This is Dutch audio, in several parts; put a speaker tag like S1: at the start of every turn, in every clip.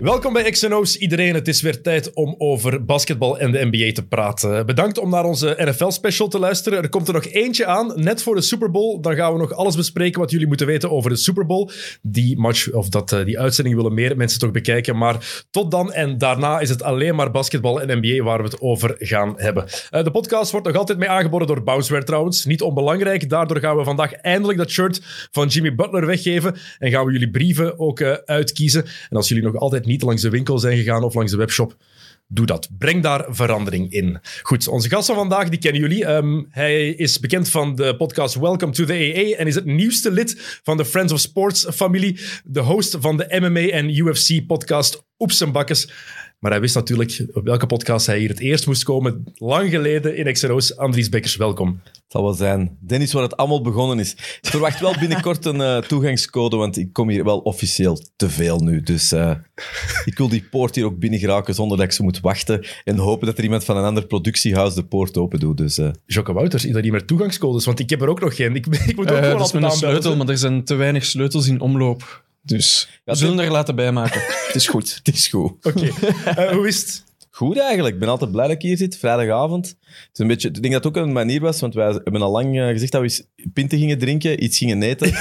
S1: Welkom bij XNO's iedereen. Het is weer tijd om over basketbal en de NBA te praten. Bedankt om naar onze NFL-special te luisteren. Er komt er nog eentje aan, net voor de Super Bowl. Dan gaan we nog alles bespreken wat jullie moeten weten over de Super Bowl. Die match of dat, eh, die uitzending willen meer mensen toch bekijken. Maar tot dan en daarna is het alleen maar basketbal en NBA waar we het over gaan hebben. Eh, de podcast wordt nog altijd mee aangeboden door Bounceware trouwens. Niet onbelangrijk. Daardoor gaan we vandaag eindelijk dat shirt van Jimmy Butler weggeven. En gaan we jullie brieven ook eh, uitkiezen. En als jullie nog altijd niet langs de winkel zijn gegaan of langs de webshop, doe dat. Breng daar verandering in. Goed, onze gast van vandaag, die kennen jullie. Ehm, hij is bekend van de podcast Welcome to the AA en is het nieuwste lid van de Friends of Sports familie. De host van de MMA en UFC podcast Oeps en Bakkes. Maar hij wist natuurlijk op welke podcast hij hier het eerst moest komen. Lang geleden in XNO's. Andries Bekkers, welkom.
S2: Het zal wel zijn. Dennis, waar het allemaal begonnen is. Ik verwacht wel binnenkort een eh, toegangscode, want ik kom hier wel officieel te veel nu. Dus eh, ik wil die poort hier ook binnen geraken zonder dat ik ze moet wachten. En hopen dat er iemand van een ander productiehuis de poort open doet. Dus, eh,
S1: Jocke Wouters, is dat niet meer toegangscodes? Want ik heb er ook nog geen. Ik, ik moet ook gewoon
S3: Eh, dat is
S1: altijd
S3: met een
S1: aanbellen.
S3: sleutel, maar er zijn te weinig sleutels in omloop. Dus we zullen er laten bijmaken. het is goed.
S2: het is goed.
S1: Oké, Eh, hoe is het?
S2: Goed eigenlijk. Ik ben altijd blij dat ik hier zit, vrijdagavond. Het is een beetje, ik denk dat het ook een manier was, want wij hebben al lang eh, gezegd dat we eens pinten gingen drinken, iets gingen eten.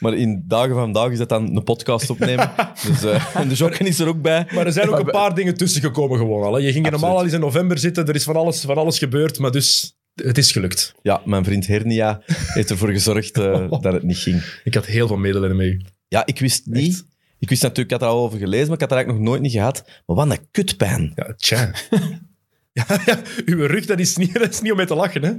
S2: maar in dagen van vandaag is dat dan een podcast opnemen. dus, eh, en de Jokken is er ook bij.
S1: Maar er zijn ook een paar dingen tussen gekomen gewoon al. Hè. Je ging er normaal al eens in november zitten. Er is van alles, van alles gebeurd, maar dus het is gelukt.
S2: Ja, mijn vriend Hernia heeft ervoor gezorgd eh, dat het niet ging.
S1: Ik had heel veel medelijden mee.
S2: Ja, ik wist niet. Ik wist natuurlijk, ik had er al over gelezen, maar ik had er eigenlijk nog nooit niet gehad. Maar wat een kutpijn.
S1: Ja, tja. ja, ja, uw rug, dat is, niet, dat is niet om mee te lachen, hè?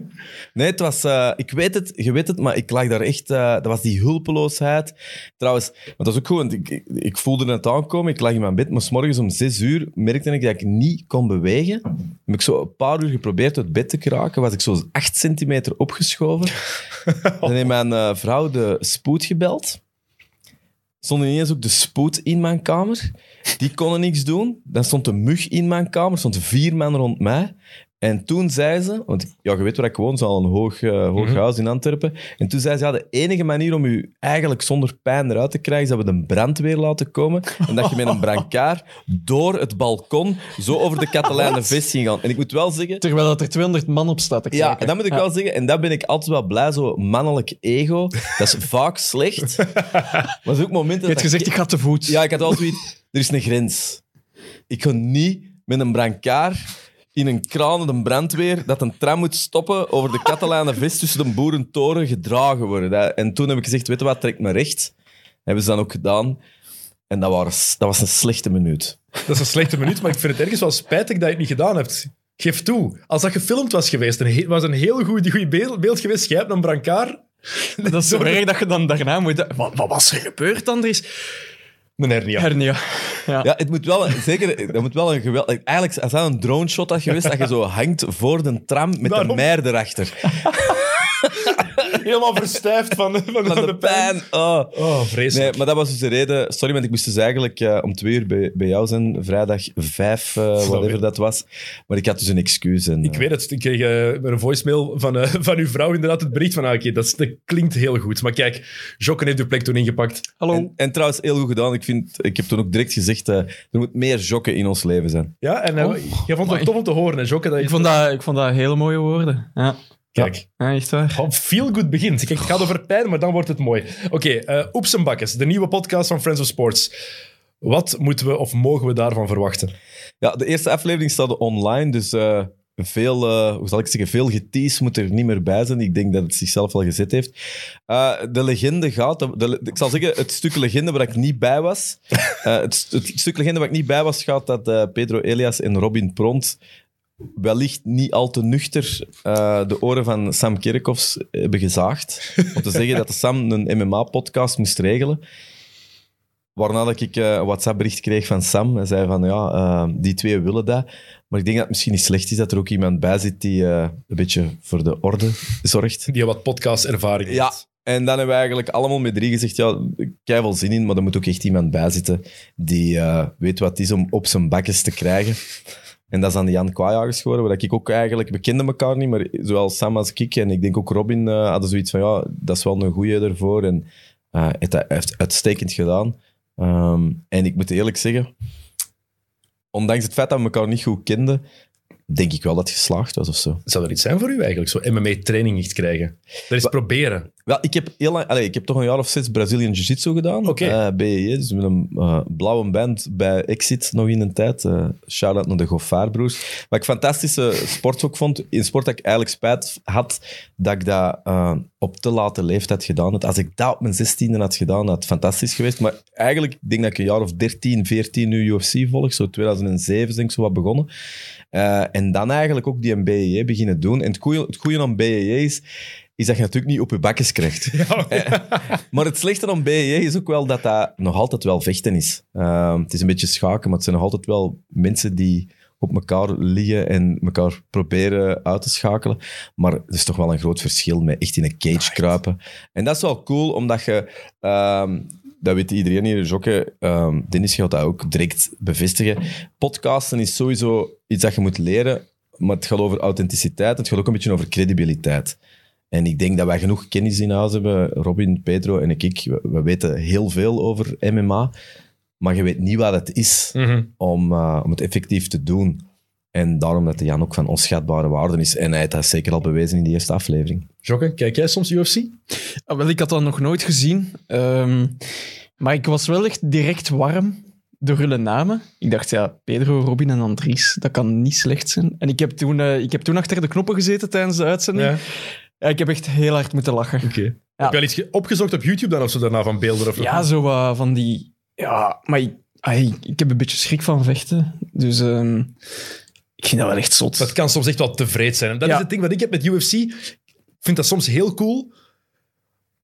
S2: Nee, het was, eh, ik weet het, je weet het, maar ik lag daar echt, eh, dat was die hulpeloosheid. Trouwens, want dat is ook goed, want ik, ik, ik voelde het aankomen, ik lag in mijn bed, maar 's morgens om zes uur merkte ik dat ik niet kon bewegen. Heb ik zo een paar uur geprobeerd uit bed te kraken, was ik zo acht centimeter opgeschoven. Dan heeft mijn eh, vrouw de spoed gebeld. Stond ineens ook de spoed in mijn kamer. Die konden niks doen. Dan stond de mug in mijn kamer. Er stonden vier man rond mij. En toen zei ze... Want ja, je weet waar ik woon. Zo'n een hoog, eh, hoog huis in Antwerpen. En toen zei ze... Ja, de enige manier om u eigenlijk zonder pijn eruit te krijgen... is dat we de brandweer laten komen. En dat je met een brancard door het balkon... zo over de Catelijnenvest ging gaan. En ik moet wel zeggen...
S3: Terwijl dat er 200 man op staat te kijken.
S2: Ja, en dat moet ik wel zeggen. En daar ben ik altijd wel blij. Zo mannelijk ego. Dat is vaak slecht. Maar er zijn ook momenten...
S3: Je hebt
S2: dat
S3: gezegd, ik ga te voet.
S2: Ja, ik had altijd zoiets... Er is een grens. Ik ga niet met een brancard in een kraan en een brandweer dat een tram moet stoppen over de Catalaanenvest tussen de boerentoren gedragen worden. Dat- En toen heb ik gezegd, weet je wat, trek me recht. Hebben ze dan ook gedaan. En dat was, dat was een slechte minuut.
S1: Dat is een slechte minuut, maar ik vind het ergens wel spijtig dat je het niet gedaan hebt. Geef toe, als dat gefilmd was geweest, een he- was een heel goed goeie beeld, beeld geweest. Jij hebt een brancard,
S3: Dat is zo erg dat je dan daarna moet... Wat, wat was er gebeurd, Andries?
S1: een hernia.
S3: Hernia. Ja.
S2: Ja, het moet wel, zeker, dat moet wel een geweld... Eigenlijk, als dat een drone shot had geweest, dat je zo hangt voor de tram met de
S1: Daarom.
S2: mer erachter.
S1: Helemaal verstijfd van, van, van
S2: Van de pijn. Oh.
S1: Oh, vreselijk.
S2: Nee, maar dat was dus de reden. Sorry, want ik moest dus eigenlijk eh, om twee uur bij, bij jou zijn. Vrijdag vijf, eh,
S1: weer.
S2: whatever dat was. Maar ik had dus een excuus. En,
S1: Ik weet het, ik kreeg eh, een voicemail van, eh, van uw vrouw inderdaad het bericht van ah, oké, dat, is- dat klinkt heel goed. Maar kijk, Jokken heeft uw plek toen ingepakt.
S3: Hallo.
S2: eh, en, en trouwens, heel goed gedaan. Ik, vind, ik heb toen ook direct gezegd, eh, er moet meer jokken in ons leven zijn.
S1: Ja, en eh,
S3: Oh,
S1: jij vond het
S3: amai.
S1: tof om te horen, hè, Jokken? Dat je-
S3: ik, vond dat, ik vond dat hele mooie woorden. Ja,
S1: Kijk,
S3: ja echt waar.
S1: oh, feel good begint. Kijk, het gaat over pijn, maar dan wordt het mooi. Oké, eh, Oeps en Bakkes, de nieuwe podcast van Friends of Sports. Wat moeten we of mogen we daarvan verwachten?
S2: Ja, de eerste aflevering staat online, dus... eh, veel, eh, hoe zal ik zeggen, veel getease moet er niet meer bij zijn. Ik denk dat het zichzelf al gezet heeft. Eh, de legende gaat... De, de- ik zal zeggen, het stuk legende waar ik niet bij was... eh, het, st- het stuk legende waar ik niet bij was, gaat dat eh, Pedro Elias en Robin Pront wellicht niet al te nuchter eh, de oren van Sam Kerkhoffs hebben gezaagd. Om te zeggen dat de Sam een MMA-podcast moest regelen. Waarna dat ik eh, een WhatsApp-bericht kreeg van Sam. Hij zei van, ja, eh, die twee willen dat. Maar ik denk dat het misschien niet slecht is dat er ook iemand bij zit die eh, een beetje voor de orde zorgt.
S1: Die wat podcast-ervaring
S2: Ja,
S1: heeft.
S2: en dan hebben we eigenlijk allemaal met drie gezegd, ja, ik heb wel zin in, maar er moet ook echt iemand bij zitten die eh, weet wat het is om op zijn bakjes te krijgen. En dat is aan de Jan Kwaaiagers geworden, waar ik ook eigenlijk... We kenden elkaar niet, maar zowel Sam als ik en ik denk ook Robin eh, hadden zoiets van, ja, dat is wel een goeie ervoor. En eh, het hij heeft uitstekend gedaan. Ehm, en ik moet eerlijk zeggen, ondanks het feit dat we elkaar niet goed kenden, denk ik wel dat het geslaagd was of zo.
S1: Zou dat iets zijn voor u eigenlijk, zo MMA-training niet krijgen? Dat is
S2: Wa-
S1: proberen.
S2: Wel, ik heb, heel lang, allee, ik heb toch een jaar of zes Brazilian Jiu-Jitsu gedaan.
S1: Oké.
S2: Eh, BJJ, dus met een eh, blauwe band bij Exit nog in een tijd. Eh Shout-out naar de Goffaardbroers. Wat ik fantastische sport ook vond, in sport dat ik eigenlijk spijt had dat ik dat eh, op te late leeftijd gedaan had. Als ik dat op mijn zestiende had gedaan, had het fantastisch geweest. Maar eigenlijk ik denk dat ik een jaar of 13, 14 nu UFC volg. Zo 2007 is denk ik zo wat begonnen. Eh, en dan eigenlijk ook die BJJ E beginnen doen. En het goeie, het goeie aan BJJ E is, is dat je natuurlijk niet op je bakjes krijgt. Maar het slechte aan BJJ is ook wel dat dat nog altijd wel vechten is. Ehm, het is een beetje schaken, maar het zijn nog altijd wel mensen die op elkaar liggen en elkaar proberen uit te schakelen. Maar er is toch wel een groot verschil met echt in een cage kruipen. En dat is wel cool, omdat je... ehm, dat weet iedereen hier, Jokke. ehm Dennis gaat dat ook direct bevestigen. Podcasten is sowieso iets dat je moet leren, maar het gaat over authenticiteit. Het gaat ook een beetje over credibiliteit. En ik denk dat wij genoeg kennis in huis hebben. Robin, Pedro en ik. We, we weten heel veel over MMA. Maar je weet niet wat het is
S1: Mhm.
S2: om, eh, om het effectief te doen. En daarom dat de Jan ook van onschatbare waarde is. En hij heeft dat zeker al bewezen in die eerste aflevering.
S1: Jokke, kijk jij soms UFC?
S3: Ah, wel, ik had dat nog nooit gezien. Ehm, maar ik was wel echt direct warm door hun namen. Ik dacht, ja, Pedro, Robin en Andries, dat kan niet slecht zijn. En ik heb toen, eh, ik heb toen achter de knoppen gezeten tijdens de uitzending. Ja.
S1: Oké.
S3: ik heb echt heel hard moeten lachen.
S1: Heb je al iets ge- opgezocht op YouTube dan of zo daarna van beelden? Of
S3: Ja, zo eh, van die... Ja, maar ik, ai, ik heb een beetje schrik van vechten. Dus ehm, ik vind dat wel echt zot.
S1: Dat kan soms echt wel tevreden zijn. En dat
S3: Ja.
S1: is het ding wat ik heb met UFC. Ik vind dat soms heel cool,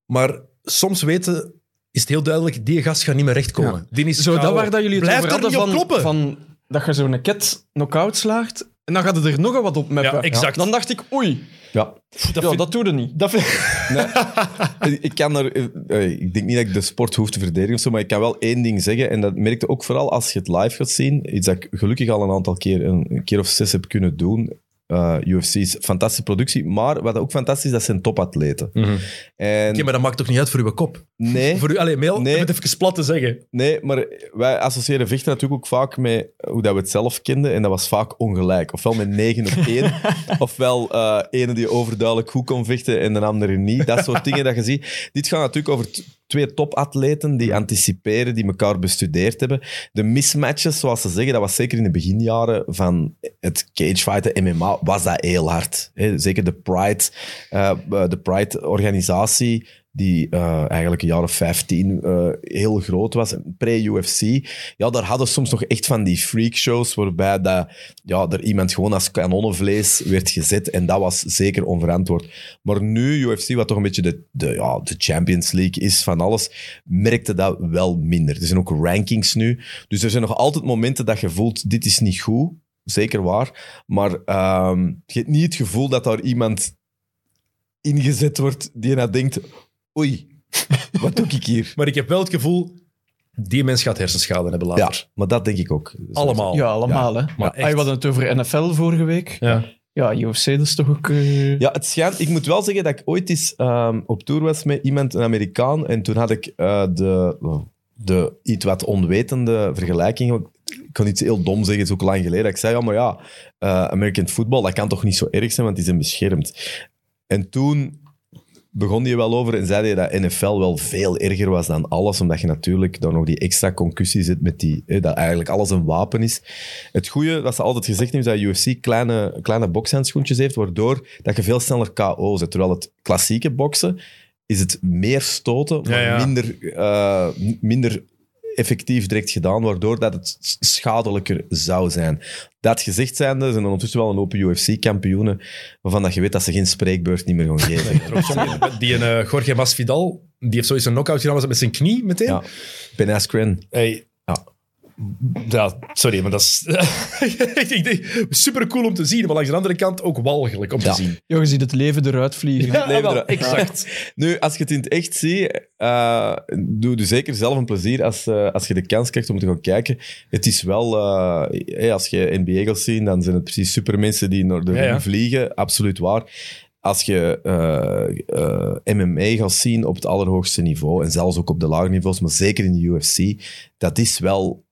S1: maar soms weten is het heel duidelijk, die gast gaat niet meer rechtkomen. Die is
S3: Zo, dat
S1: KO.
S3: waar dat jullie het
S1: Blijf
S3: over
S1: er
S3: hadden
S1: niet op
S3: van,
S1: kloppen.
S3: van dat je zo'n ket knock-out slaagt. En dan gaat het er nogal wat op meppen.
S1: Ja, exact.
S3: Dan dacht ik, oei,
S2: Ja.
S1: dat,
S3: ja,
S1: vind-
S3: dat doe je niet.
S1: dat vind-
S2: ik kan er, eh, eh, ik denk niet dat ik de sport hoef te verdedigen of zo, maar ik kan wel één ding zeggen. En dat merkte ook vooral als je het live gaat zien. Iets dat ik gelukkig al een aantal keer, een, een keer of zes heb kunnen doen. Eh, UFC is fantastische productie, maar wat ook fantastisch is, dat zijn topatleten.
S1: Mhm.
S2: En,
S1: Oké, maar dat maakt toch niet uit voor uw kop?
S2: nee,
S1: Voor u, allee, mail,
S2: Nee.
S1: om het even plat te zeggen.
S2: Nee, maar wij associëren vechten natuurlijk ook vaak met hoe dat we het zelf kenden. En dat was vaak ongelijk. Ofwel met 9 op 1. ofwel eh ene die overduidelijk goed kon vechten en de andere niet. Dat soort dingen dat je ziet. Dit gaat natuurlijk over t- twee topatleten die anticiperen, die elkaar bestudeerd hebben. De mismatches, zoals ze zeggen, dat was zeker in de beginjaren van het cagefighten, MMA, was dat heel hard. Hè, Zeker de Pride, eh, de Pride-organisatie, die eh, eigenlijk een jaar of 15 eh, heel groot was, pre-UFC. Ja, daar hadden soms nog echt van die freakshows waarbij dat, ja, er iemand gewoon als kanonnenvlees werd gezet en dat was zeker onverantwoord. Maar nu, UFC, wat toch een beetje de, de, ja, de Champions League is van alles, merkte dat wel minder. Er zijn ook rankings nu. Dus er zijn nog altijd momenten dat je voelt, dit is niet goed. Zeker waar. Maar ehm, je hebt niet het gevoel dat daar iemand ingezet wordt die nou denkt, oei, wat doe ik hier?
S1: Maar ik heb wel het gevoel, die mens gaat hersenschade hebben
S2: Ja,
S1: later.
S2: maar dat denk ik ook. Dus-
S1: Allemaal.
S3: Ja, allemaal, hè.
S1: Maar
S3: Ah, we
S1: echt.
S3: hadden het over NFL vorige week.
S1: Oh, Ja.
S3: Ja, UFC, dat is toch ook... eh,
S2: Ja, het schijnt... Ik moet wel zeggen dat ik ooit eens ehm, op tour was met iemand, een Amerikaan, en toen had ik eh, de, de iets wat onwetende vergelijking... Ik kan iets heel dom zeggen, het is ook lang geleden. Ik zei, ja, maar ja, eh, American football, dat kan toch niet zo erg zijn, want die zijn beschermd. En toen begon je wel over en zei je dat NFL wel veel erger was dan alles, omdat je natuurlijk dan nog die extra concussie zit met die, hè, dat eigenlijk alles een wapen is. Het goede, dat ze altijd gezegd hebben, is dat UFC kleine, kleine bokshandschoentjes heeft, waardoor dat je veel sneller KO zet. Terwijl het klassieke boksen is het meer stoten, maar
S1: Ja, ja.
S2: Minder, eh, m- minder effectief direct gedaan, waardoor dat het s- schadelijker zou zijn. Dat gezegd zijnde zijn er ondertussen wel een hoop UFC-kampioenen waarvan dat je weet dat ze geen spreekbeurt niet meer gaan geven.
S1: Er ook sommige- die een eh, Jorge Masvidal, die heeft zoiets een knockout gedaan was dat met zijn knie meteen.
S2: Ja. Ben Askren.
S1: Hey,
S2: Ja.
S1: Ja, sorry, maar dat is super cool om te zien, maar langs de andere kant ook walgelijk om te
S2: Ja.
S1: zien.
S3: Joh, je ziet het leven eruit vliegen.
S1: Ja,
S2: leven
S1: wel,
S2: eruit.
S1: exact.
S2: Nu, als je het in het echt ziet, eh, doe, doe zeker zelf een plezier als, eh, als je de kans krijgt om te gaan kijken. Het is wel, eh, hey, als je NBA gaat zien, dan zijn het precies supermensen die naar de
S1: Ja, ja.
S2: ring vliegen, absoluut waar. Als je eh, eh, MMA gaat zien op het allerhoogste niveau, en zelfs ook op de lage niveaus, maar zeker in de UFC, dat is wel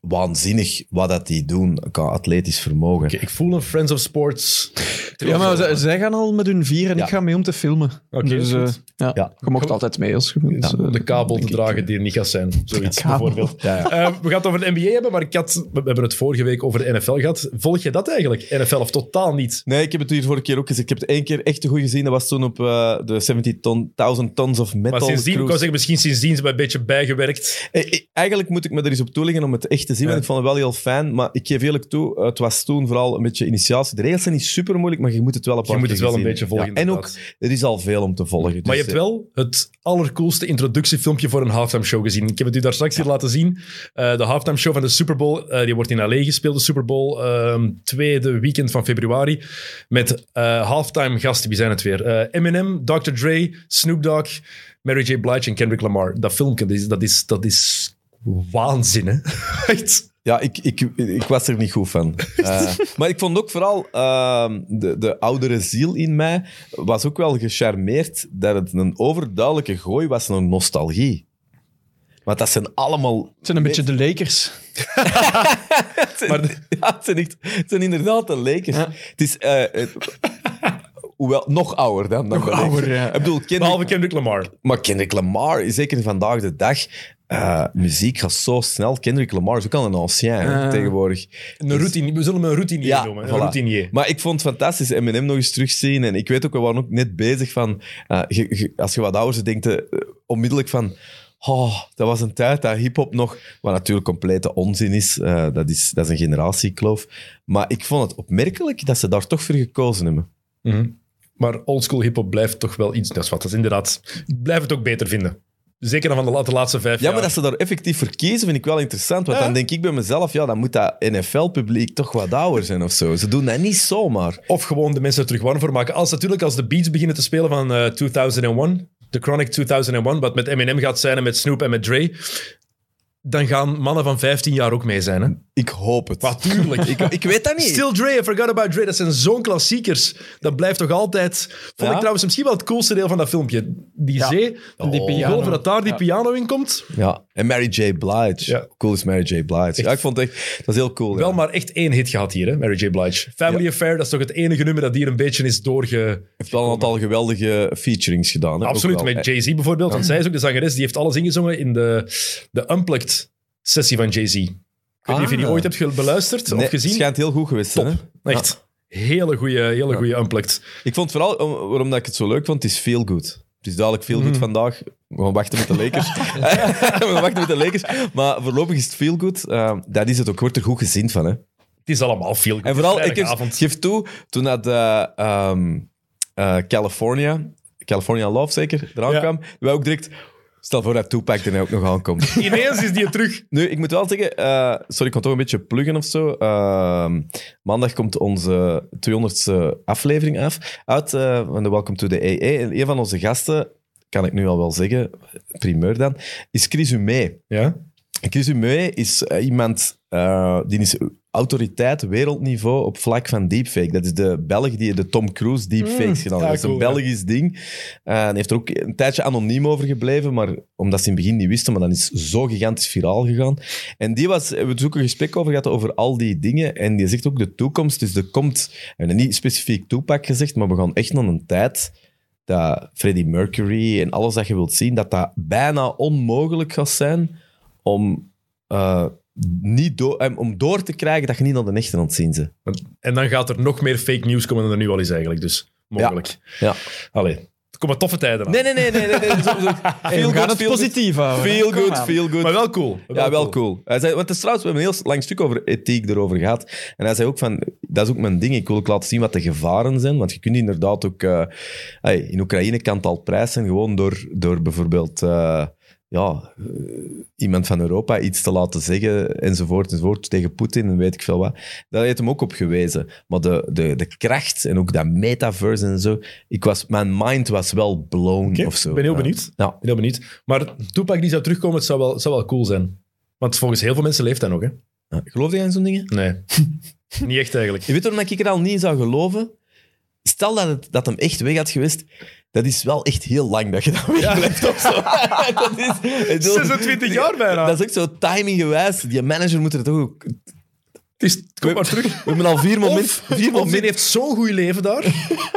S2: waanzinnig wat dat die doen qua atletisch vermogen.
S1: Oké, ik voel een Friends of Sports.
S3: Ja, maar zij, zij gaan al met hun vier en
S2: Ja.
S3: ik ga mee om te filmen.
S1: Oké,
S3: dus,
S1: goed.
S3: eh, ja.
S2: Ja.
S3: Je mocht altijd mee als je wilt.
S1: Om
S3: eh,
S1: de kabel te
S3: denk ik.
S1: dragen die er niet gaat zijn. Zoiets
S3: kabel.
S1: bijvoorbeeld.
S2: Ja, ja.
S1: Eh, we gaan het over de NBA hebben, maar ik had, we we hebben het vorige week over de NFL gehad. Volg je dat eigenlijk? NFL of totaal niet?
S2: Nee, ik heb het hier vorige keer ook gezien. Ik heb het één keer echt te goed gezien. Dat was toen op eh, de 70.000 tons of metal.
S1: Maar sindsdien, ik
S2: cruise.
S1: wou zeggen, misschien sindsdien zijn we een beetje bijgewerkt.
S2: Eh, eh, Eigenlijk moet ik me er eens op toeleggen om het echt te zien, want
S1: Ja.
S2: ik vond het wel heel fijn. Maar ik geef eerlijk toe, eh, het was toen vooral een beetje initiatie. De regels zijn niet super moeilijk, maar je moet het wel een
S1: Je
S2: paar
S1: moet
S2: keer
S1: het wel een
S2: gezien
S1: beetje
S2: hebben.
S1: volgen.
S2: Ja, En ook,
S1: inderdaad.
S2: er is al veel om te volgen. Dus,
S1: maar je hebt
S2: eh,
S1: wel het allercoolste introductiefilmpje voor een halftime show gezien. Ik heb het u daar straks hier laten zien. Eh, de halftime show van de Super Bowl, eh, die wordt in LA gespeeld, de Super Bowl, ehm, tweede weekend van februari. Met eh, halftime gasten, wie zijn het weer? Eh, Eminem, Dr. Dre, Snoop Dogg, Mary J. Blige en Kendrick Lamar. Dat filmpje, dat is, dat is, dat is waanzin, hè? Echt.
S2: Ja, ik, ik, ik was er niet goed van. Eh, maar ik vond ook vooral ehm, de, de oudere ziel in mij was ook wel gecharmeerd dat het een overduidelijke gooi was naar nostalgie. Want dat zijn allemaal...
S3: Het zijn een beetje de Lakers.
S2: Maar ja, het, zijn echt, het zijn inderdaad de Lakers.
S3: Ja.
S2: Het is... eh, eh, hoewel, nog ouder dan. dan
S3: Nog
S2: de Lakers.
S3: ouder, ja.
S2: Ik bedoel, Kendrick,
S1: Behalve Kendrick Lamar.
S2: maar Kendrick Lamar, zeker vandaag de dag... eh, muziek gaat zo snel. Kendrick Lamar is ook al een ancien hè,
S3: Eh.
S2: tegenwoordig.
S1: Een routine, we zullen hem een routinier
S2: Ja,
S1: noemen. Een
S2: voilà.
S1: routinier.
S2: Maar ik vond het fantastisch Eminem nog eens terugzien. En ik weet ook, we waren ook net bezig van... eh, je- je- als je wat ouder bent, denkt je, eh, onmiddellijk van... Oh, dat was een tijd dat hiphop nog... Wat natuurlijk complete onzin is. eh, dat is. Dat is een generatiekloof. Maar ik vond het opmerkelijk dat ze daar toch voor gekozen hebben.
S1: Mhm. Maar oldschool hip-hop blijft toch wel iets. Dat is wat. Dat is inderdaad. Ik blijf het ook beter vinden. Zeker dan van de, la- de laatste vijf
S2: Ja,
S1: jaar.
S2: maar dat ze daar effectief voor kiezen, vind ik wel interessant. Want
S1: Ja.
S2: dan denk ik bij mezelf, ja, dan moet dat NFL-publiek toch wat ouder zijn of zo. Ze doen dat niet zomaar.
S1: Of gewoon de mensen er terug warm voor maken. Als natuurlijk als de beats beginnen te spelen van eh, 2001, The Chronic 2001, wat met Eminem gaat zijn en met Snoop en met Dre, dan gaan mannen van 15 jaar ook mee zijn. Hè?
S2: Ik hoop het.
S1: Maar tuurlijk.
S2: Ik, ik weet dat niet.
S1: Still Dre, I Forgot About Dre, dat zijn zo'n klassiekers. Dat blijft toch altijd... Vond
S2: Ja?
S1: ik trouwens misschien wel het coolste deel van dat filmpje. Die
S3: Ja.
S1: zee,
S3: En die
S1: oh.
S3: piano.
S1: golven dat daar die
S3: Ja.
S1: piano in komt.
S2: Ja, en Mary J. Blige.
S1: Ja.
S2: Cool is Mary J. Blige. Ja, ik vond het echt... Dat is heel cool.
S1: Wel
S2: ja.
S1: maar echt één hit gehad hier, hè? Mary J. Blige. Family Affair, dat is toch het enige nummer dat hier een beetje is doorge...
S2: heeft wel een aantal geweldige featurings gedaan. Hè?
S1: Absoluut,
S2: Ook wel.
S1: met Jay-Z bijvoorbeeld. Want zij is ook de zangeres, die heeft alles ingezongen in de, de Unplugged-sessie van Jay-Z. Ik weet niet of je die
S2: Ah.
S1: ooit hebt ge- beluisterd
S2: Nee,
S1: of gezien.
S2: Het schijnt heel goed geweest te zijn. Hè?
S1: Echt. Hele goede hele goeie Unplugged.
S2: Ik vond vooral, om- waarom dat ik het zo leuk vond, het is feel good. Het is duidelijk feel
S1: Mm.
S2: good vandaag. We gaan wachten met de Lakers. We gaan wachten met de Lakers. Maar voorlopig is het feel good. Eh, dat is het ook. Wordt er goed gezien van, hè?
S1: Het is allemaal veel
S2: En vooral, ik
S1: heb...
S2: geef, geef toe, toen dat eh, ehm, eh, California, California Love zeker, eraan
S1: Ja.
S2: kwam, wij ook direct... Stel voor dat Tupac er nou ook nog aankomt.
S1: Ineens is die terug.
S2: Nu, ik moet wel zeggen, eh, sorry, ik kan toch een beetje pluggen of zo. Ehm, maandag komt onze 200ste aflevering af, uit eh, van de Welcome to the AA. En een van onze gasten, kan ik nu al wel zeggen, primeur dan, is Chris Humé.
S1: Ja.
S2: Chris Humé is eh, iemand eh, die is autoriteit wereldniveau op vlak van deepfake. Dat is de Belg die de Tom Cruise deepfakes gedaan
S1: Mm. ja,
S2: heeft. Dat is een
S1: cool, ja.
S2: Belgisch ding. Eh, en heeft er ook een tijdje anoniem over gebleven, maar omdat ze in het begin niet wisten, maar dan is zo gigantisch viraal gegaan. En die was, we hebben we ook een gesprek over gehad over al die dingen. En die zegt ook de toekomst. Dus er komt, we hebben niet specifiek toepak gezegd, maar we gaan echt naar een tijd dat Freddie Mercury en alles dat je wilt zien, dat dat bijna onmogelijk gaat zijn om, eh, niet do- eh, om door te krijgen dat je niet aan de echte aan het zien bent.
S1: En dan gaat er nog meer fake news komen dan er nu al is eigenlijk. Dus mogelijk.
S2: Ja.
S1: Allee, er komen toffe tijden aan.
S2: Nee, nee, nee. nee, nee, nee. Zo- zo-
S3: Hey,
S2: Feel
S3: we gaan
S2: good,
S3: het
S2: feel good.
S3: positief houden.
S2: Feel
S3: Kom
S2: good,
S3: aan.
S2: feel good.
S1: Maar wel cool.
S2: Ja, wel cool. Hij zei, want het is trouwens, we hebben een heel lang stuk over ethiek erover gehad. En hij zei ook van, dat is ook mijn ding, ik wil ook laten zien wat de gevaren zijn. Want je kunt inderdaad ook... eh, hey, in Oekraïne kan het al prijs zijn, gewoon door, door bijvoorbeeld... eh, ja, eh, iemand van Europa iets te laten zeggen, enzovoort, enzovoort, tegen Poetin en weet ik veel wat. Daar heeft hem ook op gewezen. Maar de, de, de kracht en ook dat metaverse en zo, ik was, mijn mind was wel blown
S1: Oké,
S2: of zo.
S1: ik ben heel
S2: Ja.
S1: benieuwd. Ik
S2: Ja.
S1: ben heel benieuwd. Maar Toepak die zou terugkomen, het zou wel, het zou wel cool zijn. Want volgens heel veel mensen leeft hij nog, hè?
S2: Ja. Geloof jij in zo'n dingen?
S1: Nee. Niet echt eigenlijk.
S2: Je weet waarom ik er al niet in zou geloven? Stel dat, het, dat hem echt weg had geweest, dat is wel echt heel lang dat je dat weglegt of zo. dat is, ik bedoel,
S1: 26 jaar bijna.
S2: Dat is ook zo timinggewijs. Die manager moet er toch ook... We
S1: Het is, kom maar terug.
S2: hebben al vier momenten...
S1: Of,
S2: Vier
S1: of die
S2: momenten
S1: heeft zo'n goed leven daar.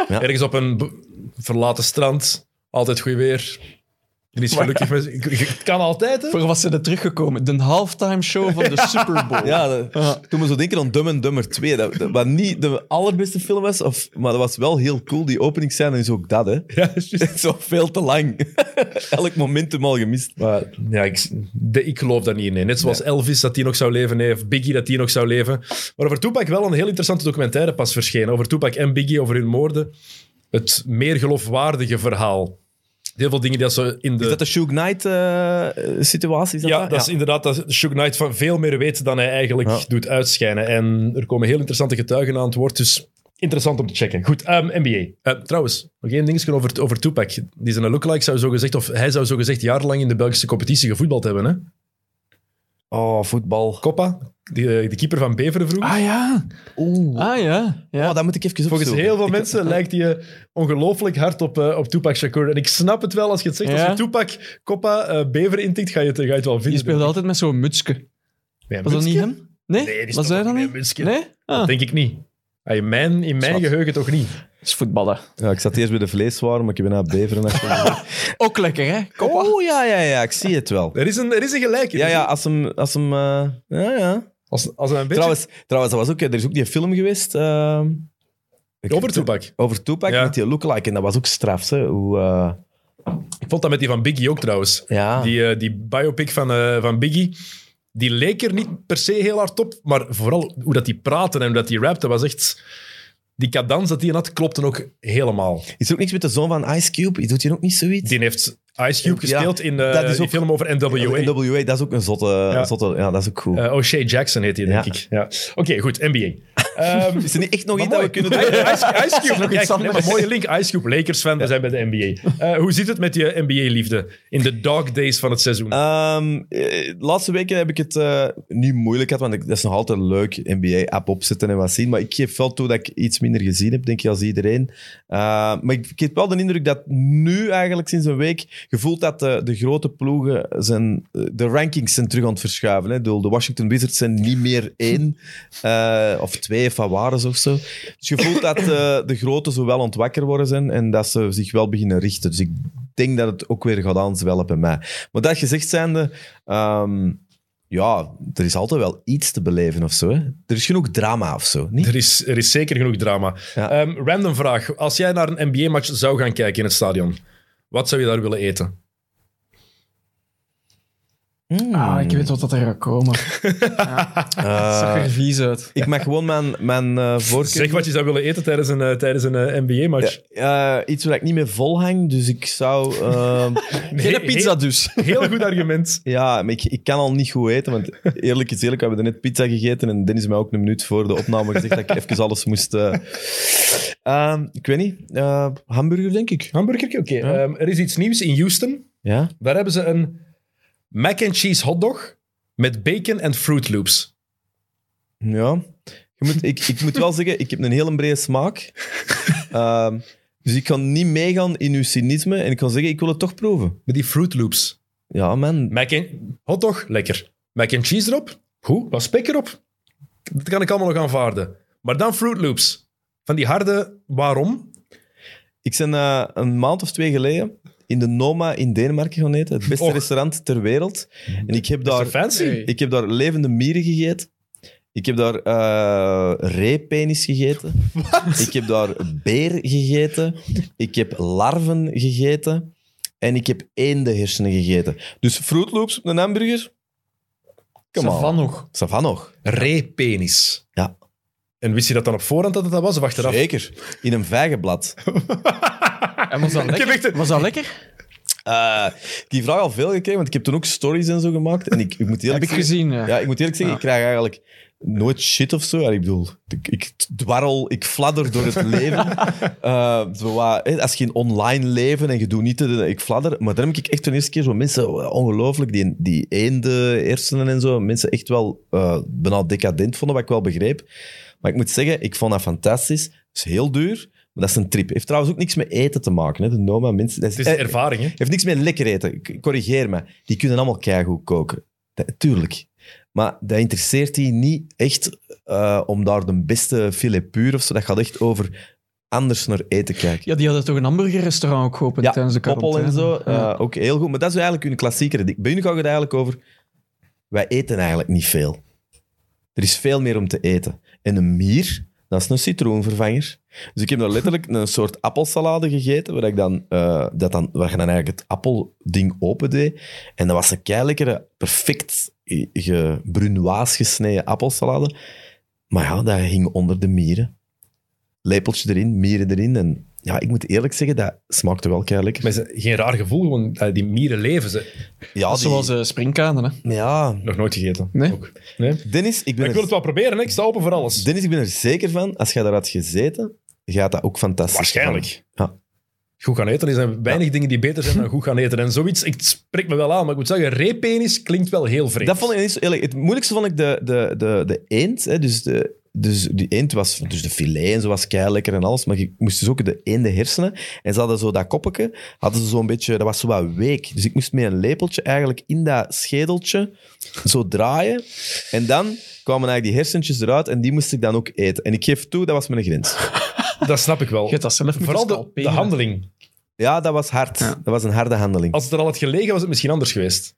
S2: Ja.
S1: Ergens op een b- verlaten strand. Altijd goed weer. Die is gelukkig. Met, ik- ik- het kan altijd, hè?
S3: Voor wat ze er teruggekomen? De halftime show van de Super Bowl.
S2: ja, dat- toen we zo denken aan Dumb and Dumber 2, dat, dat- wat niet de allerbeste film was, of, maar dat was wel heel cool. Die openingsscène is ook dat, hè.
S1: Ja, dat is juist.
S2: Zo veel te lang. Elk momentum al gemist.
S1: Maar ja, ik, de, ik geloof daar niet in. nee. Net zoals Elvis dat die nog zou leven, nee, of Biggie dat die nog zou leven. Maar over Tupac wel een heel interessante documentaire pas verschenen. Over Tupac en Biggie, over hun moorden. Het meer geloofwaardige verhaal. Heel veel dingen die dat ze in de...
S2: Is dat de eh, Suge
S3: Eh,
S2: Knight-situatie?
S1: ja, dat is inderdaad dat Suge Knight van veel meer weet dan hij eigenlijk
S2: Ja.
S1: doet uitschijnen. En er komen heel interessante getuigen aan het woord, dus interessant om te checken. Goed, ehm, NBA. Eh, trouwens, nog één dingetje over, over Tupac. Die zijn lookalike zou zo gezegd, of hij zou zo gezegd jarenlang in de Belgische competitie gevoetbald hebben, hè?
S2: Oh, voetbal.
S1: Coppa, eh, de, de keeper van Beveren vroeger.
S3: Ah ja.
S2: Oeh.
S3: Ah ja. ja.
S2: Oh, dat moet ik even
S1: Volgens
S2: opzoeken.
S1: heel veel
S2: Ik-
S1: mensen lijkt hij eh, ongelooflijk hard op, eh, op Tupac Shakur. En ik snap het wel als je het zegt. Als
S3: Ja.
S1: je Tupac, Coppa, eh Beveren intikt, ga je het, ga je het wel
S3: die
S1: vinden.
S3: speelde altijd met zo'n mutsje.
S1: Nee,
S3: Was dat niet
S1: Mutsje?
S3: hem? Nee?
S1: Nee, die
S3: was
S1: stond
S3: hij
S1: ook
S3: dan
S1: niet
S3: niet?
S1: met Mutsje.
S3: Nee? Ah,
S1: Dat denk ik niet. Ah, In mijn, in mijn
S2: Zwart.
S1: geheugen toch niet.
S3: dat is voetballen.
S2: Ja, ik zat eerst bij de vleeswaren, maar ik ben naar Beveren. afgegaan.
S3: Ook lekker, hè? Koppa.
S2: oh, ja, ja, ja, ik zie het wel.
S1: Er is een, er is een gelijkenis.
S2: Ja, ja, als hem... Als hem eh, ja, ja.
S1: Als, als een beetje...
S2: Trouwens, trouwens dat was ook, er is ook die film geweest... ehm, ik-
S1: over Tupac.
S2: Over Tupac,
S1: Ja.
S2: met die lookalike. En dat was ook straf, hè. Hoe, eh,
S1: Ik vond dat met die van Biggie ook trouwens.
S2: ja.
S1: Die, eh, die biopic van, eh, van Biggie, die leek er niet per se heel hard op. Maar vooral hoe dat die praten en hoe dat die rapte, was echt... Die cadans dat die had, klopte ook helemaal.
S2: Is er ook niks met de zoon van Ice Cube? Doet hij ook niet zoiets?
S1: Die heeft Ice Cube
S2: Ja,
S1: gespeeld in eh,
S2: dat is
S1: die E.
S2: ook-
S1: film over NWA.
S2: NWA, E, dat is ook een zotte... Ja, zotte, ja dat is ook cool.
S1: Eh, O'Shea Jackson heet hij, denk
S2: Ja.
S1: ik. Ja. Oké, goed, NBA. Ehm,
S2: is er niet echt nog
S1: Maar
S2: iets dat we
S1: mooi.
S2: kunnen
S1: Ice,
S2: doen?
S1: Ice- Ice Cube.
S3: iets
S1: Kijk, nee, maar
S3: anders.
S1: mooie link. Ice Cube, Lakers fan, we zijn bij de NBA. Eh, hoe zit het met je NBA-liefde in de dog days van het seizoen?
S2: Ehm, eh, de laatste weken heb ik het eh, niet moeilijk gehad, want ik- dat is nog altijd leuk, NBA-app opzetten en wat zien. Maar ik geef wel toe dat ik iets minder gezien heb, denk ik, als iedereen. Eh, maar ik, ik heb wel de indruk dat nu eigenlijk sinds een week gevoeld dat de, de grote ploegen zijn... eh, De rankings zijn terug aan het verschuiven. Hè. Ik bedoel, De Washington Wizards zijn niet meer één eh, of twee van waren of zo. Dus je voelt dat eh, de grote zo wel ontwakker worden zijn en dat ze zich wel beginnen richten. Dus ik denk dat het ook weer gaat aanzwellen bij mij. Maar dat gezegd zijnde, ehm, ja, er is altijd wel iets te beleven of zo. Hè? Er is genoeg drama of zo, niet?
S1: er, is, er is zeker genoeg drama.
S2: Ja.
S1: Ehm, random vraag. Als jij naar een NBA-match zou gaan kijken in het stadion, wat zou je daar willen eten?
S3: Ah, ik weet wat dat er gaat komen.
S2: Eh,
S3: Het zag er vies uit.
S2: ik mag gewoon mijn, mijn eh voorkeur...
S1: Zeg wat je zou willen eten tijdens een, eh, tijdens een NBA-match.
S2: Ja, eh, iets waar ik niet meer volhang, dus ik zou... ehm,
S3: Geen pizza dus.
S1: Heel, heel goed argument.
S2: ja, maar ik, ik kan al niet goed eten, want eerlijk is eerlijk, we hebben net pizza gegeten en Dennis heeft mij ook een minuut voor de opname gezegd dat ik even alles moest... eh, ehm, ik weet niet, eh, hamburger denk ik.
S1: Hamburgertje, oké.
S2: Ja.
S1: Ehm, er is iets nieuws in Houston.
S2: Ja?
S1: Daar hebben ze een mac and cheese hotdog met bacon en Fruit Loops.
S2: Ja. Je moet, ik, ik moet wel zeggen, ik heb een hele brede smaak. Ehm, dus ik kan niet meegaan in uw cynisme en ik kan zeggen, ik wil het toch proeven.
S1: Met die Fruit Loops.
S2: Ja, man.
S1: Mac en, hotdog, lekker. Mac and cheese erop, goed. Wat spek erop, dat kan ik allemaal nog aanvaarden. Maar dan Fruit Loops. Van die harde, waarom?
S2: Ik ben eh, een maand of twee geleden in de Noma in Denemarken gaan eten. Het beste
S1: Och. Mm.
S2: restaurant ter wereld. En ik heb
S1: Dat
S2: daar
S1: is toch fancy.
S3: Nee.
S2: Ik heb daar levende mieren gegeten. Ik heb daar eh reepenis gegeten. Ik heb daar beer gegeten. Ik heb larven gegeten. En ik heb eendenhersenen gegeten. Dus Fruit Loops op een hamburger. Come on.
S3: van nog.
S2: Ça va nog.
S1: Reepenis.
S2: Ja.
S1: En wist je dat dan op voorhand dat het dat was of achteraf?
S2: Zeker. In een vijgenblad.
S3: En was dat
S1: Ik heb
S3: lekker?
S1: echt een-
S3: Was dat lekker?
S2: Eh, ik heb die vraag al veel gekregen, want ik heb toen ook stories en zo gemaakt. En ik, ik moet
S3: Heb
S2: eerlijk
S3: ik
S2: zeggen-
S3: gezien. Ja.
S2: Ja, ik moet eerlijk zeggen,
S3: Ja.
S2: ik krijg eigenlijk nooit shit of zo. Ja, ik bedoel, ik, ik dwarrel, ik fladder door het leven. Eh, zo wat, hè, als je in online leven en je doet niet, de- ik fladder. Maar dan heb ik echt de eerste keer zo mensen, oh, ongelooflijk, die, die eenden, hersenen en zo, mensen echt wel eh bijna decadent vonden, wat ik wel begreep. Maar ik moet zeggen, ik vond dat fantastisch. Het is heel duur, maar dat is een trip. Heeft trouwens ook niks met eten te maken. Hè. De Noma mensen... Dat is,
S1: Het is de
S2: eh,
S1: ervaring, hè?
S2: heeft niks met lekker eten. Ik- Corrigeer me. Die kunnen allemaal keigoed koken. Dat- tuurlijk. Maar dat interesseert die niet echt eh, om daar de beste filet puur of zo. Dat gaat echt over anders naar eten kijken.
S3: Ja, die hadden toch een hamburgerrestaurant ook geopend
S2: Ja,
S3: tijdens de
S2: Koppel en zo,
S3: quarantaine? Ja.
S2: eh, ook heel goed. Maar dat is eigenlijk hun klassiekere ding. Bij hun gaat het eigenlijk over... Wij eten eigenlijk niet veel. Er is veel meer om te eten. En een mier, dat is een citroenvervanger. Dus ik heb daar letterlijk een soort appelsalade gegeten, waar, ik dan, eh, dat dan, waar je dan eigenlijk het appelding opendeed. En dat was een keilekkere, perfect ge- ge- brunoise gesneden appelsalade. Maar ja, dat hing onder de mieren. Lepeltje erin, mieren erin. En ja, ik moet eerlijk zeggen, dat smaakte wel lekker.
S1: Maar is het geen raar gevoel, gewoon eh, die mieren leven ze.
S2: Ja,
S3: Dat is
S2: die-
S3: Zoals eh springkanen, hè.
S2: ja.
S1: Nog nooit gegeten.
S3: Nee.
S1: Ook. nee?
S2: Dennis, ik ben,
S1: Maar ik wil
S2: er,
S1: het wel proberen, hè. ik sta open voor alles.
S2: Dennis, ik ben er zeker van, als jij daar had gezeten, gaat dat ook fantastisch.
S1: Waarschijnlijk.
S2: Ja.
S1: Goed gaan eten. Er zijn weinig dingen die beter zijn dan goed gaan eten. En zoiets, ik het spreekt me wel aan, maar ik moet zeggen, reepenis klinkt wel heel vreemd.
S2: Dat vond ik niet zo eerlijk. Het moeilijkste vond ik de, de, de, de eend. Hè, dus, de, dus die eend was, dus de filet en zo was lekker en alles. Maar je moest dus ook de eenden hersenen. En ze hadden zo dat koppetje, hadden ze zo'n beetje, dat was zo wat week. Dus ik moest met een lepeltje eigenlijk in dat schedeltje zo draaien. En dan kwamen eigenlijk die hersentjes eruit en die moest ik dan ook eten. En ik geef toe, dat was mijn grens.
S1: Dat snap ik
S3: Je
S1: wel.
S3: hebt dat zelf moeten
S1: Vooral de, de
S3: scalperen.
S1: handeling.
S2: Ja, dat was hard.
S3: Ja.
S2: Dat was een harde handeling.
S1: Als het er al had gelegen, was het misschien anders geweest.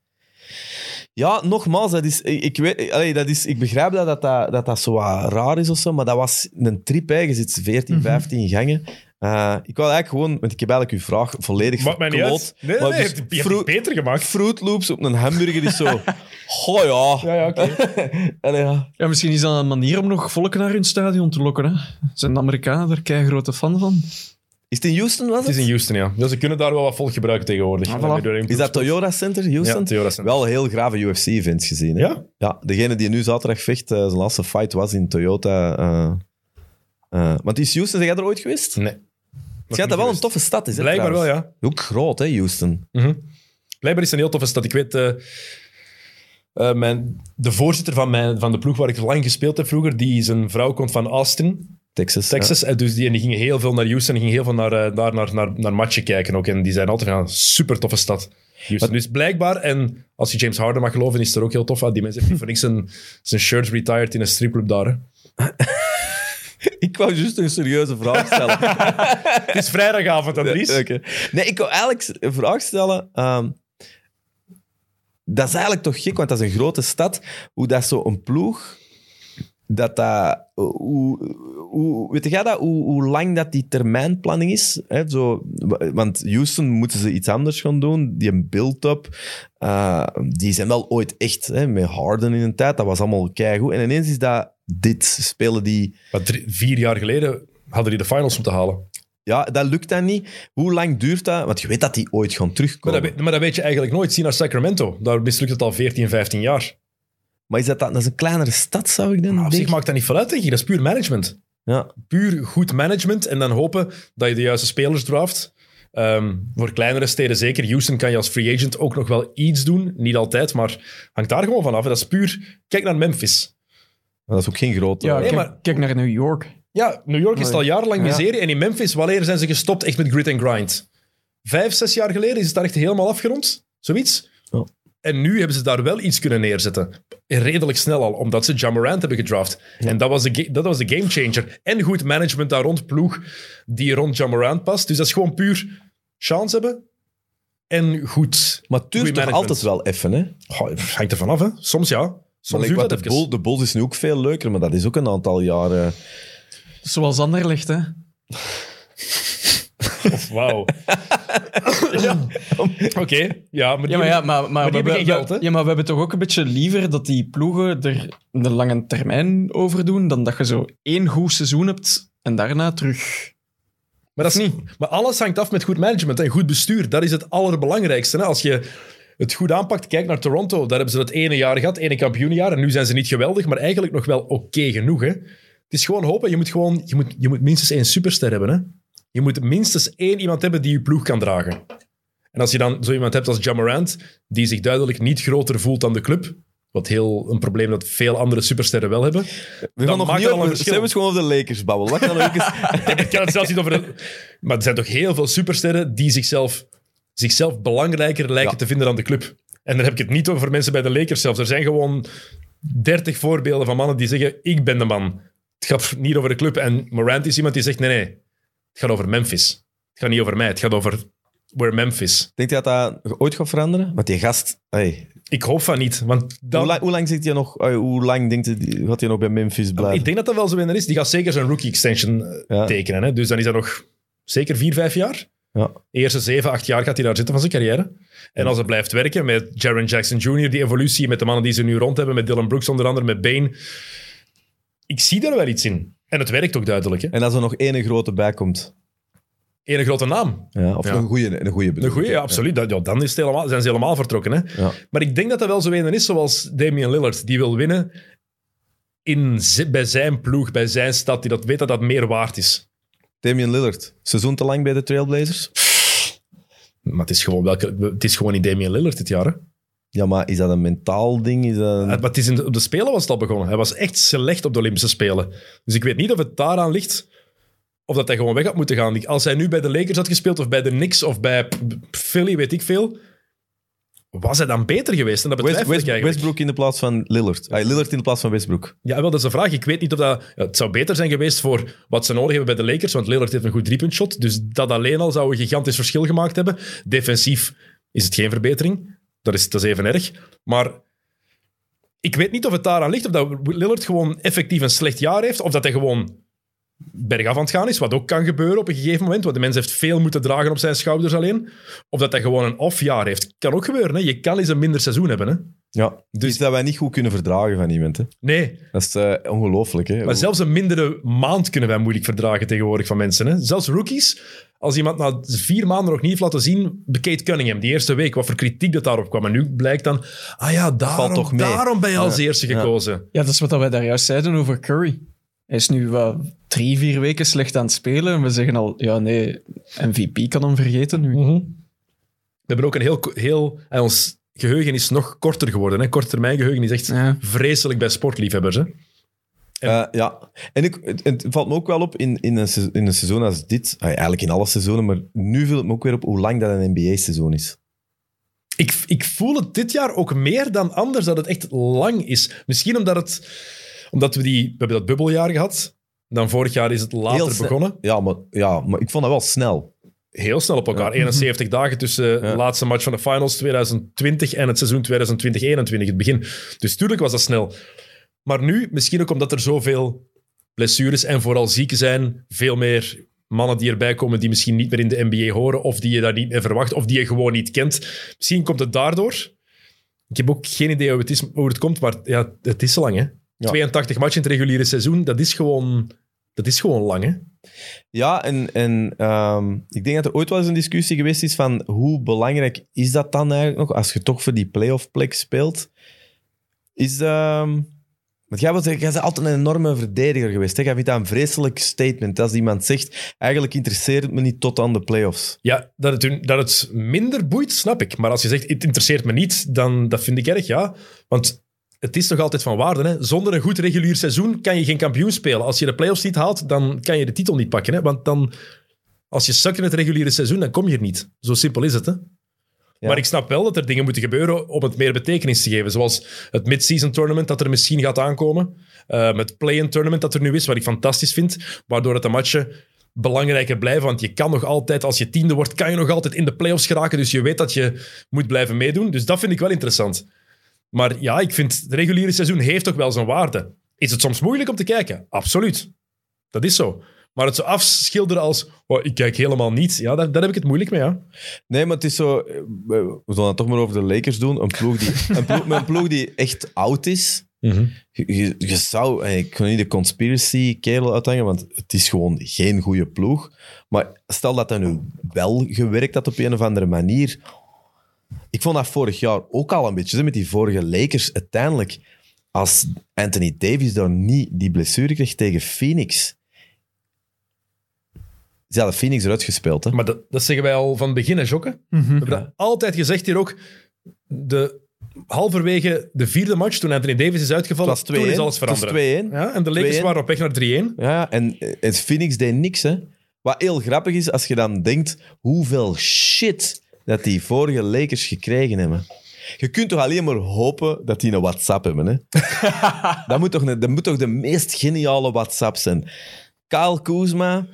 S2: Ja, nogmaals, dat is, ik, ik weet, allee, dat is, ik begrijp dat dat, dat, dat dat zo wat raar is of zo, maar dat was een trip. Hè. Je zit
S1: Mhm.
S2: 14, 15 gangen. Eh, ik wil eigenlijk gewoon, want ik heb eigenlijk uw vraag volledig
S1: Maakt mij niet uit. Nee,
S2: verkloot. maar
S1: nee,
S2: dus
S1: je hebt het
S2: Fruit-
S1: beter gemaakt.
S2: Fruit Loops op een hamburger is zo... Goh ja.
S1: Ja, ja, oké.
S2: Allee, ja.
S3: Ja, misschien is dat een manier om nog volken naar hun stadion te lokken. Hè? Zijn de Amerikanen daar kei grote fan van?
S2: Is het in Houston, was
S1: Het is
S2: het?
S1: in Houston, ja. Dus ze kunnen daar wel wat volk gebruiken tegenwoordig.
S3: Ah, voilà.
S1: Dan heb je er een-
S2: Is dat Toyota Center, Houston?
S1: Ja, Toyota Center.
S2: Wel heel grave UFC-events gezien. Hè?
S1: Ja?
S2: Ja, degene die nu zaterdag vecht, eh, zijn laatste fight was in Toyota. eh, eh, want is Houston, zijn jij er ooit geweest?
S1: Nee.
S2: Het schijnt dat wel een toffe stad is, hè,
S1: Blijkbaar wel,
S2: trouwens.
S1: ja.
S2: Ook groot, hè, Houston.
S1: Mhm. Blijkbaar is het een heel toffe stad. Ik weet, eh, eh, mijn, de voorzitter van, mijn, van de ploeg waar ik lang gespeeld heb vroeger, die zijn vrouw komt van Austin,
S2: Texas.
S1: Texas. En dus die, en die gingen heel veel naar Houston en gingen heel veel naar, eh, daar naar, naar, naar matchen kijken ook. En die zijn altijd van, ja, super toffe stad. Houston. Dus blijkbaar, en als je James Harden mag geloven, is het er ook heel tof aan. Die mensen hebben voor niks zijn, zijn shirt retired in een stripclub daar. hè.
S2: ja. Ik wou juist een serieuze vraag stellen.
S1: Het is vrijdagavond, Andries.
S2: Ja, oké. Nee, ik wou eigenlijk een vraag stellen. ehm, dat is eigenlijk toch gek, want dat is een grote stad. Hoe dat zo'n ploeg... Dat dat... eh, Hoe, hoe, weet jij dat? Hoe, hoe lang dat die termijnplanning is? Hè? Zo, wa- want Houston moeten ze iets anders gaan doen. Die een build-up. eh, die zijn wel ooit echt hè, met Harden in een tijd. Dat was allemaal keigoed. En ineens is dat dit. Spelen die...
S1: Maar drie- vier jaar geleden hadden die de finals moeten halen.
S2: Ja, dat lukt dan niet. Hoe lang duurt dat? Want je weet dat die ooit gaan
S1: Maar
S2: terugkomen.
S1: dat, weet- maar dat weet je eigenlijk nooit. Zie naar Sacramento. Daar mislukt het al 14, 15 jaar.
S2: Maar is dat, dat, dat is een kleinere stad, zou ik dan
S1: Nou, op zich
S2: denken?
S1: maakt dat niet veel uit, denk je. Dat is puur management.
S2: Ja.
S1: Puur goed management en dan hopen dat je de juiste spelers draft. Ehm, voor kleinere steden zeker. Houston kan je als free agent ook nog wel iets doen. Niet altijd, maar hangt daar gewoon vanaf. Dat is puur... Kijk naar Memphis.
S2: Maar dat is ook geen grote...
S3: Ja,
S1: Nee,
S3: kijk,
S1: maar-
S3: kijk naar New York.
S1: Ja, New York is het al jarenlang
S3: Ja.
S1: miserie. En in Memphis, wanneer zijn ze gestopt echt met grit and grind? Vijf, zes jaar geleden is het daar echt helemaal afgerond. Zoiets.
S2: Ja.
S1: En nu hebben ze daar wel iets kunnen neerzetten. Redelijk snel al, omdat ze Ja Morant hebben gedraft. En dat was, de ga- dat was de gamechanger. En goed management daar rond, ploeg die rond Ja Morant past. Dus dat is gewoon puur chance hebben en goed.
S2: Maar het duurt
S1: Goeie
S2: toch
S1: management.
S2: altijd wel even, hè?
S1: Goh, hangt ervan af, hè. Soms ja. Soms
S2: Maar
S1: duurt
S2: wat
S1: dat
S2: de,
S1: even.
S2: Bulls- de Bulls is nu ook veel leuker, maar dat is ook een aantal jaren...
S3: Zoals Anderlecht, hè.
S1: Of Wauw. Oké, ja, maar,
S3: Ja, maar, ja, maar, maar,
S1: die hebben geen geld, hè?
S3: ja, maar we hebben toch ook een beetje liever dat die ploegen er een lange termijn over doen, dan dat je zo één goed seizoen hebt en daarna terug
S1: Maar, dat is,
S3: niet?
S1: maar alles hangt af met goed management en goed bestuur. Dat is het allerbelangrijkste. Hè? Als je het goed aanpakt, kijk naar Toronto. Daar hebben ze dat ene jaar gehad, ene kampioenjaar. En nu zijn ze niet geweldig, maar eigenlijk nog wel oké genoeg. Hè? Het is gewoon hopen. Je moet, gewoon, je, moet, je moet minstens één superster hebben. Hè? Je moet minstens één iemand hebben die je ploeg kan dragen. En als je dan zo iemand hebt als Jamarant, die zich duidelijk niet groter voelt dan de club, wat heel een probleem dat veel andere supersterren wel hebben.
S2: We
S1: Dan
S2: gaan nog
S1: maakt
S2: niet
S1: al
S2: over-
S1: een verschil.
S2: Zijn we eens gewoon over de Lakers babbelen. Wat kan Lakers...
S1: Ik kan het zelfs niet over... de- Maar er zijn toch heel veel supersterren die zichzelf, zichzelf belangrijker lijken
S2: Ja.
S1: te vinden dan de club. En daar heb ik het niet over mensen bij de Lakers zelfs. Er zijn gewoon 30 voorbeelden van mannen die zeggen, ik ben de man. Het gaat niet over de club. En Morant is iemand die zegt, nee, nee. Het gaat over Memphis. Het gaat niet over mij. Het gaat over where Memphis.
S2: Denk je dat dat ooit gaat veranderen? Want die gast... hey,
S1: Ik hoop van niet, want dan...
S2: Hoe, lang, hoe lang zit hij nog... hey, hoe lang denkt hij, gaat hij nog bij Memphis blijven?
S1: Ik denk dat dat wel zo in is. Die gaat zeker zijn rookie extension eh,
S2: Ja.
S1: tekenen. Hè? Dus dan is dat nog zeker vier, vijf jaar.
S2: Ja.
S1: Eerste zeven, acht jaar gaat hij daar zitten van zijn carrière. En als het blijft werken met Jaron Jackson Jr., die evolutie, met de mannen die ze nu rond hebben, met Dylan Brooks onder andere, met Bane. Ik zie daar wel iets in. En het werkt ook duidelijk. Hè?
S2: En als er nog één grote bij komt.
S1: Eén grote naam.
S2: Ja, of
S1: Ja.
S2: nog een goede een goeie bedoel
S1: Een
S2: ik,
S1: goeie,
S2: hè.
S1: ja, absoluut. Dat, ja, dan is het helemaal, zijn ze helemaal vertrokken. Hè?
S2: Ja.
S1: Maar ik denk dat dat wel zo een is, zoals Damian Lillard. Die wil winnen in, zi- bij zijn ploeg, bij zijn stad. Die dat weet dat dat meer waard is.
S2: Damian Lillard. Seizoen te lang bij de Trailblazers?
S1: Maar het is gewoon, welke, het is gewoon niet Damian Lillard dit jaar. Hè?
S2: Ja, maar is dat een mentaal ding? Is dat een-
S1: Maar het is in de, op de Spelen was het al begonnen. Hij was echt slecht op de Olympische Spelen. Dus ik weet niet of het daaraan ligt of dat hij gewoon weg had moeten gaan. Als hij nu bij de Lakers had gespeeld of bij de Knicks of bij p- p- Philly, weet ik veel, was hij dan beter geweest? En dat
S2: West-
S1: betwijfel ik
S2: West-
S1: eigenlijk.
S2: Westbrook in de plaats van Lillard. Ah, Lillard in de plaats van Westbrook.
S1: Ja, wel, dat is de vraag. Ik weet niet of dat... ja, Het zou beter zijn geweest voor wat ze nodig hebben bij de Lakers, want Lillard heeft een goed driepuntshot. Dus dat alleen al zou een gigantisch verschil gemaakt hebben. Defensief is het geen verbetering. Dat is, dat is even erg. Maar ik weet niet of het daaraan ligt, of dat Lillard gewoon effectief een slecht jaar heeft, of dat hij gewoon bergaf aan het gaan is, wat ook kan gebeuren op een gegeven moment, want de mens heeft veel moeten dragen op zijn schouders alleen. Of dat hij gewoon een off-jaar heeft. Kan ook gebeuren, hè. Je kan eens een minder seizoen hebben, hè.
S2: Ja. Dus dat wij niet goed kunnen verdragen van iemand. Hè.
S1: Nee,
S2: Dat is eh, ongelooflijk. Hè?
S1: Maar zelfs een mindere maand kunnen wij moeilijk verdragen tegenwoordig van mensen. Hè? Zelfs rookies, als iemand na vier maanden nog niet heeft laten zien, bij Kate Cunningham, die eerste week, wat voor kritiek dat daarop kwam. En nu blijkt dan, ah ja, daarom,
S2: toch mee.
S1: daarom ben je als
S2: Ja,
S1: eerste
S2: ja.
S1: gekozen.
S3: Ja, dat is wat wij daar juist zeiden over Curry. Hij is nu wat drie, vier weken slecht aan het spelen. En we zeggen al, ja nee, MVP kan hem vergeten nu.
S1: We hebben ook een heel, heel en ons geheugen is nog korter geworden. Hè? Korttermijn geheugen is echt
S3: Ja.
S1: vreselijk bij sportliefhebbers. Hè?
S2: Eh, ja, en ik, het, het valt me ook wel op in, in, een, se- in een seizoen als dit, ah, eigenlijk in alle seizoenen, maar nu viel het me ook weer op hoe lang dat een NBA-seizoen is.
S1: Ik, ik voel het dit jaar ook meer dan anders dat het echt lang is. Misschien omdat, het, omdat we, die, we hebben dat bubbeljaar gehad. Dan vorig jaar is het later
S2: Heel snel.
S1: begonnen.
S2: Ja, maar, ja, maar ik vond dat wel snel.
S1: heel snel op elkaar. 71 dagen tussen de
S2: Ja.
S1: laatste match van de finals 2020 en het seizoen 2020-2021, het begin. Dus tuurlijk was dat snel. Maar nu, misschien ook omdat er zoveel blessures en vooral zieken zijn, veel meer mannen die erbij komen die misschien niet meer in de NBA horen of die je daar niet meer verwacht of die je gewoon niet kent. Misschien komt het daardoor. Ik heb ook geen idee hoe het, is, hoe het komt, maar ja, het is lang, hè.
S2: Ja.
S1: 82 matchen in het reguliere seizoen, dat is gewoon, dat is gewoon lang, hè.
S2: Ja, en, en ehm, ik denk dat er ooit wel eens een discussie geweest is van hoe belangrijk is dat dan eigenlijk nog als je toch voor die playoff plek speelt. Is, ehm, want jij, was, jij bent altijd een enorme verdediger geweest. Hè? Jij vindt dat een vreselijk statement als iemand zegt, eigenlijk interesseert het me niet tot aan de playoffs.
S1: Ja, dat het, hun- dat het minder boeit, snap ik. Maar als je zegt, het interesseert me niet, dan dat vind ik erg, ja. Want het is toch altijd van waarde, hè. Zonder een goed regulier seizoen kan je geen kampioen spelen. Als je de play-offs niet haalt, dan kan je de titel niet pakken, hè. Want dan... Als je zakt in het reguliere seizoen, dan kom je er niet. Zo simpel is het, hè.
S2: Ja.
S1: Maar ik snap wel dat er dingen moeten gebeuren om het meer betekenis te geven. Zoals het mid-season tournament dat er misschien gaat aankomen. Ehm, het play-in tournament dat er nu is, wat ik fantastisch vind. Waardoor dat de matchen belangrijker blijven. Want je kan nog altijd, als je tiende wordt, kan je nog altijd in de play-offs geraken. Dus je weet dat je moet blijven meedoen. Dus dat vind ik wel interessant. Maar ja, ik vind het reguliere seizoen heeft ook wel zijn waarde. Is het soms moeilijk om te kijken? Absoluut. Dat is zo. Maar het zo afschilderen als, oh, ik kijk helemaal niet. Ja, daar, daar heb ik het moeilijk mee, ja.
S2: Nee, maar het is zo... eh, We we zullen het toch maar over de Lakers doen. Een ploeg die, een ploeg, met een ploeg die echt oud is. Je, je- je zou, en ik wil niet de conspiracy kerel uithangen, want het is gewoon geen goede ploeg. Maar stel dat dat nu wel gewerkt had op een of andere manier. Ik vond dat vorig jaar ook al een beetje, hè, met die vorige Lakers. Uiteindelijk, als Anthony Davis daar niet die blessure kreeg tegen Phoenix. Ze hadden Phoenix eruit gespeeld, hè?
S1: Maar dat, dat zeggen wij al van het begin, hè, Jokke? We hebben dat altijd gezegd hier ook. De, halverwege de vierde match, toen Anthony Davis is uitgevallen,
S2: Het was 2-1.
S1: toen is alles
S2: Het was
S1: veranderd.
S2: 2-1.
S1: Ja, en de Lakers
S2: 2-1.
S1: waren op weg naar 3-1.
S2: Ja, en eh, het Phoenix deed niks, hè. Wat heel grappig is, als je dan denkt hoeveel shit dat die vorige Lakers gekregen hebben. Je kunt toch alleen maar hopen dat die een WhatsApp hebben, hè. dat, moet toch, een- dat moet toch de meest geniale WhatsApp zijn. Kyle Kuzma,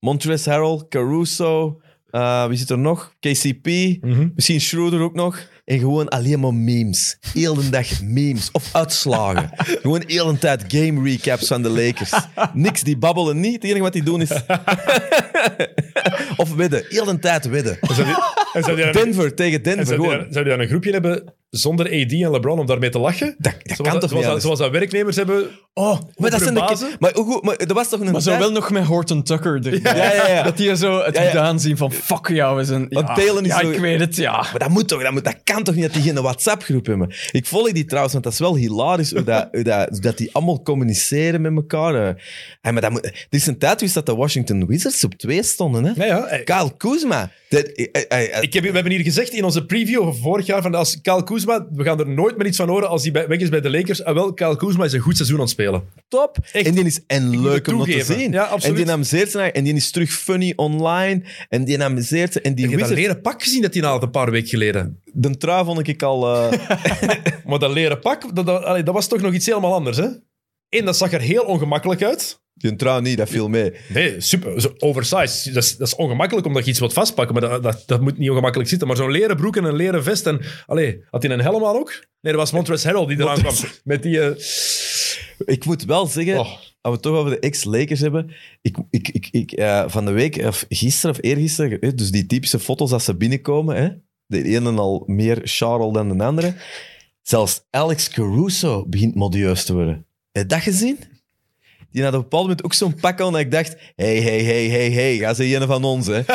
S2: Montrezl Harrell, Caruso, eh, wie zit er nog? KCP,
S1: Mhm.
S2: misschien Schroeder ook nog. En gewoon alleen maar memes. Heel de dag memes. Of uitslagen. gewoon heel de tijd game recaps van de Lakers. Niks, die babbelen niet. Het enige wat die doen is... of wedden. Heel de tijd wedden.
S1: En zou die dan-
S2: Denver tegen
S1: en
S2: Denver.
S1: zou die dan-
S2: Gewoon.
S1: zou die dan een groepje hebben zonder AD en LeBron om daarmee te lachen?
S2: Dat, dat
S1: zoals,
S2: kan
S1: zoals,
S2: toch niet
S1: dat,
S2: anders.
S1: zoals dat werknemers hebben.
S2: Oh, maar dat
S1: hun
S2: zijn de...
S1: bazen?
S2: Maar, hoe goed- maar er was toch een
S3: Maar zo
S2: tijd-
S3: wel nog met Horton Tucker erin.
S2: Ja, ja, ja.
S3: Dat die er zo het
S2: Ja, ja.
S3: moet aanzien van fuck jou. Is een, ja,
S2: Want Telen is
S3: ja
S2: zo-
S3: ik weet het, ja.
S2: Maar dat moet toch, dat, moet, dat kan toch niet dat die geen WhatsApp-groep hebben? Ik volg die trouwens, want dat is wel hilarisch hoe dat, hoe dat, dat die allemaal communiceren met elkaar. eh. Hey, maar dat moet, er is een tijd geweest dat de Washington Wizards op twee stonden. Hè?
S1: Ja, ja. eh,
S2: Kyle Kuzma. Dat, eh, eh, eh,
S1: Ik heb, we hebben hier gezegd in onze preview van vorig jaar van als Kyle Kuzma, we gaan er nooit meer iets van horen als hij bij- weg is bij de Lakers. En wel, Kyle Kuzma is een goed seizoen aan het spelen.
S2: top.
S1: Echt.
S2: En die is en
S1: het
S2: leuk om nog te
S1: toegeven.
S2: zien.
S1: Ja, absoluut.
S2: en die amuseert zich en die is terug funny online. En die amuseert zich. En die
S1: Ik heb dat
S2: Wizards...
S1: leren pak gezien dat hij had een paar weken geleden.
S2: De trui vond ik al... eh,
S1: Maar dat leren pak, dat, dat, allee, dat was toch nog iets helemaal anders, hè? Eén, dat zag er heel ongemakkelijk uit.
S2: die trui niet, dat viel mee.
S1: Nee, super. zo Oversized. Dat is, dat is ongemakkelijk omdat je iets wilt vastpakken, maar dat, dat, dat moet niet ongemakkelijk zitten. Maar zo'n leren broek en een leren vest en... Allee, had hij een helm aan ook? Nee, dat was Montrezl Harrell die eraan kwam. Met die... eh,
S2: Ik moet wel zeggen,
S1: Oh.
S2: als we het toch over de ex-Lakers hebben. Ik, ik, ik, ik, eh, van de week, of gisteren of eergisteren, eh, dus die typische foto's als ze binnenkomen. Hè, de ene al meer Charles dan de andere. Zelfs Alex Caruso begint modieus te worden. Heb je dat gezien? Die had op een bepaald moment ook zo'n pak aan dat ik dacht... Hey, hey, hey, hey, hey, ga ze een van ons, hè. zo,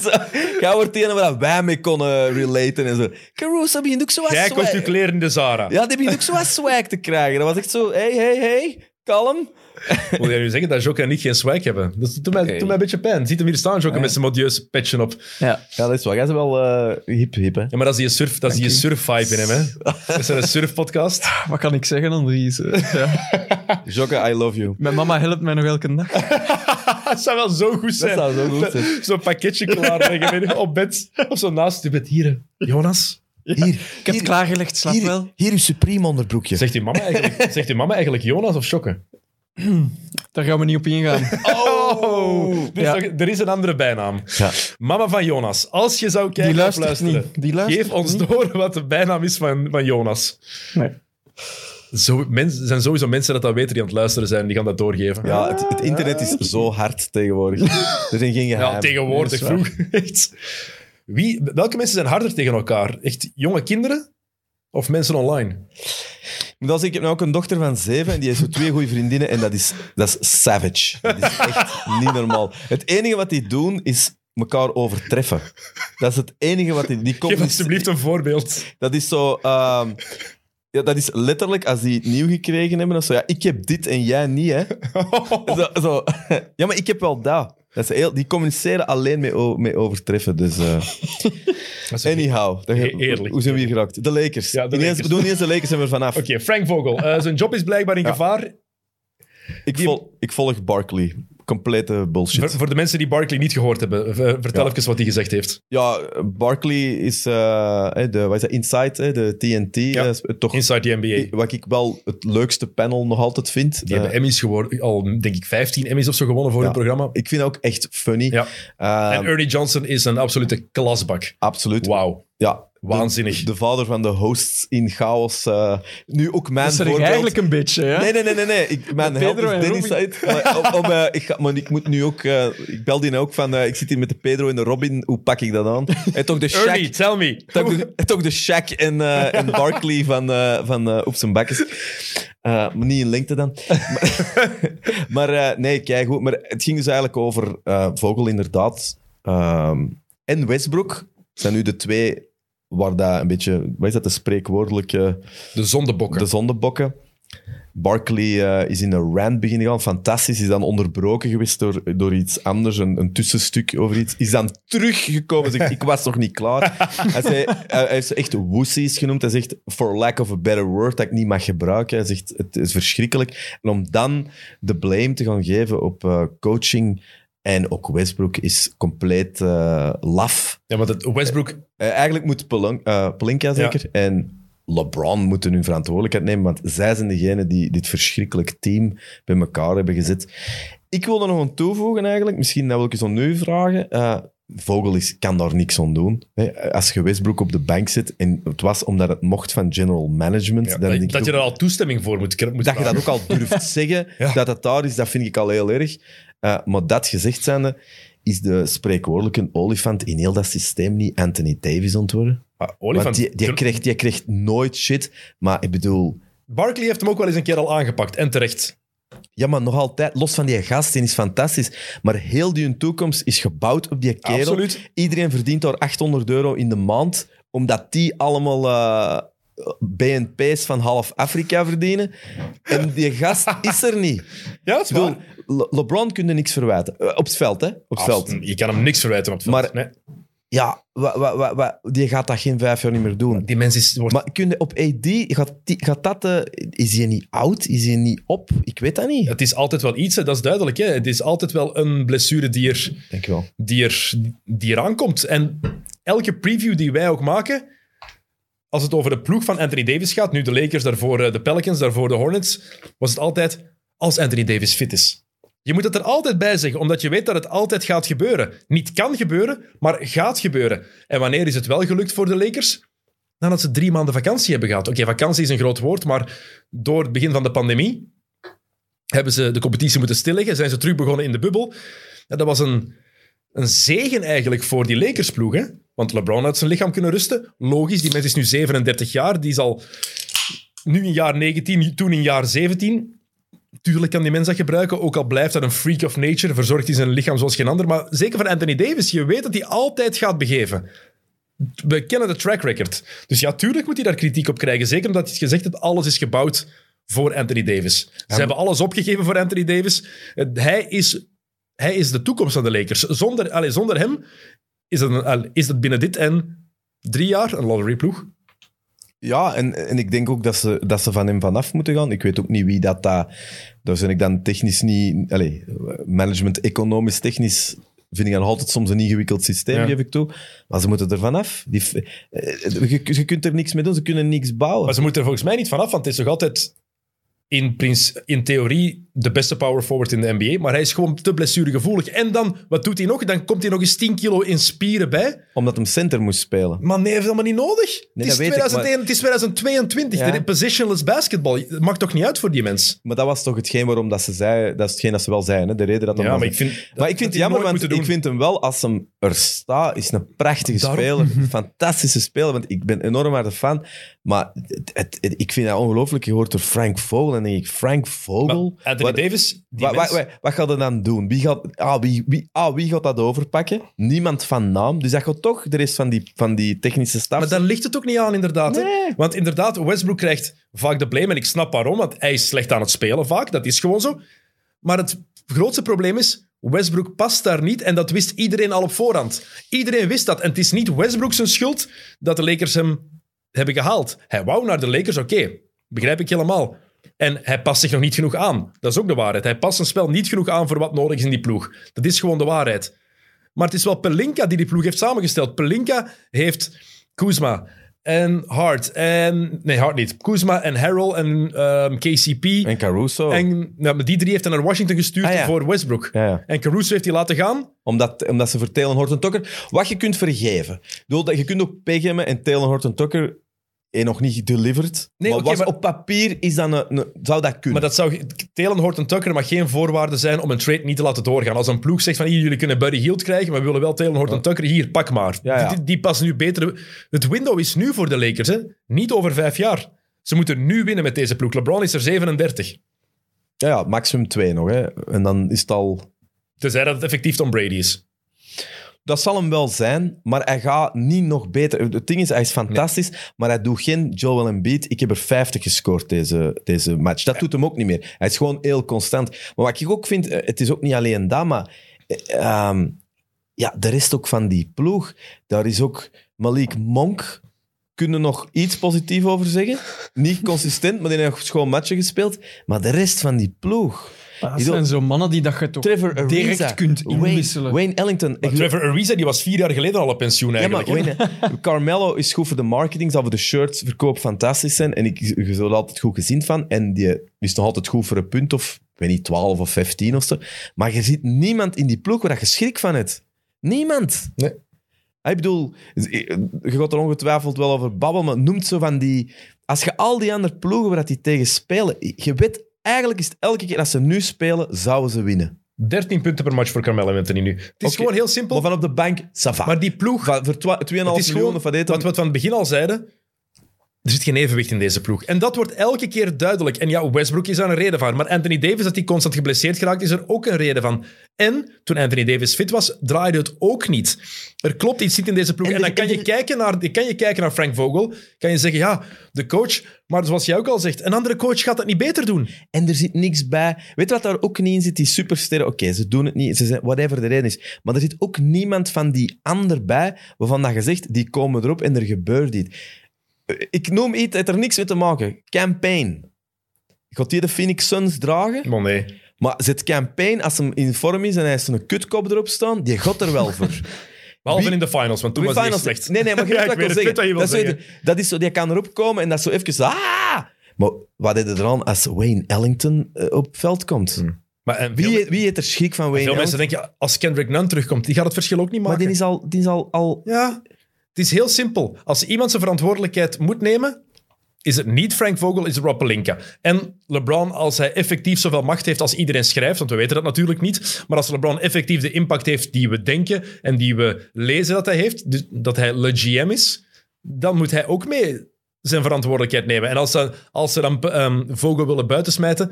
S2: zo, zo. Ga wordt die ene waar wij mee konden relaten en zo. Caruso begint ook zo aan
S1: jij
S2: te
S1: kocht
S2: zwij-
S1: je kleren in de Zara.
S2: ja, die begint ook zo wat swag te krijgen. Dat was echt zo, hey, hey, hey, kalm.
S1: Wil jij nu zeggen dat Jokke en ik geen swag hebben? Dat doet mij,
S3: Oké.
S1: doet mij een beetje pijn. Ziet hem hier staan, Jokke,
S3: Ja.
S1: met zijn modieuze patchen op.
S3: ja.
S2: Ja, dat is wel. Jij bent wel eh, hip, hip, hè.
S1: Ja, maar dat is die surf, dat is die surf vibe in hem, hè? Dat is een surfpodcast.
S3: Wat kan ik zeggen, Andries? Eh, Ja.
S2: Jokke, I love you.
S3: Mijn mama helpt mij nog elke dag.
S1: Dat zou wel zo goed
S2: Dat
S1: zijn.
S2: zou zo goed zijn.
S1: Zo'n pakketje klaarleggen weet je, op bed. Of zo naast je bed. Hier, Jonas.
S2: Hier,
S3: Ik heb het klaargelegd, slaap wel.
S2: hier uw Supreme onderbroekje.
S1: Zegt uw mama eigenlijk, zegt uw mama eigenlijk Jonas of Jokke?
S3: Daar gaan we niet op ingaan.
S1: Oh! Dus
S3: Ja.
S1: nog- Er is een andere bijnaam.
S2: Ja.
S1: Mama van Jonas. Als je zou kijken
S3: Die luistert
S1: of luisteren,
S3: niet. Die luistert
S1: geef ons
S3: niet.
S1: door wat de bijnaam is van, van Jonas.
S3: Nee.
S1: Zo, mensen, zijn sowieso mensen dat dat weten die aan het luisteren zijn. Die gaan dat doorgeven.
S2: Ja, het, het internet is zo hard tegenwoordig. Er zijn geen
S1: Ja,
S2: geheimen.
S1: tegenwoordig
S3: dat is waar.
S1: vroeg. Echt. Wie, welke mensen zijn harder tegen elkaar? Echt jonge kinderen of mensen online?
S2: Ik moet wel zeggen, ik heb nou ook een dochter van zeven en die heeft zo twee goede vriendinnen en dat is, dat is savage. Dat is echt niet normaal. Het enige wat die doen is elkaar overtreffen. Dat is het enige wat die... die komt
S1: Geef
S2: niet-
S1: alsjeblieft een voorbeeld.
S2: Dat is zo. ehm, ja, dat is letterlijk als die het nieuw gekregen hebben. Of zo, ja, ik heb dit en jij niet, hè?
S1: Oh.
S2: Zo, zo. Ja, maar ik heb wel dat. dat is heel, die communiceren alleen mee, o- mee overtreffen. Dus, eh,
S1: Oké,
S2: anyhow, dat-
S1: E- eerlijk.
S2: hoe zijn we hier geraakt? De Lakers.
S1: Ja, de
S2: Ineens-
S1: Lakers.
S2: We doen niet eens de Lakers en we zijn er vanaf.
S1: Frank Vogel. Eh, zijn job is blijkbaar in
S2: Ja.
S1: gevaar.
S2: Ik, vol, ik volg Barkley. Complete bullshit.
S1: Voor, voor de mensen die Barkley niet gehoord hebben, v- vertel
S2: Ja.
S1: even wat hij gezegd heeft.
S2: Ja, Barkley is eh, hè, de, wat is dat, Inside, hè, de TNT.
S1: Ja.
S2: eh, is toch
S1: Inside the NBA. Die
S2: wat ik wel het leukste panel nog altijd vind. Eh,
S1: hebben Emmys geworden, al denk ik 15 Emmys of zo gewonnen voor
S2: Ja.
S1: hun programma.
S2: ik vind dat ook echt funny.
S1: Ja.
S2: Eh,
S1: en Ernie Johnson is een absolute klasbak.
S2: Absoluut.
S1: Wauw.
S2: Ja,
S1: Waanzinnig.
S2: De, de vader van de hosts in chaos. eh, nu ook mijn
S3: Dat zeg ik
S2: voorbeeld.
S3: eigenlijk een beetje, hè?
S2: Nee, nee, nee, nee. nee. Ik, mijn
S3: Pedro
S2: help
S3: en
S2: is Dennis
S3: Robin.
S2: uit. Maar, om- om, eh, ik, ga, maar ik moet nu ook... eh, ik bel die ook van... eh, ik zit hier met de Pedro en de Robin. Hoe pak ik dat aan? En toch de
S1: Ernie,
S2: Shaq...
S1: tell me.
S2: Toch de, toch de Shaq en, eh, en Barkley van, eh, van eh, op zijn bakkes. Eh, maar niet in lengte dan. maar maar, eh, nee, kijk goed. Maar het ging dus eigenlijk over eh, Vogel inderdaad. Ehm, en Westbrook zijn nu de twee waar dat een beetje... Wat is dat, de spreekwoordelijke...
S1: De zondebokken.
S2: De zondebokken. Barkley eh, is in een rant beginnen gaan. Fantastisch. Is dan onderbroken geweest door, door iets anders. Een, een tussenstuk over iets. Is dan teruggekomen. Zegt, ik was nog niet klaar. Hij, zei, eh, hij heeft ze echt woesies genoemd. Hij zegt, for lack of a better word, dat ik niet mag gebruiken. Hij zegt, het is verschrikkelijk. En om dan de blame te gaan geven op eh, coaching en ook Westbrook is compleet eh, laf.
S1: Ja, want het- Westbrook
S2: Eh, eigenlijk moet Pelon- eh, Pelinka zeker en LeBron moeten hun verantwoordelijkheid nemen, want zij zijn degene die dit verschrikkelijk team bij elkaar hebben gezet. Ik wil er nog aan toevoegen eigenlijk, misschien dat wil ik eens aan u vragen. Eh, Vogel is, kan daar niks aan doen. Hè, als je Westbrook op de bank zit en het was omdat het mocht van general management,
S1: Ja,
S2: dan
S1: dat,
S2: denk
S1: dat
S2: ik
S1: je
S2: ook-
S1: daar al toestemming voor moet, moet
S2: dat je dat
S1: vragen.
S2: ook al durft zeggen,
S1: Ja.
S2: dat dat daar is, dat vind ik al heel erg. Eh, maar dat gezegd zijnde, is de spreekwoordelijke olifant in heel dat systeem niet Anthony Davis ontworpen?
S1: Ah, Olifant.
S2: Want die, die,
S1: Kun-
S2: krijgt, die krijgt nooit shit. Maar ik bedoel,
S1: Barkley heeft hem ook wel eens een keer al aangepakt. En terecht.
S2: ja, maar nog altijd, los van die gast, die is fantastisch. Maar heel die hun toekomst is gebouwd op die kerel.
S1: Absoluut.
S2: Iedereen verdient daar 800 euro in de maand, omdat die allemaal eh, BNP's van half Afrika verdienen. En die gast is er niet.
S1: Ja, dat is
S2: Ik bedoel,
S1: waar.
S2: Le- LeBron kun je niks verwijten. Eh, op het veld, hè? Op het veld.
S1: Absoluut. Je kan hem niks verwijten op het veld.
S2: Maar-
S1: Nee.
S2: Ja, wa, wa, wa, wa- die gaat dat geen vijf jaar niet meer doen.
S1: Die mens is... Wordt...
S2: Maar kun je op AD, gaat, die- gaat dat, eh, is hij niet oud? Is hij niet op? Ik weet dat niet.
S1: Het is altijd wel iets, hè, dat is duidelijk. Hè. Het is altijd wel een blessure die er,
S2: Dank je wel.
S1: die, er, die er aankomt. En elke preview die wij ook maken, als het over de ploeg van Anthony Davis gaat, nu de Lakers, daarvoor eh, de Pelicans, daarvoor de Hornets, was het altijd als Anthony Davis fit is. Je moet het er altijd bij zeggen, omdat je weet dat het altijd gaat gebeuren. Niet kan gebeuren, maar gaat gebeuren. En wanneer is het wel gelukt voor de Lakers? Nadat ze drie maanden vakantie hebben gehad. Oké, vakantie is een groot woord, maar door het begin van de pandemie hebben ze de competitie moeten stilleggen, zijn ze terug begonnen in de bubbel. En dat was een, een zegen eigenlijk voor die Lakers-ploeg. hè? Want LeBron had zijn lichaam kunnen rusten. Logisch, die mens is nu 37 jaar. Die is al nu in jaar 19, toen in jaar 17. Tuurlijk kan die mens dat gebruiken, ook al blijft dat een freak of nature. Verzorgt hij zijn lichaam zoals geen ander. Maar zeker van Anthony Davis, je weet dat hij altijd gaat begeven. We kennen de track record. Dus ja, tuurlijk moet hij daar kritiek op krijgen. Zeker omdat hij gezegd heeft, alles is gebouwd voor Anthony Davis. Ze hebben alles opgegeven voor Anthony Davis. Eh, Hij is hij is de toekomst van de Lakers. Zonder, allee, zonder hem is het, een- allee, is het binnen dit en drie jaar een lotteryploeg.
S2: Ja, en, en ik denk ook dat ze, dat ze van hem vanaf moeten gaan. Ik weet ook niet wie dat daar... Daar ben ik dan technisch niet... Allez, management, economisch, technisch... Vind ik dan altijd soms een ingewikkeld systeem,
S1: Ja.
S2: geef ik toe. Maar ze moeten er vanaf. Die, f- eh, je, je kunt er niks mee doen, ze kunnen niks bouwen.
S1: Maar ze moeten er volgens mij niet vanaf, want het is nog altijd in, prins, in theorie de beste power forward in de NBA. Maar hij is gewoon te blessuregevoelig. En dan, wat doet hij nog? Dan komt hij nog eens 10 kilo in spieren bij.
S2: Omdat hem center moest spelen.
S1: Maar nee, heeft dat maar niet nodig. het, is
S2: dat weet ik,
S1: 2001, het is 2022.
S2: Ja.
S1: Dit is positionless basketbal. Dat maakt toch niet uit voor die mens?
S2: Maar dat was toch hetgeen waarom dat ze zei... Dat is hetgeen dat ze wel zeiden, hè? de reden dat hem
S1: Ja,
S2: was-
S1: maar ik vind...
S2: Maar
S1: dat
S2: ik vind het jammer,
S1: nooit
S2: want
S1: moeten
S2: ik
S1: doen.
S2: vind hem wel, als hem er staat, is een prachtige
S1: Daarom.
S2: speler. Een fantastische speler, want ik ben enorm harde fan. Maar het, het- het- ik vind dat ongelooflijk. Je hoort door Frank Vogel en dan denk ik, Frank Vogel?
S1: Maar Anthony
S2: Wat-
S1: Davis, die
S2: wat,
S1: mens-
S2: wat, wat, wat gaat hij dan doen? Wie gaat, ah, wie, wie, ah, wie gaat dat overpakken? Niemand van naam. Dus dat gaat toch de rest van die, van die technische staf...
S1: Maar daar ligt het ook niet aan, inderdaad. hè.
S2: Nee.
S1: Want inderdaad, Westbrook krijgt vaak de blame. En ik snap waarom, want hij is slecht aan het spelen vaak. Dat is gewoon zo. Maar het grootste probleem is, Westbrook past daar niet. En dat wist iedereen al op voorhand. Iedereen wist dat. En het is niet Westbrook zijn schuld dat de Lakers hem hebben gehaald. Hij wou naar de Lakers, oké. begrijp ik helemaal. En hij past zich nog niet genoeg aan. Dat is ook de waarheid. Hij past zijn spel niet genoeg aan voor wat nodig is in die ploeg. Dat is gewoon de waarheid. Maar het is wel Pelinka die die ploeg heeft samengesteld. Pelinka heeft Kuzma, en Hart. En, nee, Hart niet. Kuzma en Harrell en ehm, KCP. En,
S2: En Caruso.
S1: nou, maar die drie heeft hij naar Washington gestuurd
S2: Ah, ja.
S1: voor Westbrook.
S2: Ja, ja.
S1: En Caruso heeft hij laten gaan.
S2: Omdat, omdat ze voor Taylor Horton Tucker... Wat je kunt vergeven. Ik bedoel, dat- je kunt ook PGM en Taylor Horton Tucker... eh, nog niet delivered.
S1: Nee,
S2: maar,
S1: oké,
S2: was-
S1: maar-
S2: op papier is dan een, een- zou dat kunnen.
S1: Maar dat zou... Telen, Horton Tucker mag geen voorwaarde zijn om een trade niet te laten doorgaan. Als een ploeg zegt van, hier, jullie kunnen Buddy Hield krijgen, maar we willen wel Telen, Horton Tucker, hier, pak maar.
S2: Ja, ja.
S1: Die, die passen nu beter... Het window is nu voor de Lakers, hè. Niet over vijf jaar. Ze moeten nu winnen met deze ploeg. LeBron is er 37.
S2: Ja, ja, maximum twee nog. Hè. En dan is het al...
S1: Tenzij dat het effectief Tom Brady is.
S2: Dat zal hem wel zijn, maar hij gaat niet nog beter. Het ding is, hij is fantastisch, maar hij doet geen Joel Embiid. Ik heb er 50 gescoord deze, deze match. Dat doet hem ook niet meer. Hij is gewoon heel constant. Maar wat ik ook vind, eh, het is ook niet alleen dat, maar... eh, ehm, ja, de rest ook van die ploeg. Daar is ook Malik Monk. Kunnen nog iets positiefs over zeggen? Niet consistent, maar die heeft nog schoon matchen gespeeld. Maar de rest van die ploeg.
S3: Dat
S2: Ido-
S3: Ah, zijn zo mannen die dat je toch
S2: Trevor Ariza,
S3: direct kunt
S2: Wayne,
S3: inwisselen.
S2: Wayne Ellington.
S1: Maar
S2: Ik-
S1: Trevor Ariza die was vier jaar geleden al op pensioen
S2: ja,
S1: eigenlijk.
S2: maar
S1: hè.
S2: Wayne- Carmelo is goed voor de marketing, zal voor de shirts verkoop fantastisch zijn. En ik, je zult er altijd goed gezien van. En die is nog altijd goed voor een punt of, ik weet niet, 12 of 15 of zo. Maar je ziet niemand in die ploeg waar dat je schrik van hebt. Niemand. Ah,
S1: Nee.
S2: Ik bedoel, je gaat er ongetwijfeld wel over babbelen, maar noemt zo van die... Als je al die andere ploegen waar dat die tegen spelen, je weet, eigenlijk is het elke keer als ze nu spelen, zouden ze winnen.
S1: 13 punten per match voor Carmelo Anthony nu. Het is
S2: Oké.
S1: gewoon heel simpel.
S2: Maar van op de bank, ça va.
S1: Maar die ploeg,
S2: Van- voor twa- 2,5
S1: het is
S2: miljoen
S1: gewoon
S2: of wat deed dat?
S1: wat we van het begin al zeiden. Er zit geen evenwicht in deze ploeg. En dat wordt elke keer duidelijk. En ja, Westbrook is daar een reden van. Maar Anthony Davis, dat hij constant geblesseerd geraakt, is er ook een reden van. En toen Anthony Davis fit was, draaide het ook niet. Er klopt iets niet in deze ploeg.
S2: En
S1: En,
S2: er-
S1: dan kan
S2: en
S1: je,
S2: er-
S1: kijken naar, kan je kijken naar Frank Vogel. Kan je zeggen, ja, de coach. Maar zoals jij ook al zegt, een andere coach gaat dat niet beter doen.
S2: En er zit niks bij. Weet je wat daar ook niet in zit? Die supersterren, oké, ze doen het niet, ze zijn, whatever de reden is. Maar er zit ook niemand van die ander bij, waarvan dat je zegt, die komen erop en er gebeurt iets. Eh, Ik noem iets, het heeft er niks mee te maken. Campaign. Gaat die de Phoenix Suns dragen?
S1: Maar nee.
S2: Maar zet Campaign, als hem in vorm is en hij is een kutkop erop staan, die gaat er wel voor.
S1: Behalve
S2: Wie-
S1: in de finals, want toen was hij echt
S2: Finals-
S1: slecht.
S2: Nee, nee, maar je
S1: Ja,
S2: weet
S1: ik
S2: wat ik wil
S1: weet het,
S2: zeggen.
S1: ik weet
S2: dat,
S1: wat je wil
S2: is zo- dat is zo, die kan erop komen en dat is zo even... Ah! Maar wat deed er aan als Wayne Ellington eh, op het veld komt?
S1: Maar, en veel,
S2: Wie, wie heeft er schrik van Wayne
S1: veel mensen
S2: Ellington?
S1: denken, ja, als Kendrick Nunn terugkomt, die gaat het verschil ook niet
S2: Maar
S1: maken.
S2: die is al... Die is al, al
S1: Ja, het is heel simpel. Als iemand zijn verantwoordelijkheid moet nemen, is het niet Frank Vogel, is het Rob Pelinka. En LeBron, als hij effectief zoveel macht heeft als iedereen schrijft, want we weten dat natuurlijk niet, maar als LeBron effectief de impact heeft die we denken en die we lezen dat hij heeft, dus dat hij le GM is, dan moet hij ook mee zijn verantwoordelijkheid nemen. En als ze, als ze dan ehm, Vogel willen buitensmijten,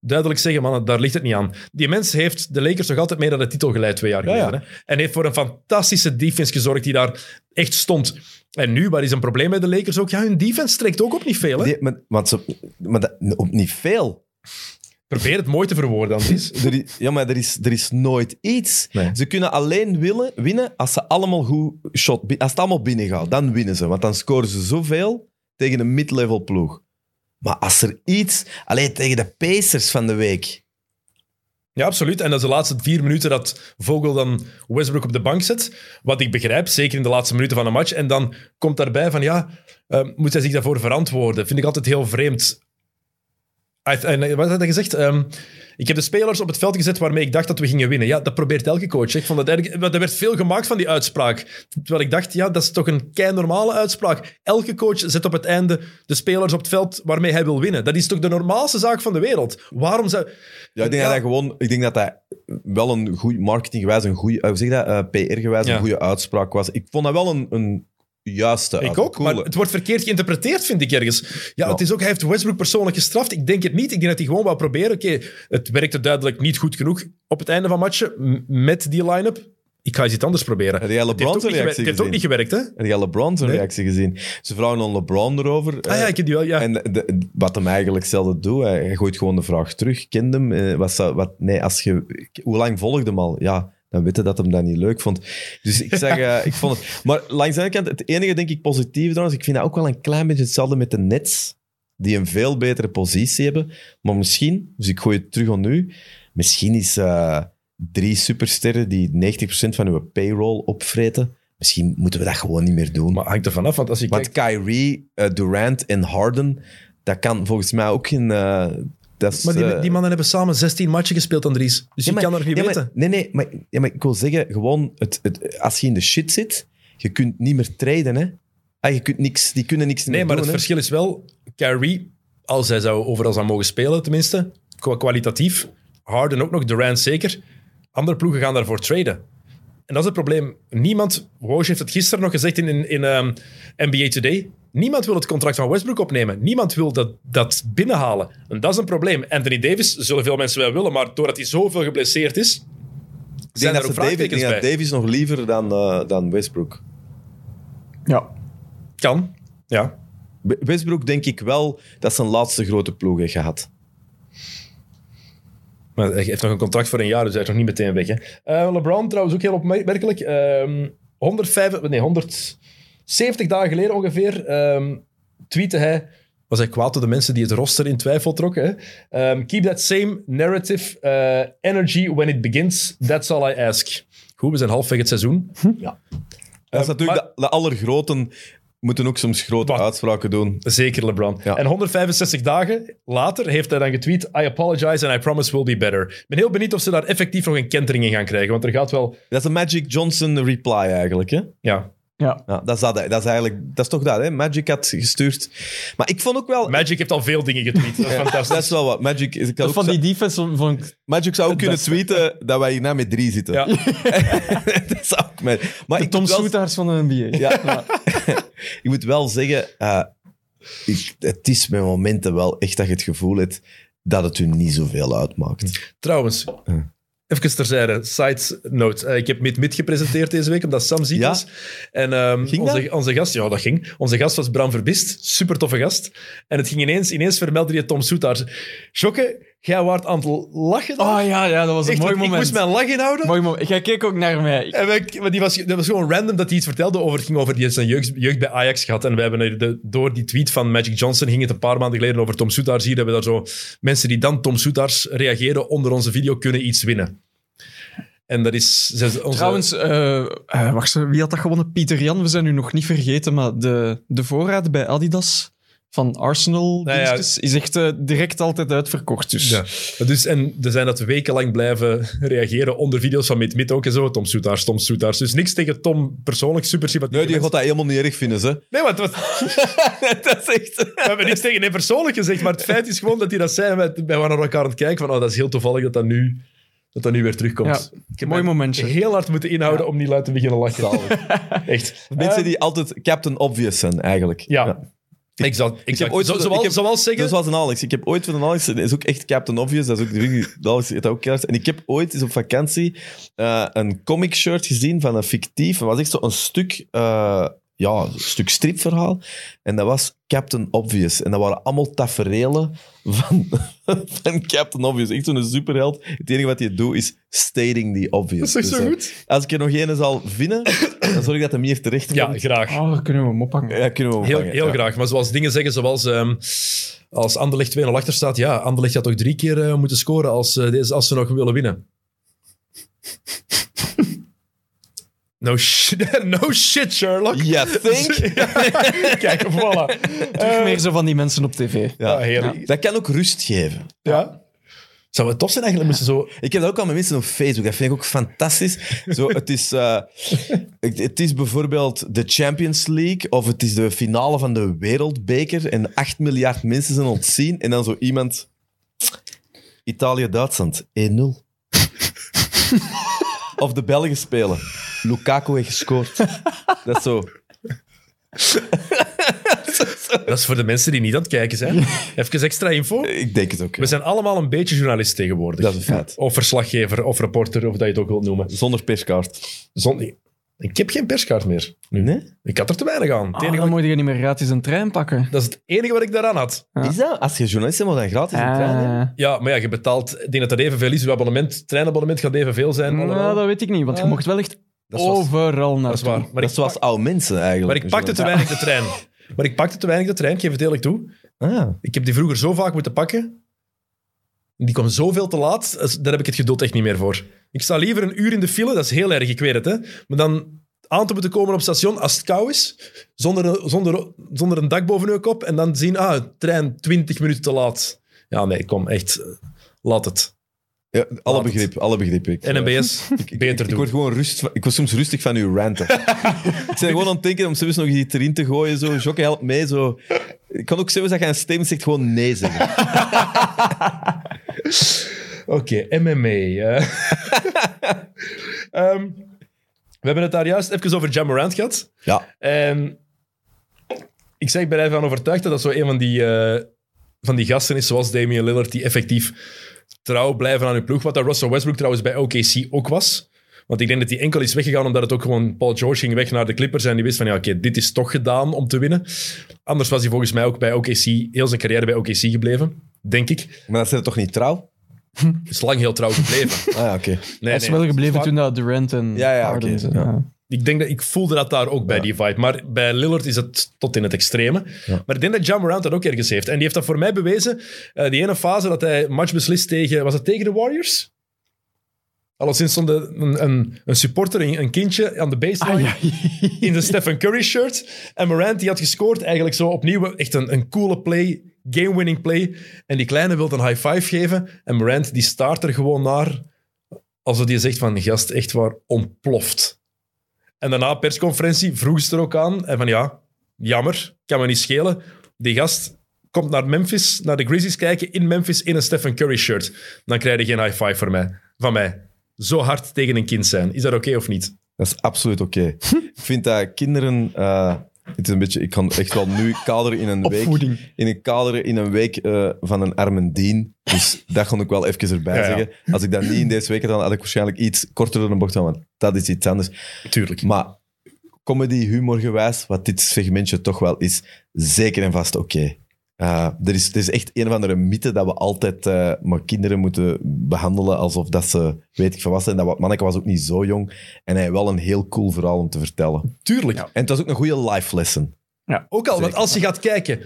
S1: duidelijk zeggen, man, daar ligt het niet aan. Die mens heeft de Lakers nog altijd mee naar de titel geleid twee jaar geleden.
S2: ja.
S1: hè. En heeft voor een fantastische defense gezorgd die daar echt stond. En nu, waar is een probleem bij de Lakers ook? Ja, hun defense trekt ook op niet veel. Hè?
S2: die- maar, want ze, maar dat, op niet veel.
S1: Probeer het mooi te verwoorden, Andries.
S2: Er is, ja, maar er is, er is nooit iets.
S1: Nee.
S2: Ze kunnen alleen willen, winnen als ze allemaal goed shot... bi- Als het allemaal binnen gaat, dan winnen ze. Want dan scoren ze zoveel tegen een mid-level ploeg. Maar als er iets... Alleen tegen de Pacers van de week.
S1: Ja, absoluut. En dat is de laatste vier minuten dat Vogel dan Westbrook op de bank zet. Wat ik begrijp, zeker in de laatste minuten van een match. En dan komt daarbij van, ja, eh, moet hij zich daarvoor verantwoorden? Vind ik altijd heel vreemd. Hij- en Wat had hij gezegd? Ehm, ik heb de spelers op het veld gezet waarmee ik dacht dat we gingen winnen. Ja, dat probeert elke coach. hè. Ik vond dat eigenlijk, want er werd veel gemaakt van die uitspraak. Terwijl ik dacht, ja, dat is toch een kei normale uitspraak. Elke coach zet op het einde de spelers op het veld waarmee hij wil winnen. Dat is toch de normaalste zaak van de wereld? Waarom zou...
S2: Ja, ik denk dat hij gewoon... Ik denk dat hij wel een goed marketinggewijs, een goede... eh, Hoe zeg je dat? Eh, PR-gewijs
S1: Ja.
S2: een goede uitspraak was. Ik vond dat wel een, een juiste
S1: Ik ook, maar
S2: coole.
S1: het wordt verkeerd geïnterpreteerd, vind ik ergens. Ja,
S2: Ja.
S1: het is ook, hij heeft Westbrook persoonlijk gestraft. Ik denk het niet. Ik denk dat hij gewoon wou proberen. Oké, het werkte duidelijk niet goed genoeg op het einde van matchen m- met die line-up. Ik ga eens iets anders proberen.
S2: Heb jij
S1: Het heeft, ook
S2: LeBron's
S1: niet, gewerkt,
S2: reactie
S1: het heeft ook
S2: gezien?
S1: niet gewerkt, hè?
S2: Heb jij LeBron's
S1: Nee.
S2: reactie gezien? Ze vragen aan LeBron erover.
S1: Ah ja,
S2: eh,
S1: ik heb die wel, ja.
S2: En de- de- wat hem eigenlijk zelden doet, hij, hij gooit gewoon de vraag terug. Kende hem? eh, wat zou- wat, nee, als je, hoe lang volgde hem al? Ja, dan weten dat hem dat niet leuk vond. Dus ik zeg, eh, ik vond het... Maar langs de andere kant, het enige denk ik positief trouwens, ik vind dat ook wel een klein beetje hetzelfde met de Nets, die een veel betere positie hebben. Maar misschien, dus ik gooi het terug aan nu, misschien is eh, drie supersterren die 90% van uw payroll opvreten, Misschien moeten we dat gewoon niet meer doen.
S1: Maar hangt er vanaf, want als je
S2: Want
S1: kijkt...
S2: Kyrie, eh, Durant en Harden, dat kan volgens mij ook geen... eh, dat is,
S1: Maar die,
S2: eh,
S1: die mannen hebben samen 16 matchen gespeeld, Andries. Dus je
S2: Ja, maar-
S1: kan er niet
S2: ja, maar-
S1: weten.
S2: nee, nee, maar, ja, maar ik wil zeggen, gewoon, het, het, als je in de shit zit, je kunt niet meer traden, hè. Ah, je kunt niks, die kunnen niks
S1: nee,
S2: meer
S1: maar
S2: doen,
S1: het
S2: hè.
S1: verschil is wel... Kyrie, als hij zou overal zou mogen spelen, tenminste, qua kwalitatief. Harden ook nog, Durant zeker. Andere ploegen gaan daarvoor traden. En dat is het probleem. Niemand, Woj heeft het gisteren nog gezegd in, in, in, ehm, NBA Today. Niemand wil het contract van Westbrook opnemen. Niemand wil dat, dat binnenhalen. En dat is een probleem. Anthony Davis zullen veel mensen wel willen, maar doordat hij zoveel geblesseerd is,
S2: Ik denk
S1: zijn er
S2: dat
S1: ook
S2: ze Davis, ik
S1: vraagtekens
S2: denk dat
S1: bij.
S2: Davis nog liever dan, eh, dan Westbrook.
S3: Ja.
S1: Kan, ja.
S2: Be- Westbrook denk ik wel dat zijn laatste grote ploeg heeft
S1: Eh,
S2: gehad.
S1: Maar hij heeft nog een contract voor een jaar, dus hij is nog niet meteen weg. Hè. Eh, LeBron trouwens ook heel opmerkelijk. Ehm 105, nee, 170 dagen geleden ongeveer ehm tweette hij... Was hij kwaad door de mensen die het roster in twijfel trokken? Hè? Ehm, keep that same narrative eh, energy when it begins. That's all I ask. Goed, we zijn halfweg het seizoen.
S2: Dat is
S1: Eh,
S2: natuurlijk
S1: maar-
S2: de, de allergroten moeten ook soms grote
S1: Wat?
S2: uitspraken doen.
S1: Zeker LeBron.
S2: Ja.
S1: En 165 dagen later heeft hij dan getweet... I apologize and I promise we'll be better. Ik ben heel benieuwd of ze daar effectief nog een kentering in gaan krijgen. Want er gaat wel...
S2: Dat is een Magic Johnson reply eigenlijk, hè?
S1: Ja,
S3: Ja.
S2: Ja, dat, is dat, hè. dat is eigenlijk, dat is toch dat, hè? Magic had gestuurd. Maar ik vond ook wel...
S1: Magic heeft al veel dingen getweet. Dat is fantastisch.
S2: Dat is wel wat. Magic, is- ik had
S3: Dat
S2: ook
S3: van
S2: zo-
S3: die defense vond ik...
S2: Magic zou ook kunnen
S3: beste.
S2: tweeten dat wij hierna met drie zitten.
S1: Ja.
S2: dat zou ook met, maar
S3: De
S2: ik
S3: Tom
S2: moet wel-
S3: Soetaars van de NBA.
S2: Ja. ik moet wel zeggen, eh, ik- het is bij momenten wel echt dat je het gevoel hebt dat het u niet zoveel uitmaakt.
S1: Trouwens, even terzijde, side note. Eh, ik heb Mid Mid gepresenteerd deze week, omdat Sam ziek
S2: Ja?
S1: was. En ehm,
S2: Ging
S1: onze,
S2: dat?
S1: onze gast, ja, dat ging. Onze gast was Bram Verbist, super toffe gast. En het ging ineens, ineens vermeldde je Tom Soetaars. Jokke, jij waart aan het lachen. daar.
S3: Oh ja, ja, dat was een
S1: Echt,
S3: mooi
S1: want ik
S3: moment.
S1: moest mijn lach inhouden.
S3: Mooi moment. Jij keek ook naar mij.
S1: En wij- maar die was, dat was gewoon random dat hij iets vertelde over. Het ging over die heeft zijn jeugd, jeugd bij Ajax gehad. En we hebben er de, door die tweet van Magic Johnson ging het een paar maanden geleden over Tom Soetaars. Hier hebben we daar zo mensen die dan Tom Soetaars reageren onder onze video kunnen iets winnen. En dat is. ze- Onze,
S3: Trouwens, eh, eh, wacht, wie had dat gewonnen? Pieter Jan, we zijn nu nog niet vergeten, maar de, de voorraad bij Adidas van Arsenal
S1: Nou ja.
S3: dienstjes is echt eh, direct altijd uitverkocht. Dus.
S1: Ja. Dus, en er zijn dat wekenlang blijven reageren onder video's van Mid Mid ook en zo. Tom Soetaars, Tom Soetaars. Dus niks tegen Tom persoonlijk, super sympathiek.
S2: Nee, die gaat dat helemaal niet erg vinden, ze.
S1: Nee, maar het was,
S2: dat is echt...
S1: We hebben niks tegen hem persoonlijk gezegd, maar het feit is gewoon dat hij dat zei. En Wij, wij waren naar elkaar aan het kijken van, oh, dat is heel toevallig dat dat nu, dat dat nu weer terugkomt.
S3: Ja,
S1: Ik heb
S3: mooi
S1: mij
S3: momentje.
S1: Heel hard moeten inhouden om niet luid te beginnen lachen. Echt.
S2: Mensen
S1: Eh,
S2: die altijd Captain Obvious zijn, eigenlijk.
S1: Ja. Exact. exact.
S2: heb ooit
S1: Zo-
S2: zo- ik
S1: zoals,
S2: heb-
S1: zoals zeggen...
S2: Dat was een Alex. Ik heb ooit van een Alex, dat is ook echt Captain Obvious, dat is ook de Alex heeft dat ook keihard. En ik heb ooit eens op vakantie eh, een comic shirt gezien van een fictief, dat was echt zo'n stuk, eh, ja, een stuk stripverhaal. En dat was Captain Obvious. En dat waren allemaal taferelen van, van Captain Obvious. Echt zo'n superheld. Het enige wat je doet is stating the
S1: dat
S2: obvious.
S1: is toch zo
S2: Dus, eh,
S1: goed?
S2: Als ik er nog ene zal vinden, dan zorg ik dat hem hier terecht komt.
S1: Ja, graag.
S3: Oh, daar kunnen we hem ophangen.
S2: Ja, kunnen we hem
S1: Heel,
S2: vangen,
S1: heel
S2: ja.
S1: graag. Maar zoals dingen zeggen, zoals ehm, als Anderlecht 2-0 achter staat, ja, Anderlecht had toch drie keer eh, moeten scoren als, eh, deze, als ze nog willen winnen. No shit, no shit Sherlock.
S2: Ja, think.
S1: Kijk, voilà. Eh,
S3: Terug meer zo van die mensen op tv.
S2: Ja.
S1: Ah, heerlijk.
S2: Dat kan ook rust geven.
S1: Ja. Zou het tof zijn eigenlijk, moesten zo...
S2: Ik heb dat ook al met mensen op Facebook. Dat vind ik ook fantastisch. Zo, het, is, eh, het, het is bijvoorbeeld de Champions League of het is de finale van de Wereldbeker en 8 miljard mensen zijn ontzien en dan zo iemand... Italië-Duitsland, 1-0. of de Belgen spelen. Lukaku heeft gescoord. Dat is zo.
S1: Dat is voor de mensen die niet aan het kijken zijn. Even extra info.
S2: Ik denk het ook. ja.
S1: We zijn allemaal een beetje journalist tegenwoordig.
S2: Dat is een feit.
S1: Of verslaggever, of reporter, of dat je het ook wilt noemen.
S2: Zonder perskaart.
S1: Zon... Ik heb geen perskaart meer.
S2: Nee?
S1: Ik had er te weinig aan. Het
S3: Ah,
S1: enige
S3: dan
S1: wat-
S3: moet je niet meer gratis een trein pakken.
S1: Dat is het enige wat ik daaraan had.
S3: Ja.
S2: Is dat? Als je journalist bent, moet je dan gratis een trein hebben?
S3: Ah.
S1: Ja, maar ja, je betaalt... Ik denk dat dat evenveel is. Uw abonnement, treinabonnement gaat evenveel zijn. allemaal.
S3: Nou, dat weet ik niet, want je
S1: Ah.
S3: mocht wel echt
S2: is wat-
S3: overal naar
S1: dat is waar. Maar
S2: dat
S1: ik,
S2: is zoals oude mensen eigenlijk. dus
S1: maar ik pakte te weinig de trein. Maar ik pakte te weinig de trein, ik geef het eerlijk toe.
S2: Ah.
S1: Ik heb die vroeger zo vaak moeten pakken. Die kwam zoveel te laat, als- daar heb ik het geduld echt niet meer voor. Ik sta liever een uur in de file, dat is heel erg, ik weet het. Hè? Maar dan aan te moeten komen op het station als het koud is, zonder, zonder, zonder een dak boven je kop, en dan zien, ah, trein 20 minuten te laat. Ja, nee, kom, echt, eh, laat het.
S2: Ja, alle
S1: Laat het.
S2: begrip, alle begrip. Ik,
S1: NMBS, beter
S2: Ik
S1: doen.
S2: word gewoon rust van- ik was soms rustig van uw ranten. ik ben gewoon aan het denken om zelfs nog iets erin te gooien. Zo, Jokke, help mee. Zo. Ik kan ook zelfs dat je een stem zegt gewoon nee zeggen.
S1: Oké, MMA. eh. Ehm, we hebben het daar juist even over Jamorant gehad.
S2: Ja,
S1: En Ehm, ik zeg, ik ben ervan overtuigd dat dat zo een van die, eh, van die gasten is, zoals Damian Lillard, die effectief trouw blijven aan hun ploeg. Wat dat Russell Westbrook trouwens bij OKC ook was. Want ik denk dat hij enkel is weggegaan omdat het ook gewoon Paul George ging weg naar de Clippers en die wist van ja, oké, dit is toch gedaan om te winnen. Anders was hij volgens mij ook bij OKC, heel zijn carrière bij OKC gebleven, denk ik.
S2: maar dat zit toch niet trouw?
S1: Is lang heel trouw gebleven.
S2: Ah ja, oké.
S1: Nee,
S3: Hij is
S1: nee,
S3: wel gebleven
S1: vaak-
S3: toen dat Durant en
S2: Ja, ja,
S3: Harden...
S2: oké,
S3: zijn.
S2: ja.
S3: Ja.
S1: Ik denk dat ik voelde dat daar ook bij die fight. Maar bij Lillard is het tot in het extreme. Maar ik denk dat John Morant dat ook ergens heeft. En die heeft dat voor mij bewezen. Eh, die ene fase dat hij een match beslist tegen. Was het tegen de Warriors? Alleszins stond een, een, een supporter, een, een kindje aan de baseline.
S3: Ah, ja.
S1: In de Stephen Curry shirt. En Morant die had gescoord. Eigenlijk zo opnieuw echt een, een coole play. Game-winning play. En die kleine wil een high five geven. En Morant die staart er gewoon naar. Alsof die zegt van gast, echt waar, ontploft. En daarna, persconferentie, vroeg ze er ook aan. En van ja, jammer, kan me niet schelen. Die gast komt naar Memphis, naar de Grizzlies kijken in Memphis in een Stephen Curry shirt. Dan krijg je geen high five voor mij, van mij. Zo hard tegen een kind zijn. Is dat oké of niet?
S2: Dat is absoluut oké. ik vind dat kinderen... eh, het is een beetje, ik kan echt wel nu kaderen in een week.
S3: Opvoeding.
S2: In een kaderen in een week eh, van een armendien. Dus dat kon ik wel even erbij
S1: Ja, ja.
S2: zeggen. Als ik dat niet in deze week had, dan had ik waarschijnlijk iets korter door de bocht gedaan. Want dat is iets anders.
S1: Tuurlijk.
S2: Maar comedy, humor gewijs, wat dit segmentje toch wel is, zeker en vast oké. Eh, er, is, er is echt een of andere mythe dat we altijd eh, maar kinderen moeten behandelen alsof dat ze, weet ik van wat zijn. Dat wa- manneke was ook niet zo jong en hij had wel een heel cool verhaal om te vertellen.
S1: Tuurlijk.
S2: En het was ook een goede life lesson.
S1: Ook al, want als je gaat kijken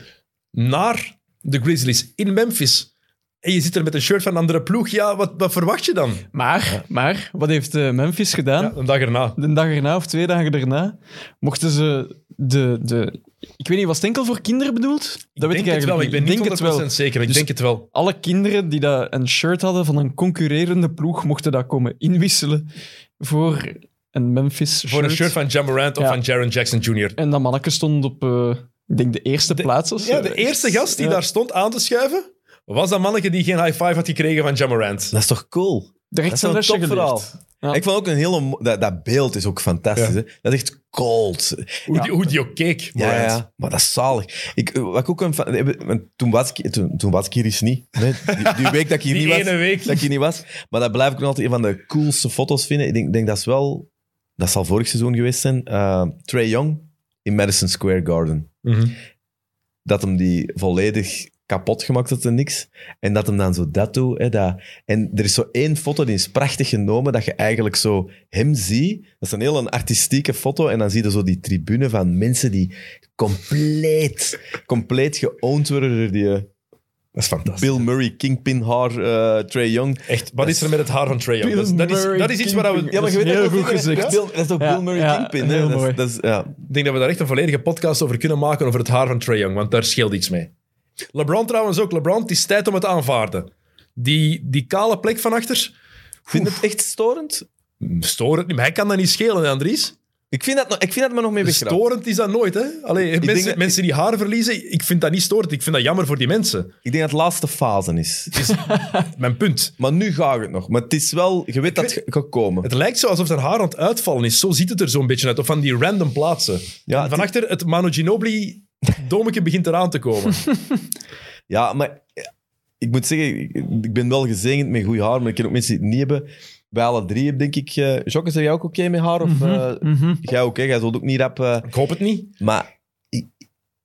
S1: naar de Grizzlies in Memphis en je zit er met een shirt van een andere ploeg, ja, wat, wat verwacht je dan?
S3: Maar, maar, wat heeft eh, Memphis gedaan?
S1: Ja, een dag erna.
S3: De dag erna of twee dagen daarna mochten ze de... de ik weet niet, was het enkel voor kinderen bedoeld? Dat weet
S1: denk
S3: ik
S1: het wel,
S3: eigenlijk
S1: ik ben niet
S3: denk
S1: 100%
S3: het wel.
S1: zeker. Ik
S3: Dus-
S1: denk het wel.
S3: Alle kinderen die dat een shirt hadden van een concurrerende ploeg mochten dat komen inwisselen voor een Memphis shirt.
S1: Voor een shirt van John Morant of
S3: Ja.
S1: van Jaron Jackson Jr.
S3: En dat manneke stond op, eh, ik denk, de eerste plaats of zo.
S1: Ja, de eerste gast die
S3: Ja.
S1: daar stond aan te schuiven, was dat manneke die geen high five had gekregen van Jamorant.
S2: Dat is toch cool?
S3: Daar
S2: Dat
S3: heeft
S2: is
S3: ze een
S2: wel een
S3: lesje
S2: top verhaal.
S3: geleerd. Ja.
S2: Ik vond ook een hele... mo- Dat, dat beeld is ook
S1: Ja.
S2: fantastisch. Hè? Dat is echt cold.
S1: Hoe, die, hoe die ook keek,
S2: Ja,
S1: Morant.
S2: ja, maar dat is zalig. Ik, eh, wat ik ook een, fa- eh, want toen, was ik, toen, toen was ik hier eens niet. Nee, die, die week dat ik hier
S1: Die
S2: niet was.
S1: ene week.
S2: Dat ik hier niet was. Maar dat blijf ik nog altijd een van de coolste foto's vinden. Ik denk, denk dat is wel... Dat zal vorig seizoen geweest zijn. eh Trey Young in Madison Square Garden.
S1: Mhm.
S2: Dat hem die volledig kapot gemaakt had en niks. En dat hem dan zo dat doet. Hè, dat. En er is zo één foto, die is prachtig genomen, dat je eigenlijk zo hem ziet. Dat is een heel een artistieke foto. En dan zie je zo die tribune van mensen die compleet, compleet geowned worden door die eh,
S1: Dat is fantastisch.
S2: Bill Murray, Kingpin haar, eh Trey Young.
S1: Echt, wat is er met het haar van Trae Young? Dat is, dat is, dat is iets waar we...
S3: Ja, maar je weet
S2: dat
S3: heel
S2: ook
S3: goed
S2: niet, hè?
S3: gezegd.
S2: Bill- dat is ook
S3: Ja,
S2: Bill Murray
S3: ja,
S2: Kingpin. Hè?
S3: heel
S2: Dat,
S3: mooi.
S2: is, dat is- ja.
S1: Ik denk dat we daar echt een volledige podcast over kunnen maken, over het haar van Trae Young, want daar scheelt iets mee. LeBron trouwens ook. LeBron, het is tijd om het te aanvaarden. Die, die kale plek van achter,
S2: Vind je het echt storend?
S1: storend niet, maar hij kan dat niet schelen, hè, Andries.
S2: Ik vind dat, nog- ik vind dat me nog mee begraven.
S1: Storend is dat nooit, hè? Allee, mensen,
S2: dat-
S1: mensen die haar verliezen, ik vind dat niet storend. Ik vind dat jammer voor die mensen.
S2: Ik denk dat het laatste fase is.
S1: Mijn punt.
S2: Maar nu ga ik het nog. Maar het is wel... Je weet dat het gaat komen.
S1: Het lijkt zo alsof zijn haar aan het uitvallen is. Zo ziet het er zo'n beetje uit. Of van die random plaatsen.
S2: Ja,
S1: En van achter het Manu Ginobili domeke begint eraan te komen.
S2: Ja, maar ik moet zeggen, ik- ik ben wel gezegend met goed haar, maar ik ken ook mensen die het niet hebben. Bij alle drie heb denk ik... eh Jocke, zeg jij ook oké met haar? Of eh,
S3: Mhm.
S2: jij ook, hè? Jij zult ook niet rap... eh,
S1: Ik hoop het niet.
S2: maar ik,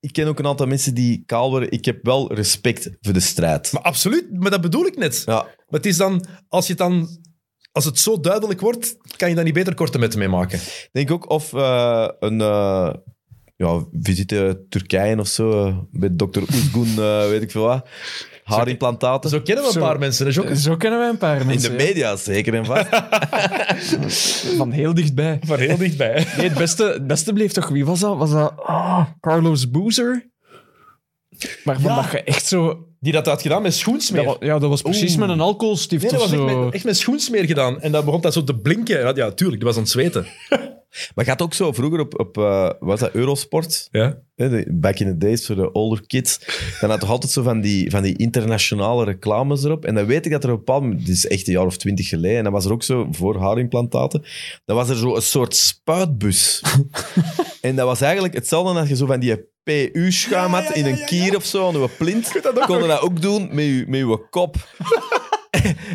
S2: ik ken ook een aantal mensen die kaal worden. Ik heb wel respect voor de strijd.
S1: Maar absoluut, maar dat bedoel ik net.
S2: ja,
S1: Maar het is dan, als je het dan... Als het zo duidelijk wordt, kan je daar niet beter korte metten mee maken.
S2: Ik denk ook of eh, een, eh, ja, visite Turkije of zo, eh, bij dokter Oezgun, eh, weet ik veel wat. Haarimplantaten.
S1: Zo kennen we een
S3: Zo.
S1: paar mensen. Dat is ook
S3: Zo kennen wij een paar
S2: In
S3: mensen.
S2: de media, zeker en vast.
S3: ja. Van heel dichtbij.
S1: van heel dichtbij.
S3: Nee, het beste, het beste bleef toch... Wie was dat? Was dat ah, Carlos Boozer? Waarvan
S1: Ja.
S3: dat je echt zo...
S1: Die dat had gedaan met schoensmeer.
S3: Dat wa- ja, dat was precies
S1: Oeh.
S3: met een alcoholstift
S1: Nee, dat
S3: of
S1: was echt
S3: zo.
S1: met, echt met schoensmeer gedaan. En dat begon dat zo te blinken. Ja, Ja, tuurlijk, die was aan het zweten.
S2: Maar gaat ook zo vroeger op, op eh, wat is dat, Eurosport?
S1: Ja.
S2: Hè, de- Back in the days voor de older kids. Dan had toch altijd zo van die, van die internationale reclames erop. En dan weet ik dat er op een bepaald moment, dit is echt een jaar of twintig geleden, en dat was er ook zo voor haarimplantaten, dan was er zo een soort spuitbus. en dat was eigenlijk hetzelfde als je zo van die PU-schuim had
S1: Ja, ja,
S2: in
S1: ja,
S2: een
S1: ja,
S2: kier
S1: ja.
S2: of zo, aan uw plint.
S1: dat ook
S2: Konden dat ook doen met je, met je kop.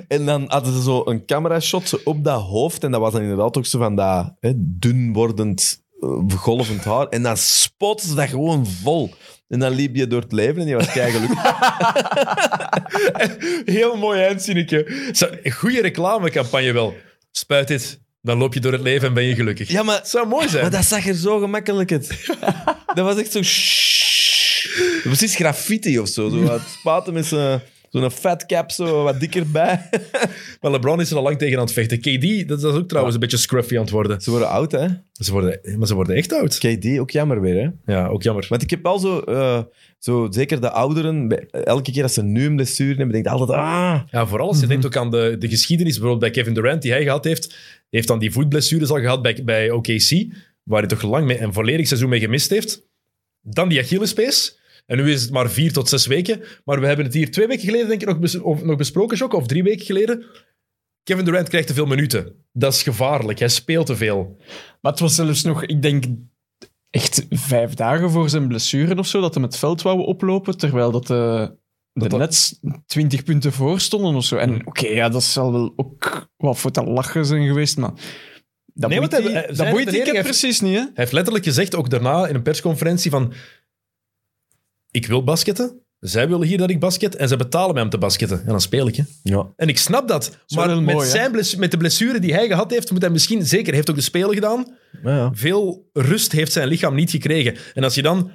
S2: En dan hadden ze zo een camera-shot zo op dat hoofd. En dat was dan inderdaad ook zo van dat hè, dun wordend, eh, golvend haar. En dan spotten ze dat gewoon vol. En dan liep je door het leven en je was keigelukkig.
S1: Heel mooi eindzinnetje. Zo, een Goede reclamecampagne wel. Spuit dit, dan loop je door het leven en ben je gelukkig.
S2: Ja, maar,
S1: Het zou mooi zijn.
S2: maar dat zag er zo gemakkelijk uit. Dat was echt zo... shhh. Precies graffiti of zo. Zo wat spaten met zo'n zo'n fat cap zo wat dikker bij.
S1: Maar LeBron is er al lang tegen aan het vechten. KD, dat is ook trouwens een beetje scruffy aan het worden.
S2: Ze worden oud, hè?
S1: Ze worden, maar ze worden echt oud.
S2: KD, ook jammer weer, hè?
S1: Ja, ook jammer.
S2: Want ik heb wel zo, eh, zo zeker de ouderen, bij- elke keer als ze nu een blessure hebben, denk ik altijd, ah,
S1: Ja, vooral als je denkt ook aan de, de geschiedenis, bijvoorbeeld bij Kevin Durant, die hij gehad heeft. Hij heeft dan die voetblessures al gehad bij, bij OKC, waar hij toch lang mee een volledig seizoen mee gemist heeft. Dan die Achillespees. En nu is het maar vier tot zes weken. Maar we hebben het hier twee weken geleden denk ik nog, bes- of, nog besproken, Jok, of drie weken geleden. Kevin Durant krijgt te veel minuten. Dat is gevaarlijk. Hij speelt te veel.
S3: Maar het was zelfs nog, ik denk, echt vijf dagen voor zijn blessure of zo, dat hem het veld wou oplopen, terwijl dat eh, de, de
S2: dat-
S3: Nets 20 punten voor stonden of zo. En
S1: Hmm.
S3: oké, ja, dat zal wel ook wat voor te lachen zijn geweest, maar dat
S1: Nee,
S3: boeit
S1: want
S3: die,
S1: hij- Eh, zijn
S3: dat boeit die
S1: verdediging
S3: kid
S1: heeft-
S3: precies niet, hè?
S1: Hij heeft letterlijk gezegd, ook daarna in een persconferentie, van... Ik wil basketten. Zij willen hier dat ik basket. En ze betalen mij om te basketten. En dan speel ik, hè.
S2: ja.
S1: En ik snap dat.
S3: is
S1: Maar
S3: wel
S1: met,
S3: mooi, hè?
S1: zijn bless- met de blessure die hij gehad heeft, moet hij misschien zeker, hij heeft ook de spelen gedaan,
S2: ja, ja.
S1: veel rust heeft zijn lichaam niet gekregen. En als je dan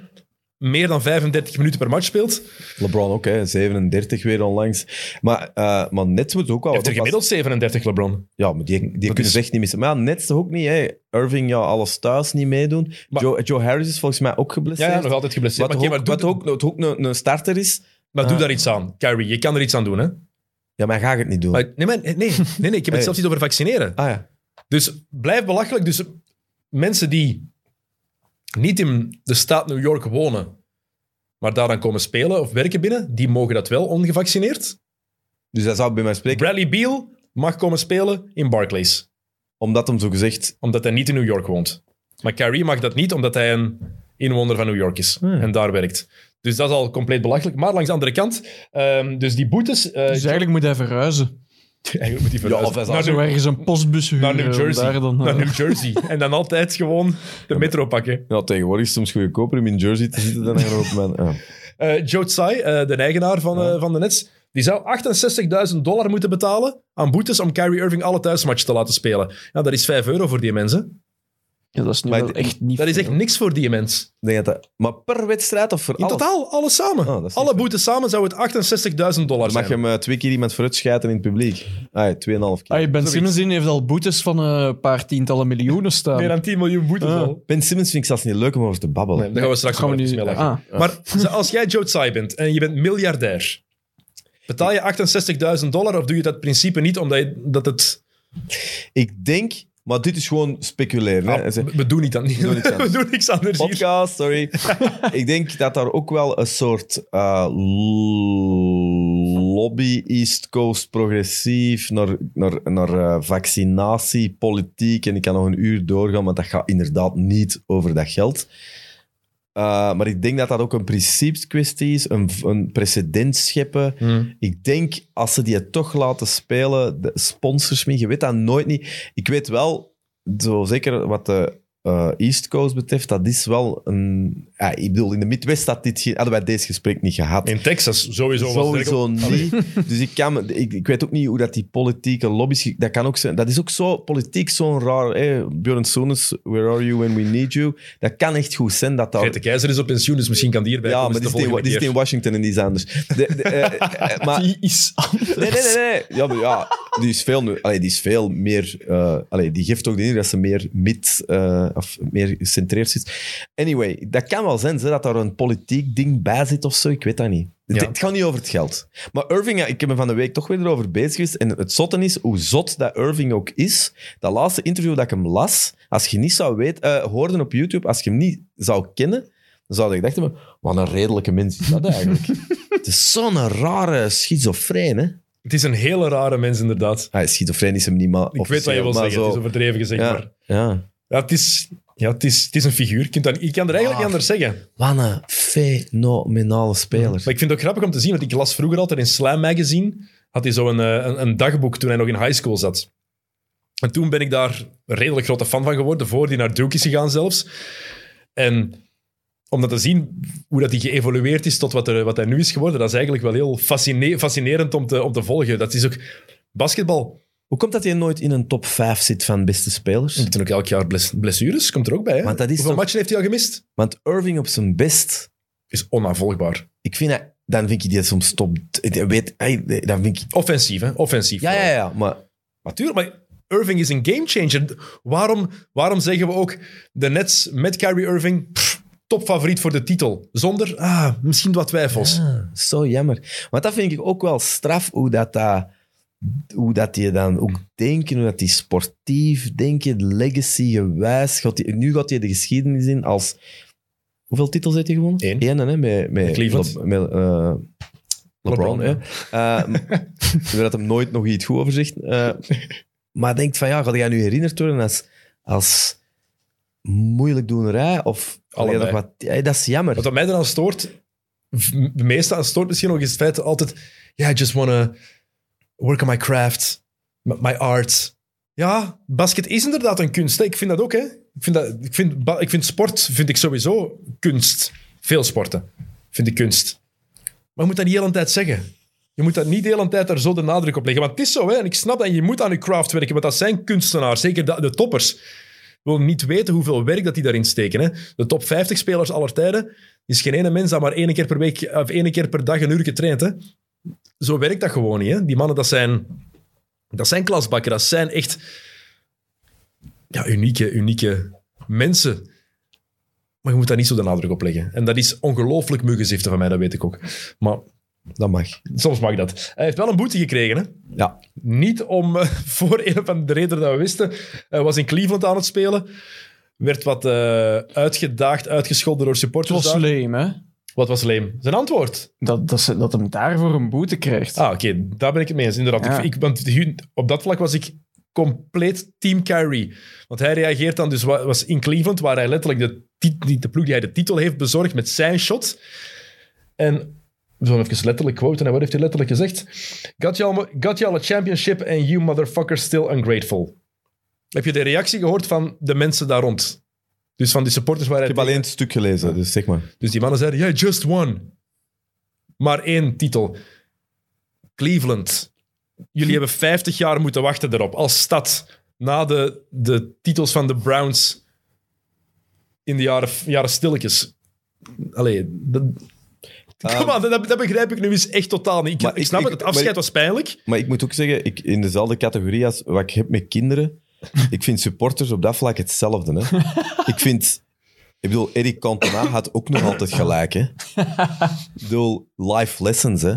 S1: meer dan 35 minuten per match speelt,
S2: LeBron ook, hè, 37 weer onlangs. Maar, eh maar Nets moet ook wel...
S1: heeft er
S2: oppassen.
S1: gemiddeld 37 LeBron.
S2: Ja, maar die, die kunnen
S1: is-
S2: ze echt niet missen. Maar ja, Nets toch ook niet, hè. Irving, ja, alles thuis niet meedoen.
S1: Maar-
S2: Joe, Joe Harris is volgens mij ook
S1: Ja,
S2: geblesseerd.
S1: ja, nog altijd geblesseerd.
S2: Wat,
S1: Maar, oké,
S2: ook,
S1: maar,
S2: wat
S1: doe,
S2: ook, wat ook een, een starter is.
S1: maar doe
S2: Ah.
S1: daar iets aan. Kyrie, je kan er iets aan doen, hè?
S2: Ja, maar hij gaat het niet doen.
S1: Maar, nee, maar- nee, nee, nee, nee, ik heb het
S2: Hey.
S1: zelfs niet over vaccineren.
S2: Ah ja.
S1: Dus blijf belachelijk. Dus mensen die niet in de staat New York wonen, maar daar dan komen spelen of werken binnen, die mogen dat wel ongevaccineerd.
S2: Dus hij zou bij mij spreken,
S1: Bradley Beal mag komen spelen in Barclays,
S2: omdat hem zo gezegd...
S1: omdat hij niet in New York woont. Maar Kyrie mag dat niet, omdat hij een inwoner van New York is
S2: Hmm.
S1: en daar werkt. Dus dat is al compleet belachelijk. Maar langs de andere kant, ehm, dus die boetes... eh,
S3: Dus eigenlijk moet hij verhuizen.
S1: eigenlijk moet die verhuizen.
S2: of hij zal
S1: naar,
S3: Zo
S1: New,
S3: ergens een postbus
S1: naar
S3: huren.
S1: New
S3: om
S1: Jersey.
S3: daar dan, eh,
S1: naar New Jersey. En dan altijd gewoon de metro pakken.
S2: Ja, tegenwoordig is het soms goedkoper om in Jersey te zitten dan er op mijn... Ja.
S1: Eh, Joe Tsai, eh, de eigenaar van,
S2: Ja.
S1: eh, van de Nets, die zou 68.000 dollar moeten betalen aan boetes om Kyrie Irving alle thuismatchen te laten spelen. Ja, dat is 5 euro voor die mensen.
S3: Ja, dat is nu
S2: Maar
S3: wel
S2: ik-
S3: echt niet
S1: Dat is echt
S3: veel.
S1: niks voor die mens.
S2: Ik Denk dat dat, maar per wedstrijd of voor
S1: In
S2: alles?
S1: totaal, alles samen.
S2: Oh, dat is niet
S1: alle
S2: veel.
S1: boetes samen zou het 68.000 dollar
S2: Dan
S1: zijn.
S2: mag je hem eh, twee keer iemand vooruit schijten in het publiek. Ah, ja, 2,5 keer.
S3: Ah, ben
S1: Zoiets.
S3: Simmons die heeft al boetes van eh, een paar tientallen miljoenen staan.
S1: Meer dan 10 miljoen boetes
S3: Ah.
S1: al.
S2: Ben Simmons vind ik zelfs niet leuk om over te babbelen.
S1: Nee, daar gaan we straks
S3: Gaan we
S1: nog
S3: nu-
S1: even mee lachen.
S3: ah.
S1: Maar ze- als jij Joe Tsai bent en je bent miljardair, betaal je 68.000 dollar of doe je dat principe niet omdat je, dat het...
S2: Ik denk, maar dit is gewoon speculeren. hè.
S1: Ah,
S2: Ze-
S1: we, we doen niet aan,
S2: doen niks aan.
S1: we doen niks anders hier.
S2: Podcast, sorry. ik denk dat daar ook wel een soort eh, lobby East Coast progressief naar, naar, naar eh, vaccinatie, politiek. En ik kan nog een uur doorgaan, want dat gaat inderdaad niet over dat geld. Eh, maar ik denk dat dat ook een principeskwestie is, een, een precedent scheppen.
S1: Hmm.
S2: Ik denk, als ze die toch laten spelen, de sponsors mee, je weet dat nooit niet. Ik weet wel, zo zeker wat de eh, East Coast betreft, dat is wel een... Ja, ik bedoel, in de Midwest had dit geen- hadden wij deze gesprek niet gehad.
S1: In Texas sowieso. was het
S2: Sowieso
S1: eigenlijk-
S2: niet. Dus ik, kan, me- ik, ik weet ook niet hoe dat die politieke lobby's... Dat, kan ook zijn, dat is ook zo, politiek zo'n raar... Hè, Björn Soenes, where are you when we need you? Dat kan echt goed zijn dat
S1: Allee,
S2: daar...
S1: Geert de Keizer is op pensioen, dus misschien kan die hierbij
S2: Ja,
S1: komen.
S2: maar
S1: Is
S2: dit
S1: de
S2: is, in,
S1: volgende
S2: dit is
S1: keer.
S2: in Washington en die is anders. De, de, eh, eh, maar,
S3: Die is anders.
S2: nee, nee, nee, nee. Ja, maar ja, die is veel, nu- allee, die is veel meer... eh, allee, die geeft ook de indruk dat ze meer mid... eh, of meer gecentreerd is. Anyway, dat kan wel zijn, hè, dat daar een politiek ding bij zit of zo. Ik weet dat niet. Het,
S1: Ja.
S2: het gaat niet over het geld. Maar Irving, ja, ik heb me van de week toch weer erover bezig geweest. En het zotte is, hoe zot dat Irving ook is. Dat laatste interview dat ik hem las, als je niet zou weten... eh hoorden op YouTube, als je hem niet zou kennen... Dan zou ik dachten, wat een redelijke mens is dat eigenlijk. het is zo'n rare schizofreen, hè?
S1: Het is een hele rare mens, inderdaad.
S2: Ah, schizofreen is hem niet, maar
S1: Ik weet wat je wil zeggen, het is overdreven gezegd, maar...
S2: ja, ja.
S1: Ja, het is, ja, het is, het is een figuur. Je, kunt dat, je kan er
S2: Ah.
S1: eigenlijk niet anders zeggen.
S2: Wat een fenomenale speler.
S1: Maar ik vind het ook grappig om te zien, want ik las vroeger altijd in Slam Magazine, had hij zo'n eh, een, een dagboek toen hij nog in high school zat. En toen ben ik daar een redelijk grote fan van geworden, voor hij naar Duke is gegaan zelfs. En om dat te zien, hoe dat hij geëvolueerd is tot wat, er, wat hij nu is geworden, dat is eigenlijk wel heel fascine- fascinerend om te, om te volgen. Dat is ook... Basketbal,
S2: Hoe komt dat hij nooit in een top 5 zit van beste spelers?
S1: er zitten ook elk jaar bles- blessures, komt er ook bij. Hè?
S2: Want dat is
S1: Hoeveel
S2: toch-
S1: matchen heeft hij al gemist?
S2: Want Irving op zijn best,
S1: Is onaanvolgbaar.
S2: ik vind dat, dan vind ik die soms top. ik Weet, ey, dan vind ik,
S1: Offensief, hè? Offensief.
S2: ja,
S1: vooral.
S2: ja, ja, maar
S1: Maar tuurlijk, maar Irving is een gamechanger. Waarom, waarom zeggen we ook de Nets met Kyrie Irving pff, topfavoriet voor de titel? Zonder ah, misschien wat twijfels.
S2: Ah, zo jammer. Want dat vind ik ook wel straf, hoe dat, dat, hoe dat die dan ook denken, hoe dat die sportief denken, legacy gewijs. Gaat die, nu gaat hij de geschiedenis in als... Hoeveel titels heeft hij gewonnen?
S1: Eén.
S2: Eén, hè, met, met
S1: Met Cleveland.
S2: Le- met, eh,
S1: LeBron,
S2: LeBron, hè. Eh, m- Ik weet dat hem nooit nog iets goed over zegt. eh, maar denkt van, ja, ga jij nu herinnerd worden als, als moeilijk doenerij? Of,
S1: Allebei.
S2: Allee, dat wat- ja, dat is jammer.
S1: Wat mij dan stoort, v- de meeste aan stoort misschien nog, is het feit dat altijd... Ja, I just wanna work on my craft, m- my art. Ja, basket is inderdaad een kunst. hè. Ik vind dat ook, hè. Ik vind, dat, ik vind, ba- ik vind sport vind ik sowieso kunst. Veel sporten vind ik kunst. Maar je moet dat niet de hele tijd zeggen. Je moet dat niet de hele tijd daar zo de nadruk op leggen. Want het is zo, hè. En ik snap dat je moet aan je craft werken, want dat zijn kunstenaars. Zeker de, de toppers. Ik wil niet weten hoeveel werk dat die daarin steken. Hè. De top 50 spelers aller tijden is geen ene mens dat maar één keer per week of één keer per dag een uur traint. Hè. Zo werkt dat gewoon niet. Hè. Die mannen, dat zijn, dat zijn klasbakken. Dat zijn echt ja, unieke, unieke mensen. Maar je moet daar niet zo de nadruk op leggen. En dat is ongelooflijk muggenziften van mij, dat weet ik ook. Maar
S2: Dat mag.
S1: soms mag dat. Hij heeft wel een boete gekregen, hè?
S2: Ja.
S1: Niet om, eh, voor een van de redenen dat we wisten, Hij was in Cleveland aan het spelen. Werd wat eh, uitgedaagd, uitgescholden door
S3: Het
S1: supporters.
S3: was
S1: daar.
S3: leem, hè?
S1: Wat was leem? Zijn antwoord.
S3: Dat, dat, ze, dat hem daarvoor een boete krijgt.
S1: Ah, oké, daar ben ik het mee eens. Inderdaad.
S3: Ja.
S1: Ik, ik, want hu- op dat vlak was ik compleet team Kyrie. Want hij reageert dan, dus wa- was in Cleveland, waar hij letterlijk de, tit- die- de ploeg die hij de titel heeft bezorgd met zijn shot. En we zullen even letterlijk quoten. En wat heeft hij letterlijk gezegd? Got y'all, got y'all a championship and you motherfuckers still ungrateful. Heb je de reactie gehoord van de mensen daar rond? Dus van die supporters waar hij...
S2: Ik heb alleen het stuk gelezen, dus zeg maar.
S1: Dus die mannen zeiden, yeah, just one. Maar één titel. Cleveland. Jullie hebben 50 jaar moeten wachten erop. Als stad. Na de, de titels van de Browns in de jaren, jaren stilletjes. Allee, dat... Kom aan, dat, dat begrijp ik nu eens echt totaal niet. Ik,
S2: Ehm, maar
S1: ik
S2: ik-
S1: snap
S2: ik-
S1: het, het afscheid
S2: maar
S1: was
S2: ik-
S1: pijnlijk.
S2: Maar ik moet ook zeggen, ik, in dezelfde categorie als wat ik heb met kinderen, ik vind supporters op dat vlak hetzelfde. Hè. ik vind... Ik bedoel, Eric Cantona had ook nog altijd gelijk. Hè. Ik bedoel, life lessons. Hè.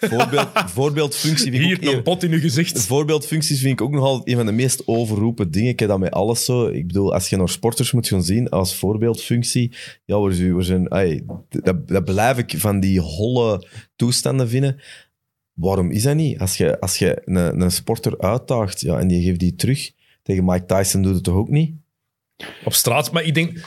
S2: Voorbeeld, voorbeeldfunctie... vind ik ook
S1: Hier, een
S2: eer-
S1: bot in uw gezicht.
S2: Voorbeeldfuncties vind ik ook nog altijd een van de meest overroepen dingen. Ik heb dat met alles zo. Ik bedoel, als je naar sporters moet gaan zien als voorbeeldfunctie, ja, waar zijn, waar zijn, ai, dat, dat blijf ik van die holle toestanden vinden. Waarom is dat niet? Als je, als je een, een sporter uitdaagt ja, en die geeft die terug, tegen Mike Tyson doet het toch ook niet?
S1: Op straat, maar ik denk...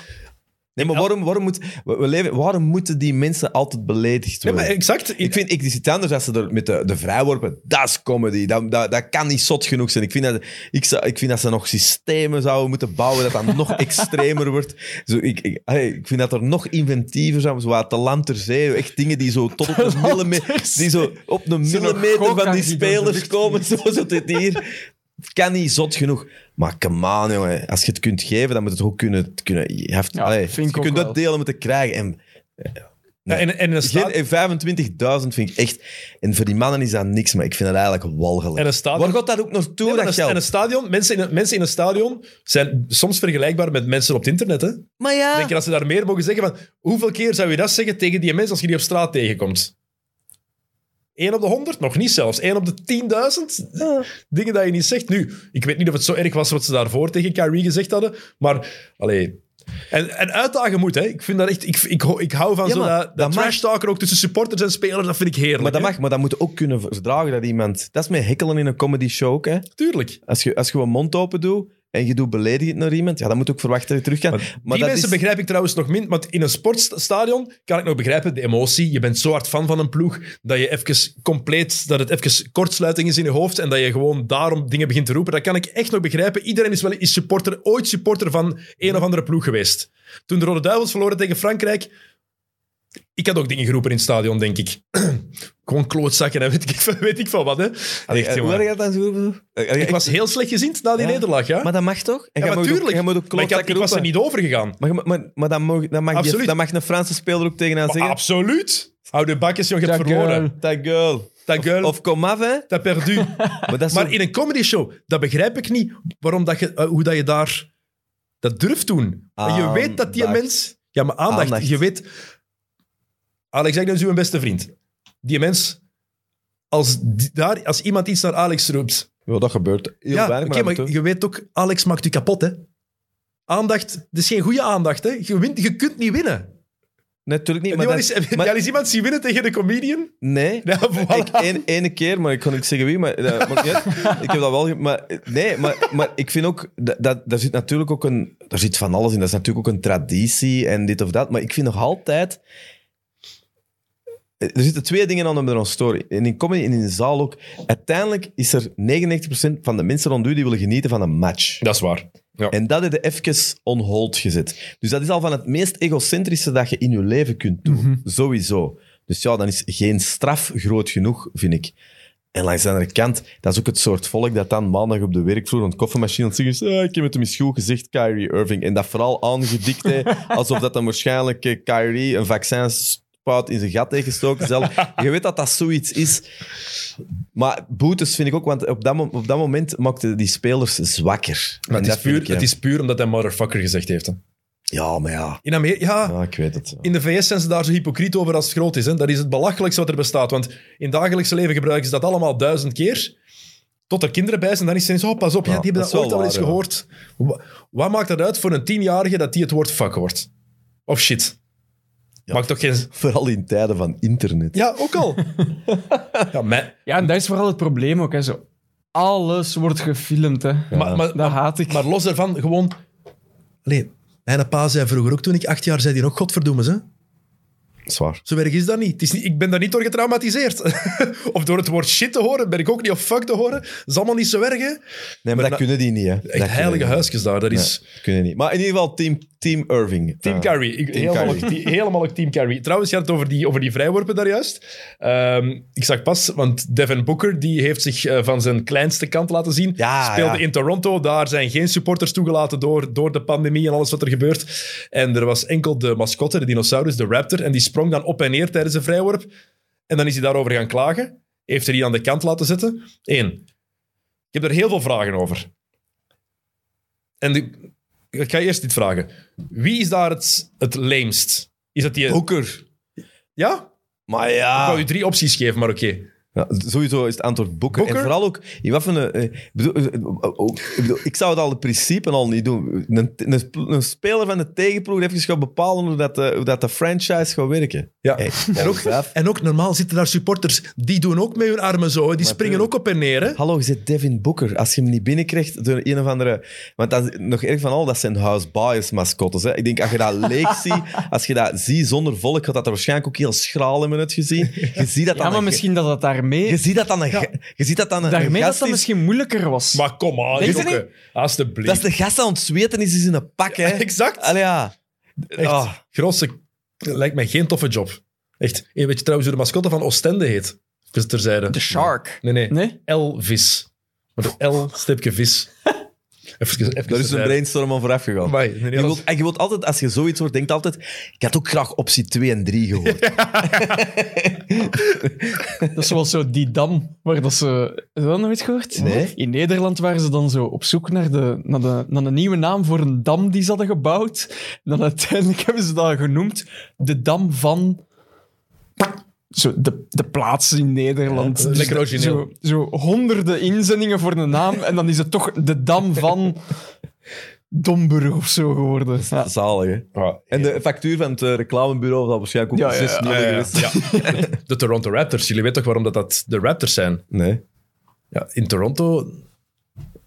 S2: Nee, maar waarom, waarom, moet, we- we leven, waarom moeten die mensen altijd beledigd
S1: Nee,
S2: worden?
S1: maar exact.
S2: Ik vind ik, is het anders als ze er met de, de vrijworpen. Dat is comedy. Dat, dat, dat kan niet zot genoeg zijn. Ik vind, dat, ik, zou- ik vind dat ze nog systemen zouden moeten bouwen. Dat dat nog extremer wordt. Zo, ik, ik, hey, ik vind dat er nog inventiever zou moeten worden. Zo wat Talent ter zee. Echt dingen die zo tot op de millimeter, die zo op de
S3: Zo'n
S2: millimeter van die
S3: gokkaart die door de
S2: spelers
S3: lucht
S2: komen. Zo zit het hier. Het kan niet zot genoeg. Maar come on, jongen. Als je het kunt geven, dan moet het ook kunnen. kunnen je hebt,
S3: Ja,
S2: allee,
S3: vind
S2: je
S3: ik ook
S2: kunt dat
S3: wel.
S2: delen moeten krijgen. En
S1: Ja, en, en, een sta-
S2: geen, eh, 25.000 vind ik echt... En voor die mannen is dat niks, maar ik vind het eigenlijk walgelijk.
S1: en een stadion.
S2: Waar gaat dat ook naartoe,
S1: Nee, maar
S2: dat
S1: een-
S2: geld?
S1: en een stadion, mensen in een, mensen in een stadion zijn soms vergelijkbaar met mensen op het internet. Hè?
S2: Maar ja...
S1: Denk je dat ze daar meer mogen zeggen? Van, hoeveel keer zou je dat zeggen tegen die mensen als je die op straat tegenkomt? 1 op de 100? Nog niet zelfs. 1 op de 10.000? Dingen dat je niet zegt. Nu, ik weet niet of het zo erg was wat ze daarvoor tegen Kyrie gezegd hadden, maar... Allee, en, en uitdagen moet, hè. Ik, vind dat echt, ik, ik, ho- ik hou van
S2: Ja,
S1: zo
S2: maar
S1: dat, dat,
S2: dat mag.
S1: trash talker ook tussen supporters en spelers. Dat vind ik heerlijk.
S2: maar dat
S1: hè.
S2: mag, maar dat moet ook kunnen verdragen dat iemand... Dat is met hekkelen in een comedy show ook, hè.
S1: Tuurlijk.
S2: Als je, als je een mond open doet en je doet beledigend naar iemand, ja, dan moet je ook verwachten dat je terug gaat. Maar,
S1: die
S2: dat
S1: mensen
S2: is...
S1: begrijp ik trouwens nog min. Want in een sportstadion kan ik nog begrijpen, de emotie. Je bent zo hard fan van een ploeg dat je even compleet, dat het even kortsluiting is in je hoofd en dat je gewoon daarom dingen begint te roepen. Dat kan ik echt nog begrijpen. Iedereen is wel is supporter, ooit supporter van een of andere ploeg geweest. Toen de Rode Duivels verloren tegen Frankrijk. Ik had ook dingen geroepen in het stadion, denk ik. Gewoon klootzakken en weet ik, van- weet ik van wat. Hè.
S2: Allee,
S1: Echt,
S2: eh,
S1: jongen.
S2: hoe had je dat dan zo bedoeld? Allee,
S1: ik was heel slecht gezind na die
S2: Ja.
S1: nederlaag. Ja,
S2: Maar dat mag toch? En
S1: ja
S2: jij mag ook-
S1: natuurlijk.
S2: jij moet ook
S1: Maar ik, had- ik
S2: klootzakken
S1: was er
S2: roepen.
S1: niet over gegaan.
S2: Maar, je mag- maar, maar dat, mag, dat, mag die,
S1: Absoluut.
S2: dat mag een Franse speler ook tegen haar
S1: Maar
S2: zeggen.
S1: absoluut. Hou de bakjes, jong, je hebt
S3: Dat
S1: verloren.
S3: girl.
S2: Dat girl.
S1: Dat girl,
S2: Of kom af, hè.
S1: dat perdu.
S2: Maar dat is
S1: maar
S2: zo-
S1: in een comedy show, dat begrijp ik niet. Waarom dat je, eh, hoe dat je daar dat durft doen. En je weet dat die
S2: Aandacht.
S1: mens... Ja, maar aandacht.
S2: Aandacht.
S1: Je weet... Alex Agnew is uw beste vriend. Die mens... Als, die- daar, als iemand iets naar Alex roept...
S2: Ja, dat gebeurt heel
S1: ja,
S2: weinig.
S1: oké,
S2: maar dat
S1: maar
S2: moet
S1: je weet ook, Alex maakt u kapot, hè. Aandacht, het is geen goede aandacht, hè. Je, wint, je kunt niet winnen.
S2: doen. Natuurlijk niet,
S1: Heb
S2: maar
S1: je wel
S2: dat-
S1: eens- heb je
S2: maar-
S1: al eens iemand zien winnen tegen de comedian?
S2: Nee.
S1: Ja, voilà.
S2: Ik, één- ene keer, maar ik kon niet zeggen wie, maar eh, dat maakt niet uit. ik heb dat wel... ge- Maar, nee, maar, maar ik vind ook... Dat, dat, daar zit natuurlijk ook een... Daar zit van alles in. Dat is natuurlijk ook een traditie en dit of dat. Maar ik vind nog altijd... eh, Er zitten twee dingen aan met een story. En in comedy en in de zaal ook. Uiteindelijk is er 99% van de mensen rond u die willen genieten van een match.
S1: Dat is waar.
S2: En dat heb je even on hold gezet. Dus dat is al van het meest egocentrische dat je in je leven kunt doen.
S1: Mhm.
S2: Sowieso. Dus ja, dan is geen straf groot genoeg, vind ik. En langs de andere kant, dat is ook het soort volk dat dan maandag op de werkvloer rond koffiemachine aan het zeggen is, "Ah, ik heb het hem eens goed gezegd, Kyrie Irving. En dat vooral aangedikt, hè, alsof dat dan waarschijnlijk eh, Kyrie een vaccinspuit in zijn gat heeft gestoken. Zelf. Je weet dat dat zoiets is. Maar boetes vind ik ook, want op dat, mo- op dat moment maakten die spelers zwakker.
S1: Maar
S2: En
S1: het is,
S2: dat vind
S1: puur,
S2: ik, ja.
S1: het is puur omdat hij motherfucker gezegd heeft. Hè.
S2: Ja, maar ja.
S1: In Amerika, ja,
S2: Ja, ik weet het.
S1: in de VS zijn ze daar zo hypocriet over als het groot is. Hè. Dat is het belachelijkste wat er bestaat. Want in dagelijkse leven gebruiken ze dat allemaal duizend keer. Tot er kinderen bij zijn, dan is het ineens, oh, pas op, ja,
S2: Ja,
S1: die hebben
S2: dat
S1: dat,
S2: is wel
S1: ooit al eens
S2: waar, ja.
S1: gehoord. Wa- Wat maakt het uit voor een tienjarige dat die het woord fuck hoort? Of shit.
S2: Ja.
S1: Maakt toch geen...
S2: Vooral in tijden van internet.
S1: Ja, ook al. ja, mij-
S3: Ja, en dat is vooral het probleem ook. Hè, zo. Alles wordt gefilmd. Hè.
S1: maar, maar,
S3: dat haat ik.
S1: Maar los daarvan, gewoon... Nee, mijn pa zei vroeger ook, toen ik acht jaar zei, die nog godverdoemes, hè.
S2: Zwaar.
S1: Zo erg is dat niet. Het is niet ik ben daar niet door getraumatiseerd. of door het woord shit te horen, ben ik ook niet of fuck te horen. Dat is allemaal niet zo erg, hè?
S2: Nee,
S1: Maar
S2: maar, dat
S1: na-
S2: kunnen die niet, hè.
S1: Echt heilige huisjes daar. Dat is...
S2: is... kunnen niet. Maar in ieder geval Team, team Irving.
S1: Eh, Team
S2: Ja.
S1: Carrie. Ik-
S2: Team
S1: helemaal,
S2: Curry.
S1: ook die- helemaal ook Team Carrie. Trouwens, je had het over die, over die vrijworpen daar juist. Ehm, ik zag pas, want Devin Booker die heeft zich eh, van zijn kleinste kant laten zien.
S2: Ja,
S1: Speelde
S2: ja.
S1: in Toronto. Daar zijn geen supporters toegelaten door, door de pandemie en alles wat er gebeurt. En er was enkel de mascotte, de dinosaurus, de raptor. En die sprong dan op en neer tijdens de vrijworp. En dan is hij daarover gaan klagen. Heeft er die aan de kant laten zitten. Eén. Ik heb er heel veel vragen over. En de- ik ga eerst dit vragen. Wie is daar het, het leemst? Is dat die...
S2: Hoeker.
S1: Ja? Ah.
S2: Maar
S1: Ik
S2: Ah, ja.
S1: wou u drie opties geven, maar oké.
S2: Ja, sowieso is het antwoord boeken.
S1: Boeker?
S2: En vooral ook, in wat voor een... eh, ik bedoel, eh, ook- ik, bedoel, ik zou het al in principe al niet doen. Een, een, een speler van de tegenploeg heeft gaan bepalen hoe dat, de, hoe dat de franchise gaat werken.
S1: Ja.
S2: Hey,
S1: En ook,
S2: Gaaf.
S1: en ook normaal zitten daar supporters, die doen ook met hun armen zo. hè. Die
S2: Maar
S1: springen ook
S2: tuurlijk.
S1: op en neer. Hè?
S2: Hallo, je zit Devin Booker. Als je hem niet binnenkrijgt door een of andere... Want dat is nog erg van al, dat zijn house bias mascottes. Hè. Ik denk, als je dat leeg ziet, als je dat ziet zonder volk, had dat er waarschijnlijk ook heel schraal in het gezien. Je ziet dat dan...
S3: Ja, maar
S2: een-
S3: misschien dat dat
S2: Je
S3: daarmee,
S2: ziet dat dan een, ge- je ziet dat dan een
S3: daarmee dat
S2: gast
S3: dat
S2: is-
S3: misschien moeilijker was.
S1: Maar kom aan,
S3: Denk je
S1: Jokke. Alsjeblieft.
S2: Dat is de gast aan het zweten is, is in een pak, hè.
S1: Exact.
S2: Allee, ja.
S1: Echt.
S2: Ah.
S1: Grosse, lijkt mij geen toffe job. Echt. En weet je trouwens hoe de mascotte van Oostende heet? Even terzijde.
S3: De Shark.
S1: Nee, nee.
S3: Nee?
S1: Elvis. Met een L-stipje vis. Even, even
S2: Daar is een
S1: terzijde.
S2: brainstorm aan vooraf gegaan.
S1: Amai, nee, nee,
S2: Je
S1: dat
S2: wilt, en je wilt altijd, als je zoiets hoort, denkt altijd... Ik had ook graag optie 2 en 3 gehoord.
S3: Dat is zoals zo die dam, waar dat ze... Heb je dat nooit gehoord?
S2: Nee.
S3: In Nederland waren ze dan zo op zoek naar, de, naar, de, naar een nieuwe naam voor een dam die ze hadden gebouwd. En dan uiteindelijk hebben ze dat genoemd de dam van... Zo, de, de plaats in Nederland.
S1: Ja, dat is lekker
S3: Dus
S1: origineel.
S3: Zo, zo honderden inzendingen voor een naam en dan is het toch de dam van... Domburg of zo geworden. Ja.
S2: Zalig, hè.
S1: Ah, Ja.
S2: En de factuur van het eh, reclamebureau zal waarschijnlijk ook
S3: Ja, ja, ja.
S2: 6
S1: Ja, ja,
S2: geweest.
S1: ja. De Toronto Raptors. Jullie weten toch waarom dat, dat de Raptors zijn?
S2: Nee.
S1: Ja, in Toronto...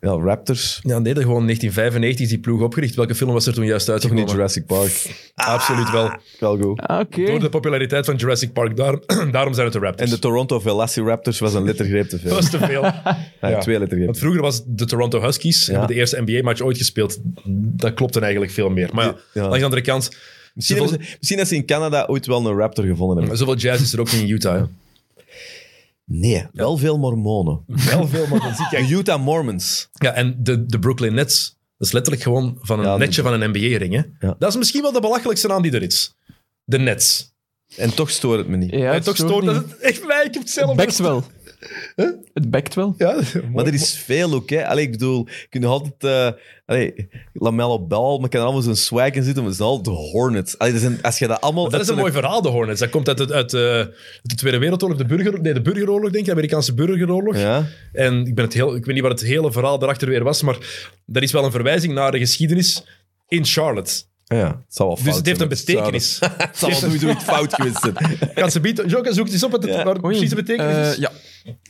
S2: Ja, Raptors.
S1: Ja, nee, dat gewoon 1995 is die ploeg opgericht. Welke film was er toen juist
S2: Toch
S1: uitgekomen?
S2: niet Jurassic Park.
S1: Absoluut wel.
S2: Wel goed.
S3: Ah, Oké.
S1: Door de populariteit van Jurassic Park. Daarom, daarom zijn het de
S2: En
S1: Raptors.
S2: de Toronto Velociraptors was een lettergreep te veel. Ah,
S1: Dat was te veel.
S2: Ja,
S1: ja.
S2: Twee lettergrepen.
S1: Want vroeger was het de Toronto Huskies. Hebben de eerste NBA-match ooit gespeeld. Dat klopt dan eigenlijk veel meer. Maar ja,
S2: Ja.
S1: aan de andere kant,
S2: Misschien,
S1: zoveel,
S2: hebben ze- misschien dat ze in Canada ooit wel een raptor gevonden hebben.
S1: zoveel jazz is er ook niet in Utah. hè.
S2: Nee, wel veel mormonen.
S1: Wel veel, maar dan zie
S2: De Utah Mormons.
S1: Ja, en de, de Brooklyn Nets. Dat is letterlijk gewoon van een
S2: Ja, de-
S1: netje van een NBA-ring. hè.
S2: Ja.
S1: Dat is misschien wel de belachelijkste naam die er is. De Nets.
S2: En toch stoort het me niet.
S3: Ja,
S1: en
S3: het
S1: toch
S3: stoort
S1: stoort
S3: niet.
S1: dat het echt mij. Ik heb het zelf
S3: Het bekt wel. Het bekt wel.
S1: Ja,
S2: Maar er is veel ook, hè. Allee, ik bedoel, je kunt nog altijd... eh allee, Lamello Ball, maar kan allemaal zo'n swag in zitten, maar het zijn altijd de Hornets. Allee, dat zijn- als je dat allemaal...
S1: Dat is een
S2: zijn
S1: mooi verhaal, de Hornets. Dat komt uit, het- uit, eh, de Tweede Wereldoorlog, de, burger, nee, de burgeroorlog, denk ik, de Amerikaanse burgeroorlog.
S2: Ja,
S1: En ik, ben het heel, ik weet niet wat het hele verhaal daarachter weer was, maar dat is wel een verwijzing naar de geschiedenis in Charlotte.
S2: ja. Het zal wel fout
S1: Dus het heeft
S2: zijn,
S1: een
S2: maar zou-
S1: betekenis.
S2: Het zal wel nooit fout geweest zijn.
S1: Kan ze bieden? Joka, zoek het eens op wat het,
S2: Ja.
S1: waar het
S3: Oei.
S1: precies de betekenis
S3: Eh,
S1: is.
S3: ja.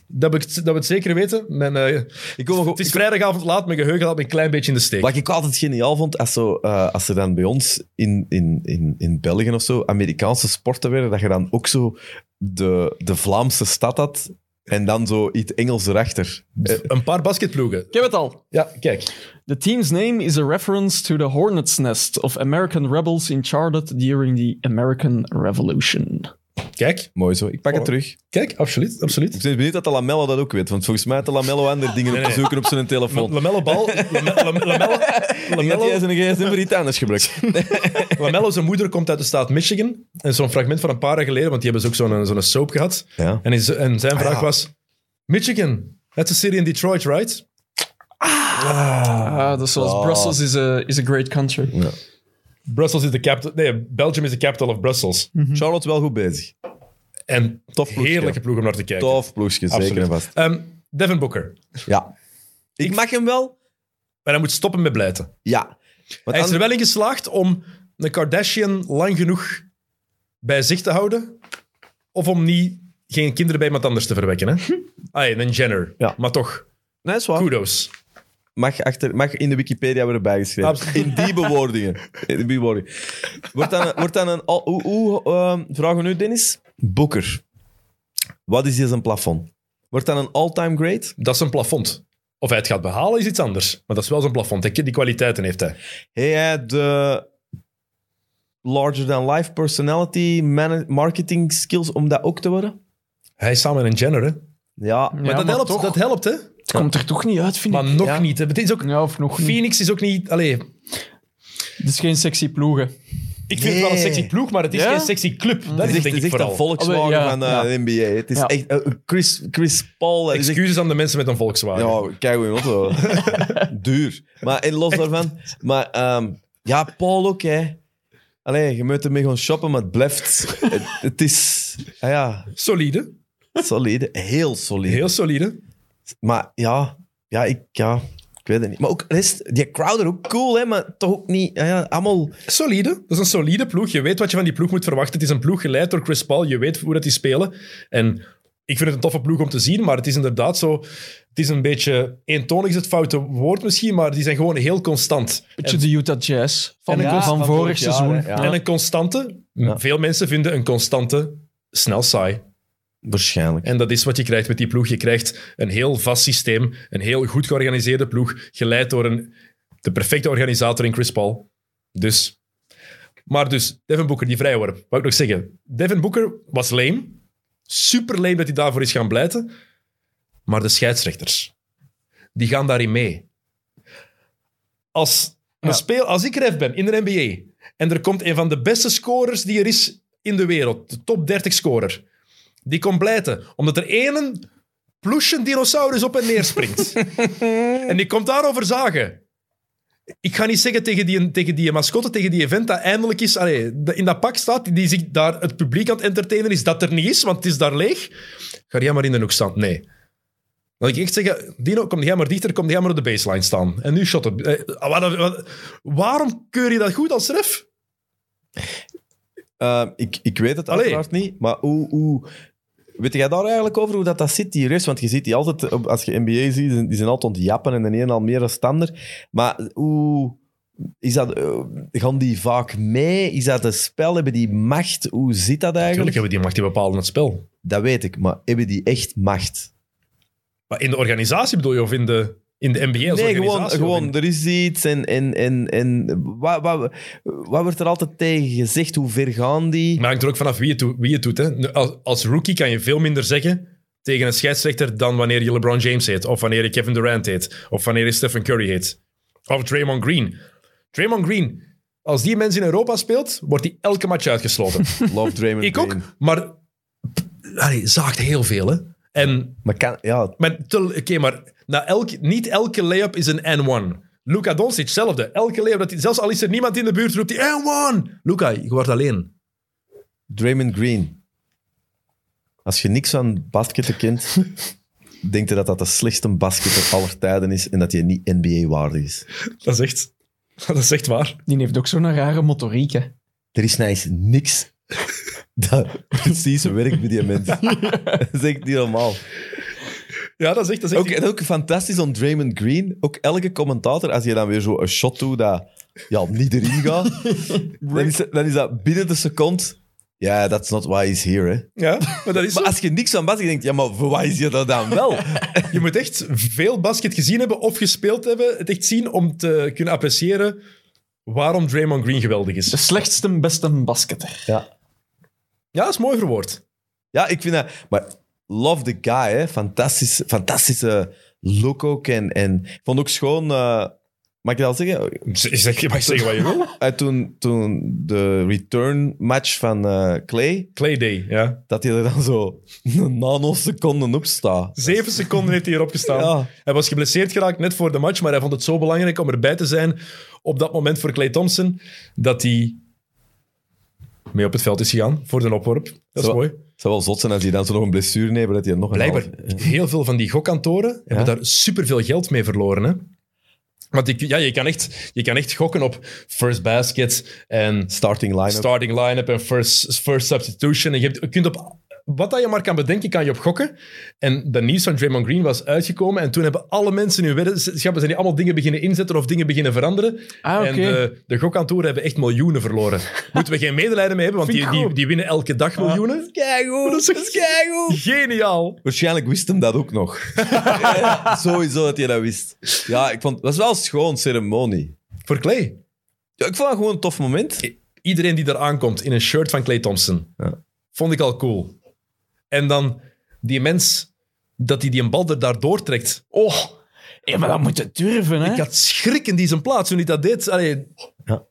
S1: Dat, we, het- dat we het zeker weten. Mijn, eh,
S2: Ik kom nog op-
S1: het is vrijdagavond laat, mijn geheugen laat me een klein beetje in de steek.
S2: Wat ik altijd geniaal vond, als, zo, eh, als er dan bij ons in, in, in, in België of zo Amerikaanse sporten werden, dat je dan ook zo de, de Vlaamse stad had en dan zo iets Engels erachter. Eh,
S1: Een paar basketploegen.
S3: Ik heb het al.
S1: Ja, kijk.
S3: The team's name is a reference to the hornet's nest of American rebels in Charlotte during the American Revolution.
S1: Kijk,
S2: mooi zo, ik pak het terug.
S1: kijk, absoluut, absoluut.
S2: Ik ben benieuwd dat de Lamello dat ook weet, want volgens mij had de Lamello andere dingen op te zoeken op zijn telefoon.
S1: Lamello bal. Lame- lame- Lamello,
S2: Ik denk dat
S1: Lamello,
S2: jij zijn gsm voor iets anders gebruikt.
S1: Lamello, zijn moeder komt uit de staat Michigan. En zo'n fragment van een paar jaar geleden, want die hebben ze ook zo'n zo'n soap gehad.
S2: Ja.
S1: En, is, en zijn vraag
S2: ja.
S1: was: Michigan, that's a city in Detroit, right?
S3: Ah, dat is zoals
S2: Ah.
S3: Brussels is a, is a great country.
S1: Brussels is de capital. Nee, Belgium is de capital of Brussels.
S2: Charlotte wel goed bezig.
S1: En
S2: Tof ploegje.
S1: heerlijke ploeg om naar te kijken.
S2: Tof ploegje, zeker en vast.
S1: Ehm, Devin Booker.
S2: Ja. Ik mag hem wel?
S1: Maar hij moet stoppen met blijten.
S2: Ja. Want
S1: Hij is er
S2: anders-
S1: wel in geslaagd om een Kardashian lang genoeg bij zich te houden. Of om niet geen kinderen bij iemand anders te verwekken. Hè? Ah, ja, een Jenner.
S2: Ja.
S1: Maar toch,
S2: Nee, is waar.
S1: kudos.
S2: Mag, achter, mag in de Wikipedia worden bijgeschreven.
S1: Absoluut.
S2: In die bewoordingen. In die bewoordingen. Wordt dan, een- wordt dan een... al- Hoe, hoe ehm, vragen we nu, Dennis? Boeker. Wat is hier zijn plafond? Wordt dan een all-time great?
S1: Dat is een plafond. Of hij het gaat behalen is iets anders. Maar dat is wel zijn plafond. Hij- Die kwaliteiten heeft hij.
S2: Heeft hij de larger-than-life personality, mana- marketing skills om dat ook te worden?
S1: Hij is samen met een Jenner. Hè?
S2: Ja.
S3: Ja,
S1: Maar dat, helpt,
S3: toch-
S1: dat helpt, hè?
S3: Het komt er toch niet uit, vind
S1: Maar
S3: ik.
S1: nog
S2: Ja.
S1: niet. Hè? Het is ook,
S3: Ja, of nog niet.
S1: Phoenix is ook niet. Allee,
S3: Het is geen sexy ploegen.
S1: ik vind het wel een
S2: Nee.
S1: sexy ploeg, maar het is
S3: Ja?
S1: geen sexy club. Dat is,
S2: het is
S1: denk
S2: echt, het
S1: ik
S2: is echt
S1: vooral.
S2: een Volkswagen
S3: Allee, Oh, ja,
S2: van eh,
S3: ja.
S2: de NBA. Het is
S3: Ja.
S2: echt... eh, Chris, Chris Paul... dat is echt-
S1: Excuses aan de mensen met een Volkswagen.
S2: Ja, kijk hoe auto. Duur. Maar in los daarvan. Maar ehm, ja, Paul ook, hè. Allee, je moet ermee gaan shoppen, maar het blijft... Het, het is... Ah ja,
S1: Solide.
S2: Solide, heel solide.
S1: Heel solide.
S2: Maar ja, ja, ik, ja, ik weet het niet. Maar ook rest, die Crowder ook cool, hè, maar toch ook niet. ah Ja, ja, allemaal.
S1: Solide. Dat is een solide ploeg. Je weet wat je van die ploeg moet verwachten. Het is een ploeg geleid door Chris Paul. Je weet hoe dat die spelen. En ik vind het een toffe ploeg om te zien, maar het is inderdaad zo... Het is een beetje... Eentonig is het foute woord misschien, maar die zijn gewoon heel constant.
S3: Beetje de Utah Jazz van,
S2: En-
S3: van,
S2: Ja, van vorig
S3: vorig
S2: jaar,
S3: seizoen.
S2: hè, ja.
S1: En een constante...
S2: Ja.
S1: Veel mensen vinden een constante snel saai.
S2: Waarschijnlijk.
S1: En dat is wat je krijgt met die ploeg. Je krijgt een heel vast systeem, een heel goed georganiseerde ploeg, geleid door een, de perfecte organisator in Chris Paul. Dus. Maar dus, Devin Booker, die vrijworp. Wou ik nog zeggen. Devin Booker was lame. Super lame dat hij daarvoor is gaan pleiten. Maar de scheidsrechters, die gaan daarin mee. Als, een
S3: Ja.
S1: speel, als ik ref ben in de NBA en er komt een van de beste scorers die er is in de wereld, de top 30 scorer, die komt blijten. Omdat er één ploesje dinosaurus op en neer springt. en die komt daarover zagen. Ik ga niet zeggen tegen die, tegen die mascotte, tegen die event dat eindelijk is... Allee, de- in dat pak staat, die zich daar het publiek aan het entertainen is, dat er niet is, want het is daar leeg. Ga jij maar in de hoek staan. Nee. Dan ik echt zeggen, Dino, kom jij maar dichter, kom jij maar op de baseline staan. En nu shot het. Eh, wat- wat- waarom keur je dat goed als ref?
S2: Eh, ik, ik weet het
S1: Allee.
S2: uiteraard niet, maar hoe, hoe... Weet jij daar eigenlijk over hoe dat, dat zit, die race? Want je ziet die altijd, op- als je NBA ziet, die zijn- die zijn altijd aan het jappen en de een al meer dan stander. Maar hoe... Is dat, eh, gaan die vaak mee? Is dat een spel? Hebben die macht? Hoe zit dat eigenlijk?
S1: Natuurlijk hebben die macht, die bepalen het spel.
S2: Dat weet ik, maar hebben die echt macht?
S1: Maar in de organisatie bedoel je, of in de, in de NBA als
S2: Nee, gewoon,
S1: organisatie? of in-
S2: gewoon er is iets en, en, en, en wat, wat, wat wordt er altijd tegen gezegd? Hoe ver gaan die?
S1: Maar het hangt er ook vanaf wie het, doet- wie het doet. Hè. Nu, Als, als rookie kan je veel minder zeggen tegen een scheidsrechter dan wanneer je LeBron James heet, of wanneer je Kevin Durant heet, of wanneer je Stephen Curry heet, of Draymond Green. Draymond Green, als die mens in Europa speelt, wordt hij elke match uitgesloten.
S2: Love Draymond
S1: Ik ook,
S2: Green.
S1: maar allee, zaakt heel veel. Hè. En
S2: Maar kan, ja,
S1: maar, te- oké, maar na elk, niet elke layup is een N1. Luka Doncic, hetzelfde. Elke layup, dat hij, zelfs al is er niemand in de buurt, roept hij N1. Luka, je wordt alleen.
S2: Draymond Green. Als je niks aan basketten kent, denk je dat dat de slechtste basketter aller tijden is en dat je niet NBA-waardig is.
S1: Dat is echt, dat is echt waar.
S3: Die heeft ook zo'n rare motoriek. hè.
S2: Er is nice niks dat precies werkt bij die mensen. Dat is echt niet normaal.
S1: Ja, dat is echt... Dat is echt
S2: Ook, en ook fantastisch aan Draymond Green. Ook elke commentator, als je dan weer zo een shot doet dat ja, niet erin gaat, dan, is, dat- dan is dat binnen de seconde. Ja, that's not why he's here. Hè.
S1: Ja, maar dat is
S2: Maar
S1: zo.
S2: als je niks aan basket denkt, ja, maar voor why is je dat dan wel?
S1: Je moet echt veel basket gezien hebben of gespeeld hebben, het echt zien om te kunnen appreciëren waarom Draymond Green geweldig
S3: De
S1: is.
S3: slechtste, beste basketter.
S2: Ja.
S1: Ja, dat is mooi verwoord.
S2: ja, ik vind dat... Maar love the guy, hè. Fantastische, fantastische look ook. En, en ik vond ook schoon... eh, mag ik dat al zeggen?
S1: Zeg, je mag zeggen wat je wil.
S2: Eh, toen, toen de return match van eh, Clay,
S1: Clay Day, ja.
S2: dat hij er dan zo een nanoseconde op staat.
S1: Zeven seconden heeft hij hierop gestaan.
S2: Ja.
S1: Hij was geblesseerd geraakt net voor de match, maar hij vond het zo belangrijk om erbij te zijn op dat moment voor Clay Thompson, dat hij mee op het veld is gegaan voor de opworp. Dat is
S2: Zo-
S1: mooi.
S2: Het zou wel zot zijn als hij dan zo nog een blessure neemt, dat hij nog een
S1: Blijkbaar,
S2: half-
S1: heel veel van die gokkantoren hebben daar superveel geld mee verloren. Hè? Want ik, ja, je, kan echt, je kan echt gokken op first basket en
S2: starting line-up.
S1: starting line-up en first, first substitution. En je, hebt, je kunt op wat dat je maar kan bedenken, kan je op gokken. En dat nieuws van Draymond Green was uitgekomen. En toen hebben alle mensen hun weddenschappen zijn die allemaal dingen beginnen inzetten of dingen beginnen veranderen.
S3: Ah, oké.
S1: En de, de gokkantoren hebben echt miljoenen verloren. Moeten we geen medelijden mee hebben, want
S3: Vind
S1: die,
S3: ik
S1: die,
S3: goed.
S1: die winnen elke dag miljoenen.
S2: Keigoed, dat is keigoed.
S1: Geniaal.
S2: Waarschijnlijk wist hem dat ook nog. Ja, Sowieso dat hij dat wist. Ja, ik vond... Dat was wel een schoon ceremonie.
S1: Voor Clay.
S2: Ja, ik vond dat gewoon een tof moment.
S1: iedereen die daar aankomt in een shirt van Clay Thompson,
S2: Ja.
S1: vond ik al cool. En dan die mens, dat hij die een bal er daar doortrekt.
S3: Oh, ja, maar dat moet je durven, hè?
S1: Ik had schrik in die zijn plaats toen hij dat deed. Allee, hij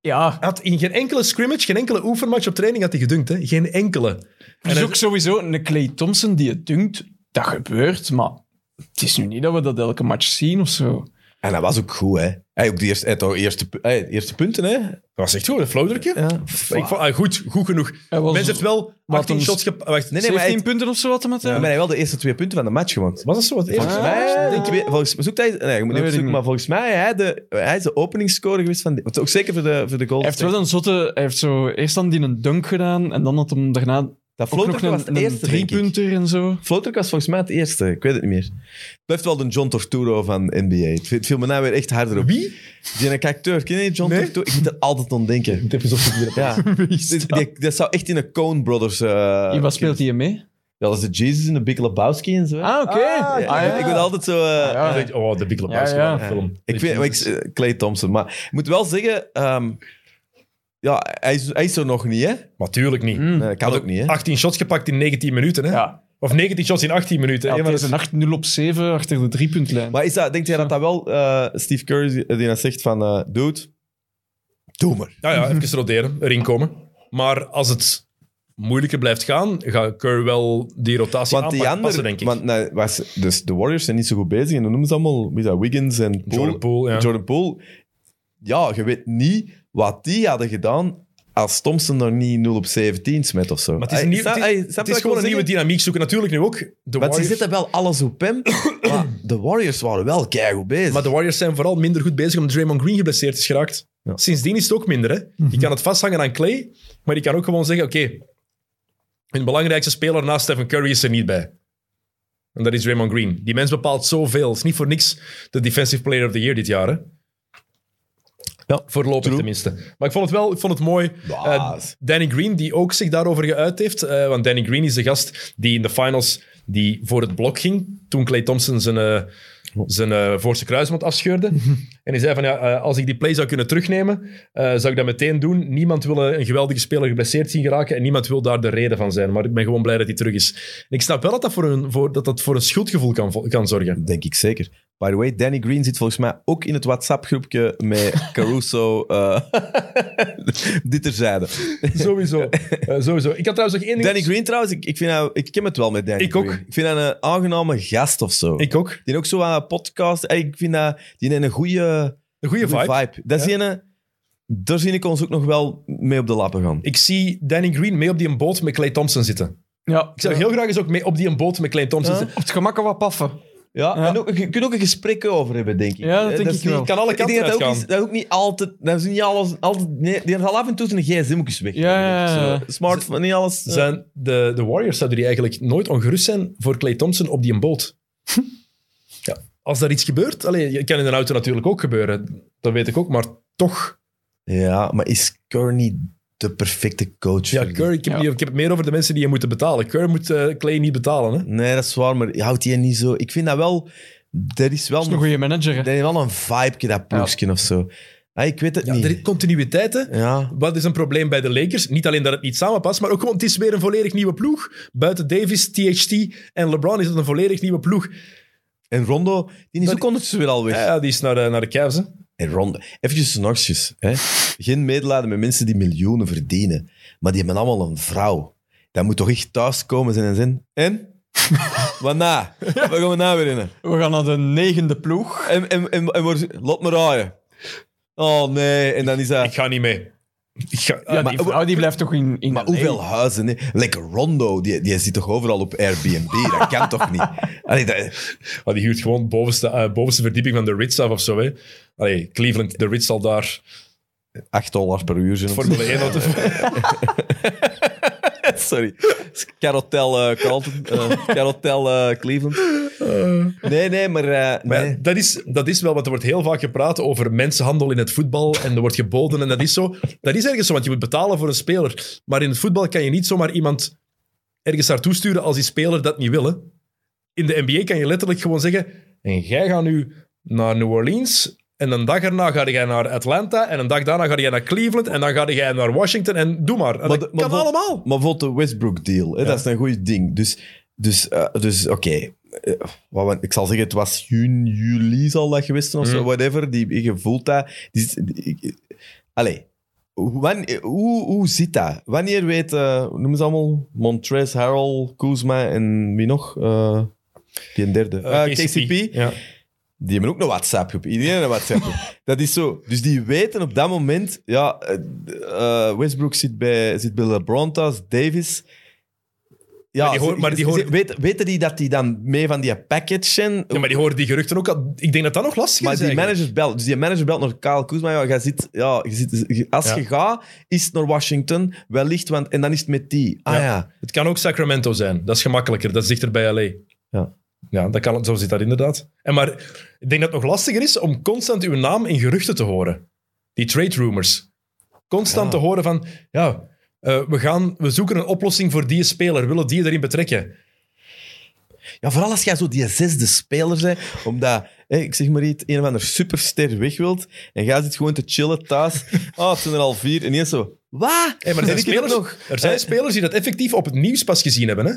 S3: Ja,
S1: had in geen enkele scrimmage, geen enkele oefenmatch op training had hij gedunkt. Hè? Geen enkele.
S3: er is
S1: En-
S3: ook sowieso een Clay Thompson die het dunkt. Dat gebeurt, maar het is nu niet dat we dat elke match zien of zo.
S2: En dat was ook goed, hè. Hey, ook die eerste, hey, toch, eerste, pu- hey, eerste punten, hè?
S1: Dat was echt goed, een flowdrukje.
S2: Ja.
S1: Ik vond, ah, goed, goed genoeg.
S3: Hij was-
S1: Mensen heeft wel
S3: Wat
S1: 18
S3: ons-
S1: shots gep- Wacht, nee,
S2: nee, maar
S3: 17
S2: hij-
S3: punten of zo had hem het.
S2: Maar
S3: hè?
S2: hij heeft wel de eerste twee punten van de match gewonnen.
S1: was dat zo wat eerst?
S2: Volgens mij, ik weet, volgens, zoek dat, nee, je moet
S3: Ah. weet
S2: niet
S3: ik
S2: opzoeken,
S3: niet.
S2: maar volgens mij hij de, hij is de openingsscore geweest van... die- want Ook zeker voor de, voor de goal.
S3: Hij heeft wel een zotte... Hij heeft zo eerst dan die een dunk gedaan en dan had hem daarna
S2: dat
S3: ook
S2: floater
S3: nog
S2: was
S3: een,
S2: het
S3: een
S2: eerste, denk ik.
S3: driepunter en zo.
S2: Floater was volgens mij het eerste, ik weet het niet meer. Het blijft wel de John Torturo van NBA. Het viel- het viel me nou weer echt harder op.
S1: Wie?
S2: Die een acteur, ken je die John
S1: Nee.
S2: Torturo? Ik moet er altijd aan denken.
S1: Het even zo goed
S2: Ja. Die- die- dat zou echt in een Coen Brothers... eh
S3: Hier, Wat speelt hij mee?
S2: Ja, dat is de Jesus en de Big Lebowski en zo.
S3: Ah, oké.
S1: Ah,
S2: Ja,
S1: ah,
S2: Ik ben altijd zo... eh,
S3: Ah, ja.
S1: Oh, de Big Lebowski,
S3: Ja, ja.
S1: wat een film.
S2: Ik vind, maar ik, eh, Clay Thompson. Maar ik moet wel zeggen, ehm, ja, hij is, hij is er nog niet, hè?
S1: Natuurlijk niet.
S3: Mm.
S2: Nee, dat kan ook niet, hè?
S1: 18 shots gepakt in 19 minuten, hè?
S3: Ja,
S1: Of 19 shots in 18 minuten.
S3: ja
S1: hè,
S3: het
S1: maar
S3: is
S1: dat
S3: een 8 0 op 7 achter de driepuntlijn.
S2: Maar is dat, denk jij dat dat wel eh, Steve Curry die- die dat zegt van, eh, dude, doe maar.
S1: Ja, Nou ja, even roderen, erin komen. Maar als het moeilijker blijft gaan, gaat Curry wel die rotatie
S2: Want
S1: aanpakken,
S2: die andere,
S1: passen, denk ik.
S2: want nee, was, dus de Warriors zijn niet zo goed bezig en dan noemen ze allemaal, wie is dat, Wiggins en Poole,
S1: Jordan Poole, ja.
S2: Jordan Poole. Ja, je weet niet wat die hadden gedaan als Thompson nog niet 0 op 17 smet of zo.
S1: Maar het is, een nieuw- het is- het is gewoon een nieuwe dynamiek zoeken. Natuurlijk nu ook de
S2: Want ze
S1: Warriors.
S2: zitten wel alles op hem, maar de Warriors waren wel keigoed bezig.
S1: Maar de Warriors zijn vooral minder goed bezig omdat Draymond Green geblesseerd is geraakt.
S2: Ja.
S1: Sindsdien is het ook minder. Hè? Je kan het vasthangen aan Clay, maar je kan ook gewoon zeggen, oké, hun belangrijkste speler naast Stephen Curry is er niet bij. En dat is Draymond Green. Die mens bepaalt zoveel. Het is niet voor niks de Defensive Player of the Year dit jaar. Hè?
S2: Ja,
S1: Voorlopig
S2: true.
S1: tenminste. Maar ik vond het wel ik vond het mooi.
S2: Baas.
S1: Eh, Danny Green, die ook zich daarover geuit heeft. eh, want Danny Green is de gast die in de finals die voor het blok ging. Toen Clay Thompson zijn, eh, zijn eh, voorste kruismond afscheurde. en hij zei van, ja, eh, als ik die play zou kunnen terugnemen, eh, zou ik dat meteen doen. Niemand wil eh, een geweldige speler geblesseerd zien geraken en niemand wil daar de reden van zijn. Maar ik ben gewoon blij dat hij terug is. En ik snap wel dat dat voor een, voor, dat dat voor een schuldgevoel kan, vo- kan zorgen.
S2: Denk ik zeker. By the way, Danny Green zit volgens mij ook in het WhatsApp-groepje met Caruso. eh dit terzijde.
S1: sowieso. Eh, sowieso. Ik had trouwens nog één ding...
S2: Danny Green trouwens, ik, ik, vind hem- ik ken het wel met Danny
S1: Ik ook.
S2: Green. Ik vind hem een aangename gast of zo.
S1: Ik ook.
S2: Die heeft ook zo aan een podcast. Ey, Ik vind dat, die heeft een goede
S1: Een goede vibe.
S2: Dat is
S1: Ja.
S2: ene, daar zie ik ons ook nog wel mee op de lappen gaan.
S1: Ik zie Danny Green mee op die een boot met Clay Thompson zitten.
S3: ja.
S1: Ik zou heel graag eens ook mee op die een boot met Klein Thompson
S2: Ja.
S1: zitten.
S3: Op het gemak al wat paffen.
S2: Ja,
S3: Ja.
S2: en ook, je kunt ook een gesprek over hebben, denk ik.
S3: Ja, dat
S2: Eh,
S3: denk
S2: is
S3: ik
S2: niet-
S3: wel.
S1: Kan alle
S2: ik
S1: kanten
S2: denk dat dat ook,
S1: uitgaan.
S2: niet, dat ook niet altijd... Dat is niet alles... Altijd, nee, die had al af en toe zijn gsm ook eens weg.
S3: Ja, ja, ja.
S2: Zo, Smartphone, niet alles... eh.
S1: Zijn de, de Warriors zouden die eigenlijk nooit ongerust zijn voor Clay Thompson op die een boot. Ja. Als daar iets gebeurt, allee, je kan in een auto natuurlijk ook gebeuren, dat weet ik ook, maar toch.
S2: Ja, maar is Curry niet de perfecte coach?
S1: Ja,
S2: voor die-
S1: Curry, ik heb,
S3: Ja.
S1: die- ik heb het meer over de mensen die je moeten betalen. Curry moet eh, Clay niet betalen. Hè?
S2: Nee, dat is waar, maar houdt hij niet zo... Ik vind dat wel... Er is wel,
S3: Dat is een goede manager. hè.
S2: er is wel een vibe, dat ploegje of zo. Ah, ik weet het
S1: Ja,
S2: niet.
S1: er is continuïteit, hè.
S2: Ja.
S1: Wat is een probleem bij de Lakers? Niet alleen dat het niet samenpast, maar ook gewoon, het is weer een volledig nieuwe ploeg. Buiten Davis, THT en LeBron is het een volledig nieuwe ploeg.
S2: En Rondo, die is
S1: Dat-
S2: ook ondertussen weer al weg.
S1: Ja, ja, die is naar, de- naar de Cavs, hè.
S2: En Rondo, eventjes nogjes. Hè? Geen medelijden met mensen die miljoenen verdienen. Maar die hebben allemaal een vrouw. Dat moet toch echt thuiskomen zijn en zin. En? Wat na? Wat gaan we na weer in?
S3: We gaan naar de negende ploeg.
S2: En, en, en, en wordt- laat me raaien. Oh nee, en dan is dat...
S1: Ik ga niet mee. Ik ga,
S3: Ja,
S1: maar-
S3: die vrouw die blijft toch in, in
S2: Maar
S3: LA.
S2: hoeveel huizen? hè? Lekker Rondo, die, die zit toch overal op Airbnb? Dat kan toch niet? Allee, dat,
S1: Ah, die huurt gewoon bovenste, eh, bovenste verdieping van de Ritz af of zo. Hè. Allee, Cleveland, de Ritz zal daar
S2: 8 dollar per uur zijn. of zo.
S1: Formule 1 auto
S2: Sorry. Carotel eh, Carlton. eh, Carotel eh, Cleveland. Nee, nee, maar... eh,
S1: Maar
S2: nee.
S1: ja, dat, is, dat is wel, want er wordt heel vaak gepraat over mensenhandel in het voetbal en er wordt geboden en dat is zo. Dat is ergens zo, want je moet betalen voor een speler. Maar in het voetbal kan je niet zomaar iemand ergens naartoe sturen als die speler dat niet wil. hè. In de NBA kan je letterlijk gewoon zeggen, en jij gaat nu naar New Orleans en een dag erna ga jij naar Atlanta en een dag daarna ga jij naar Cleveland en dan ga jij naar Washington en doe maar. En
S2: Maar
S1: dat
S2: de- maar
S1: kan
S2: vol-
S1: allemaal.
S2: Maar bijvoorbeeld de Westbrook-deal, hè, dat is een goed ding. Dus, dus, eh, dus oké. Eh, wat we- Ik zal zeggen, het was juni, juli zal dat geweest zijn of zo,
S1: Mm.
S2: whatever. Die, je voelt dat. Die, die- ik- allee, hoe- wan- hoe, hoe zit dat? Wanneer weet, eh, hoe noemen ze allemaal? Montrez, Harrell, Kuzma en wie nog? Eh, die een derde.
S1: Eh,
S2: Eh, KCP.
S1: Ja.
S2: Die hebben ook een WhatsApp-groep. Iedereen heeft een WhatsApp-groep. dat is zo. Dus die weten op dat moment... Ja, eh, eh, Westbrook zit bij, zit bij LeBron thuis, Davis... Ja,
S1: Maar die hoor-
S2: ze-
S1: maar die
S2: ze-
S1: hoor-
S2: ze- weet, weten die dat die dan mee van die package zijn?
S1: Ja, maar die horen die geruchten ook al. Ik denk dat dat nog lastig
S2: Maar
S1: is.
S2: die
S1: eigenlijk.
S2: manager belt. Dus die manager belt naar Kyle Kuzma. Ja, jij zit, ja, je zit, je- als
S1: Ja.
S2: je gaat, is het naar Washington. Wellicht, want... En dan is het met die. Ah
S1: Ja.
S2: ja.
S1: Het kan ook Sacramento zijn. Dat is gemakkelijker. Dat is dichter bij LA.
S2: Ja.
S1: Ja, dat kan, zo zit dat inderdaad. En maar ik denk dat het nog lastiger is om constant uw naam in geruchten te horen. Die trade rumors. Constant
S2: Ja.
S1: te horen van, ja, eh, we, gaan, we zoeken een oplossing voor die speler. We willen die erin betrekken.
S2: Ja, vooral als jij zo die zesde speler bent, omdat, hè, ik zeg maar iets, een of ander superster weg wilt, en jij zit gewoon te chillen thuis. Oh, het zijn er al vier. En ineens zo, wat?
S1: Hey, maar er zijn,
S2: En ik heb
S1: spelers,
S2: nog...
S1: er zijn
S2: eh,
S1: spelers die dat effectief op het nieuws pas gezien hebben. Hè?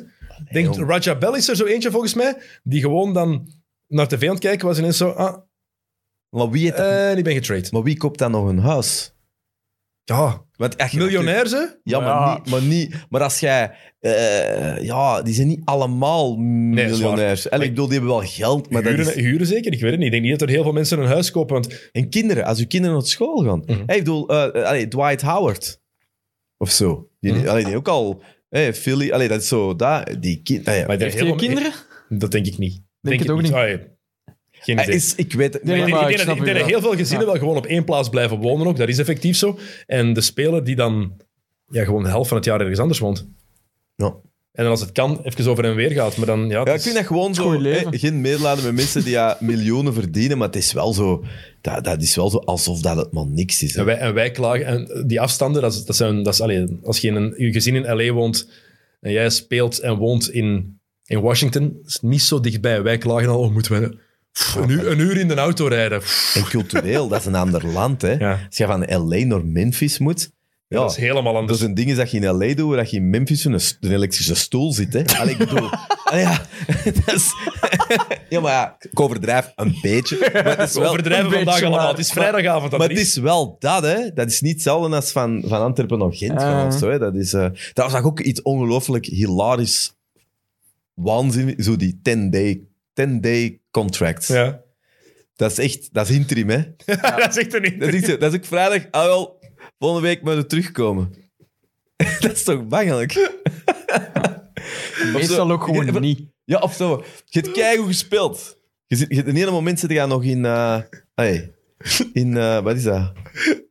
S1: Denk,
S2: jong.
S1: Raja Bell is er zo eentje volgens mij, die gewoon dan naar tv aan het kijken was en ineens zo, ah,
S2: Maar wie, heeft dat-
S1: eh, die ben getraind.
S2: maar wie koopt dan nog een huis?
S1: Ja,
S2: Want echt,
S1: miljonair ze?
S2: Ja, maar,
S3: Ja.
S2: Niet, maar niet... Maar als jij... eh, ja, die zijn niet allemaal
S1: dat is waar.
S2: miljonairs. Allee, ik bedoel, die hebben wel geld, maar dat
S1: Huren,
S2: is...
S1: huren zeker? Ik weet het niet. Ik denk niet dat er heel veel mensen een huis kopen, want
S2: En kinderen, als uw kinderen naar school gaan.
S1: Mhm.
S2: Hey, ik bedoel, eh, eh, allee, Dwight Howard. Of zo. Die,
S1: Mhm.
S2: allee, die ook al... Hey, Philly, allee, dat is zo... Dat, die kind, nou allee,
S1: Maar
S3: Heeft
S1: heel
S3: hij
S1: veel- Eh,
S3: kinderen?
S1: dat denk ik niet. Denk,
S3: het ook niet.
S1: Ah, ja. Geen
S2: hij
S1: idee.
S2: is, ik weet het
S1: Ik
S3: Nee,
S1: denk-
S3: maar
S1: ik
S3: ik
S1: denk dat-
S3: snap
S1: ik denk
S3: u
S1: dat
S3: wel.
S1: heel veel gezinnen
S3: Ja.
S1: wel gewoon op één plaats blijven wonen ook. Dat is effectief zo. En de speler die dan ja, gewoon de helft van het jaar ergens anders woont.
S2: Ja.
S1: En dan als het kan, even over en weer gaat. Maar dan, ja, het
S2: Ja,
S1: is-
S2: ik vind dat gewoon zo.
S3: Goeie leven.
S2: hè, geen medelijden met mensen die ja, miljoenen verdienen, maar het is wel zo. Dat, dat is wel zo alsof dat het maar niks is. hè.
S1: En wij, en wij klagen. En die afstanden, dat, is- dat zijn. Dat is, allee, als je in een, je gezin in LA woont. en jij speelt en woont in, in Washington. dat is niet zo dichtbij. Wij klagen al. Oh, moeten we pff, een, uur, een uur in de auto rijden? Pff.
S2: En cultureel, dat is een ander land. Hè.
S1: Ja.
S2: Als je van LA naar Memphis moet. Ja, Dus
S1: dat is helemaal
S2: dat
S1: anders.
S2: zijn dingen dat je in LA doet, waar dat je in Memphis in een, st- een elektrische stoel zit. Hè. Allee, ik bedoel, allee, ja, dat is, ja, maar ja, ik overdrijf een beetje. Maar het is
S1: We
S2: wel,
S1: overdrijven
S3: een
S1: vandaag
S3: beetje
S1: allemaal.
S3: waar.
S1: Het is vrijdagavond.
S2: Maar het
S1: Andries.
S2: is wel dat, hè. Dat is niet hetzelfde als van, van Antwerpen naar Gent gaan
S1: Ah.
S3: Ja.
S2: of zo, hè. Dat is... eh daar zag ik ook iets ongelooflijk hilarisch waanzin. Zo die 10-day 10-day contracts.
S1: Ja.
S2: Dat is echt... Dat is interim, hè.
S1: dat is echt een
S2: Dat is, dat is ook vrijdag. Ah, wel. Volgende week moeten we terugkomen. dat is toch bangelijk?
S3: Meestal ook gewoon
S2: Ja, maar-
S3: niet.
S2: Ja, of zo. Je hebt keigoed gespeeld. Je zit, je, in een ene moment zit je nog in... eh allee, in, eh, wat is dat?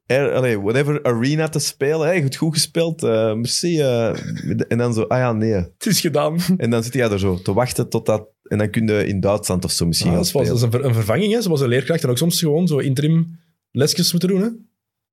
S2: Air, allee, whatever arena te spelen. Hey, je hebt goed gespeeld. eh, merci. eh. en dan zo, ah ja, nee.
S1: Het is gedaan.
S2: En dan zit je er zo te wachten tot dat... En dan kun je in Duitsland of zo misschien
S1: Ja,
S2: gaan
S1: Ah, dat is wel- dat
S2: spelen.
S1: is een, ver- een vervanging. Hè. Zoals een leerkracht. En ook soms gewoon zo interim lesjes moeten doen. Hè.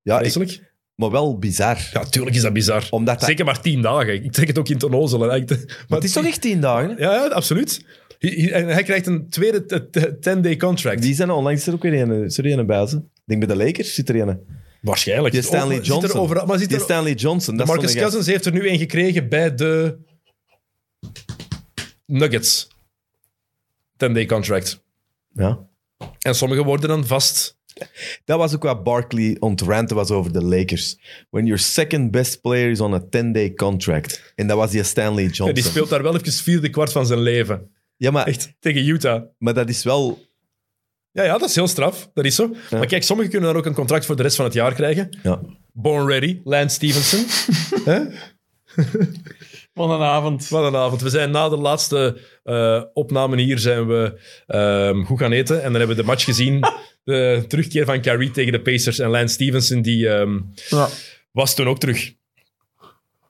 S2: Ja, ik-
S1: Vreselijk.
S2: maar wel bizar.
S1: Ja, tuurlijk is dat bizar.
S2: Omdat dat,
S1: Zeker maar tien dagen. Ik trek het ook in ten ozele. Maar
S2: maar het is toch echt tien dagen? hè?
S1: Ja, ja, absoluut. Hij- hij- En hij krijgt een tweede t- t- 10-day contract.
S2: Die zijn er onlangs er ook weer eh, een. Zit er een bij ze? Ik denk bij de Lakers zit er een.
S1: Waarschijnlijk.
S2: Die
S1: Zit er
S2: Stanley
S1: over- zit er
S2: Johnson.
S1: overal- maar zit
S2: Die
S1: er,
S2: Stanley Johnson. Dat is
S1: Marcus
S2: zo'n gast.
S1: Cousins heeft er nu een gekregen bij de Nuggets. 10-day contract.
S2: Ja.
S1: En sommigen worden dan vast.
S2: Dat was ook wat Barkley ontranten was over de Lakers. When your second best player is on a 10-day contract. En dat was die Stanley Johnson.
S1: Ja, die speelt daar wel eventjes vierde kwart van zijn leven.
S2: Ja, maar,
S1: Echt, tegen Utah.
S2: maar dat is wel...
S1: Ja, ja, dat is heel straf. Dat is zo.
S2: Ja.
S1: Maar kijk, sommigen kunnen dan ook een contract voor de rest van het jaar krijgen.
S2: Ja.
S1: Born ready, Lance Stevenson.
S3: Wat een avond.
S1: Wat een avond. We zijn na de laatste eh, opname hier zijn we ehm, goed gaan eten. En dan hebben we de match gezien. De terugkeer van Kyrie tegen de Pacers. En Lance Stevenson die, ehm,
S3: Ja.
S1: was toen ook terug.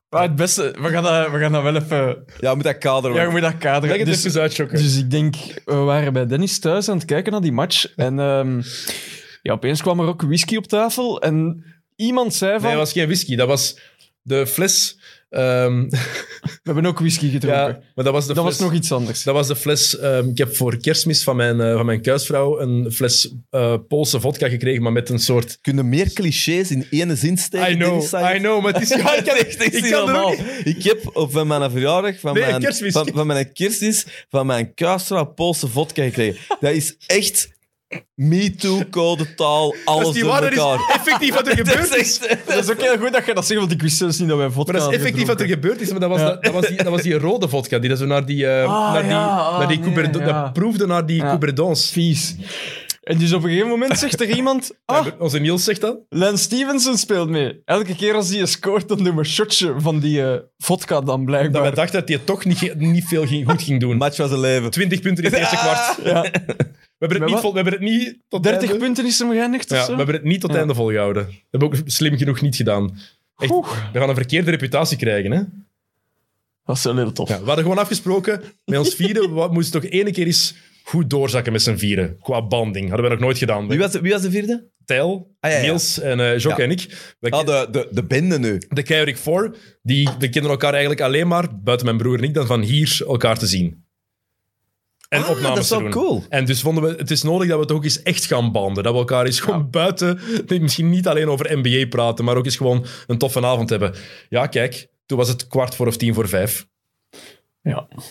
S3: Maar het beste, we gaan dat, we gaan dat wel even...
S2: Ja, je moet dat kader
S3: Ja, je moet dat
S1: Leg
S3: kaderen.
S1: het
S3: Dus,
S1: even uit, Jokke.
S3: dus ik denk, we waren bij Dennis thuis aan het kijken naar die match. En ehm, ja, opeens kwam er ook whisky op tafel. En iemand zei van...
S1: Nee, dat was geen whisky. Dat was de fles... ehm,
S3: We hebben ook whisky gedronken.
S1: ja, maar dat was de
S3: dat
S1: fles...
S3: was nog iets anders.
S1: Dat was de fles. ehm, ik heb voor kerstmis van mijn, eh, van mijn kuisvrouw een fles eh, Poolse vodka gekregen, maar met een soort.
S2: Kunnen meer clichés in één zin steken?
S1: I know,
S2: Dennis, zei je?
S1: I know, maar het is. Ja, ik kan echt
S2: Ik,
S1: ik
S2: kan
S1: kan er ook niet-
S2: ik heb op- van mijn verjaardag, van,
S1: Nee,
S2: mijn,
S1: kerstmis.
S2: van, van mijn kerstmis, van mijn kuistra Poolse vodka gekregen. Dat is echt Me too, code taal, alles
S1: die
S2: door
S1: waar, dat is
S2: elkaar.
S1: effectief wat er gebeurd is.
S3: Dat is ook heel goed dat je dat zegt, want ik wist zelfs niet dat wij
S1: Maar
S3: vodka
S1: dat is
S3: hadden
S1: effectief wat er
S3: gedronken.
S1: gebeurd is. Maar dat was,
S3: Ja.
S1: dat, dat was, die, dat was die rode vodka die dat zo naar die, eh,
S3: Ah,
S1: naar die,
S3: ja, ah,
S1: naar die
S3: nee,
S1: Couberdo-
S3: ja.
S1: dat proefde naar die
S3: Ja.
S1: Couberdons.
S3: Vies. En dus op een gegeven moment zegt er iemand... Ah,
S1: Onze Niels zegt dat.
S3: Lance Stevenson speelt mee. Elke keer als hij scoort, dan doen we een shotje van die eh, vodka dan
S1: Dat
S3: blijkbaar.
S1: wij dachten dat hij het toch niet, ge- niet veel ging, goed ging doen.
S2: Match was een leven.
S1: 20 punten in het eerste kwart.
S3: Ja.
S1: We hebben het
S3: Maar
S1: niet,
S3: wat?
S1: vol, we hebben het niet tot
S3: 30
S1: einde-
S3: punten is hem geëindigd of
S1: Ja,
S3: zo?
S1: we hebben het niet tot
S3: Ja.
S1: einde volgehouden. Dat hebben we ook slim genoeg niet gedaan. Echt,
S3: Oeh,
S1: we gaan een verkeerde reputatie krijgen. Hè?
S3: dat is wel heel tof.
S1: Ja, we hadden gewoon afgesproken, met ons vieren we moesten toch ene keer eens goed doorzakken met z'n vieren. Qua banding. Hadden we nog nooit gedaan.
S2: Wie was, de- wie was de vierde?
S1: Tijl,
S2: Ah, ja, ja.
S1: Niels en eh Jocke
S2: Ja.
S1: en ik. Wij
S2: Ah, de, de, de bende nu.
S1: de Keurig 4, die, die kennen elkaar eigenlijk alleen maar, buiten mijn broer en ik, dan van hier elkaar te zien. En
S2: Ah,
S1: opnames
S2: dat is
S1: te
S2: wel
S1: doen.
S2: cool.
S1: En dus vonden we, het is nodig dat we het ook eens echt gaan banden. Dat we elkaar eens gewoon buiten, misschien niet alleen over NBA praten, maar ook eens gewoon een toffe avond hebben. Ja, kijk, toen was het kwart voor of tien voor vijf.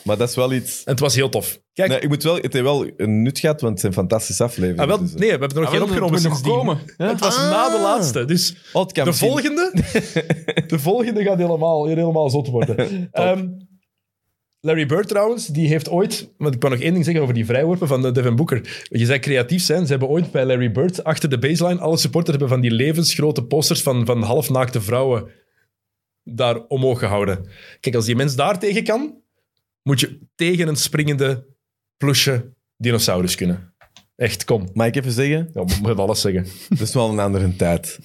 S2: Maar dat is wel iets...
S1: En het was heel tof. Kijk,
S2: Nee, ik moet wel, het heeft wel een nut gehad, want het zijn fantastische afleveringen.
S1: ah, wel,
S2: dus, eh.
S1: nee, we hebben er nog
S3: Ah,
S1: geen
S3: wel,
S1: opgenomen
S3: dat moet nog
S1: sindsdien.
S3: komen, ja.
S1: Het was na de
S2: Ah.
S1: laatste, dus...
S2: Oh, het kan
S1: De
S2: misschien-
S1: volgende, de volgende gaat helemaal, helemaal zot worden. Ehm, Larry Bird trouwens, die heeft ooit... Want ik kan nog één ding zeggen over die vrijworpen van eh, Devin Booker. Je zei creatief zijn. Ze hebben ooit bij Larry Bird achter de baseline... Alle supporters hebben van die levensgrote posters van, van halfnaakte vrouwen daar omhoog gehouden. Kijk, als die mens daar tegen kan, moet je tegen een springende, plusje dinosaurus kunnen. Echt, kom.
S2: Mag ik even zeggen?
S1: Ja, we moeten alles zeggen.
S2: Dat is wel een andere tijd.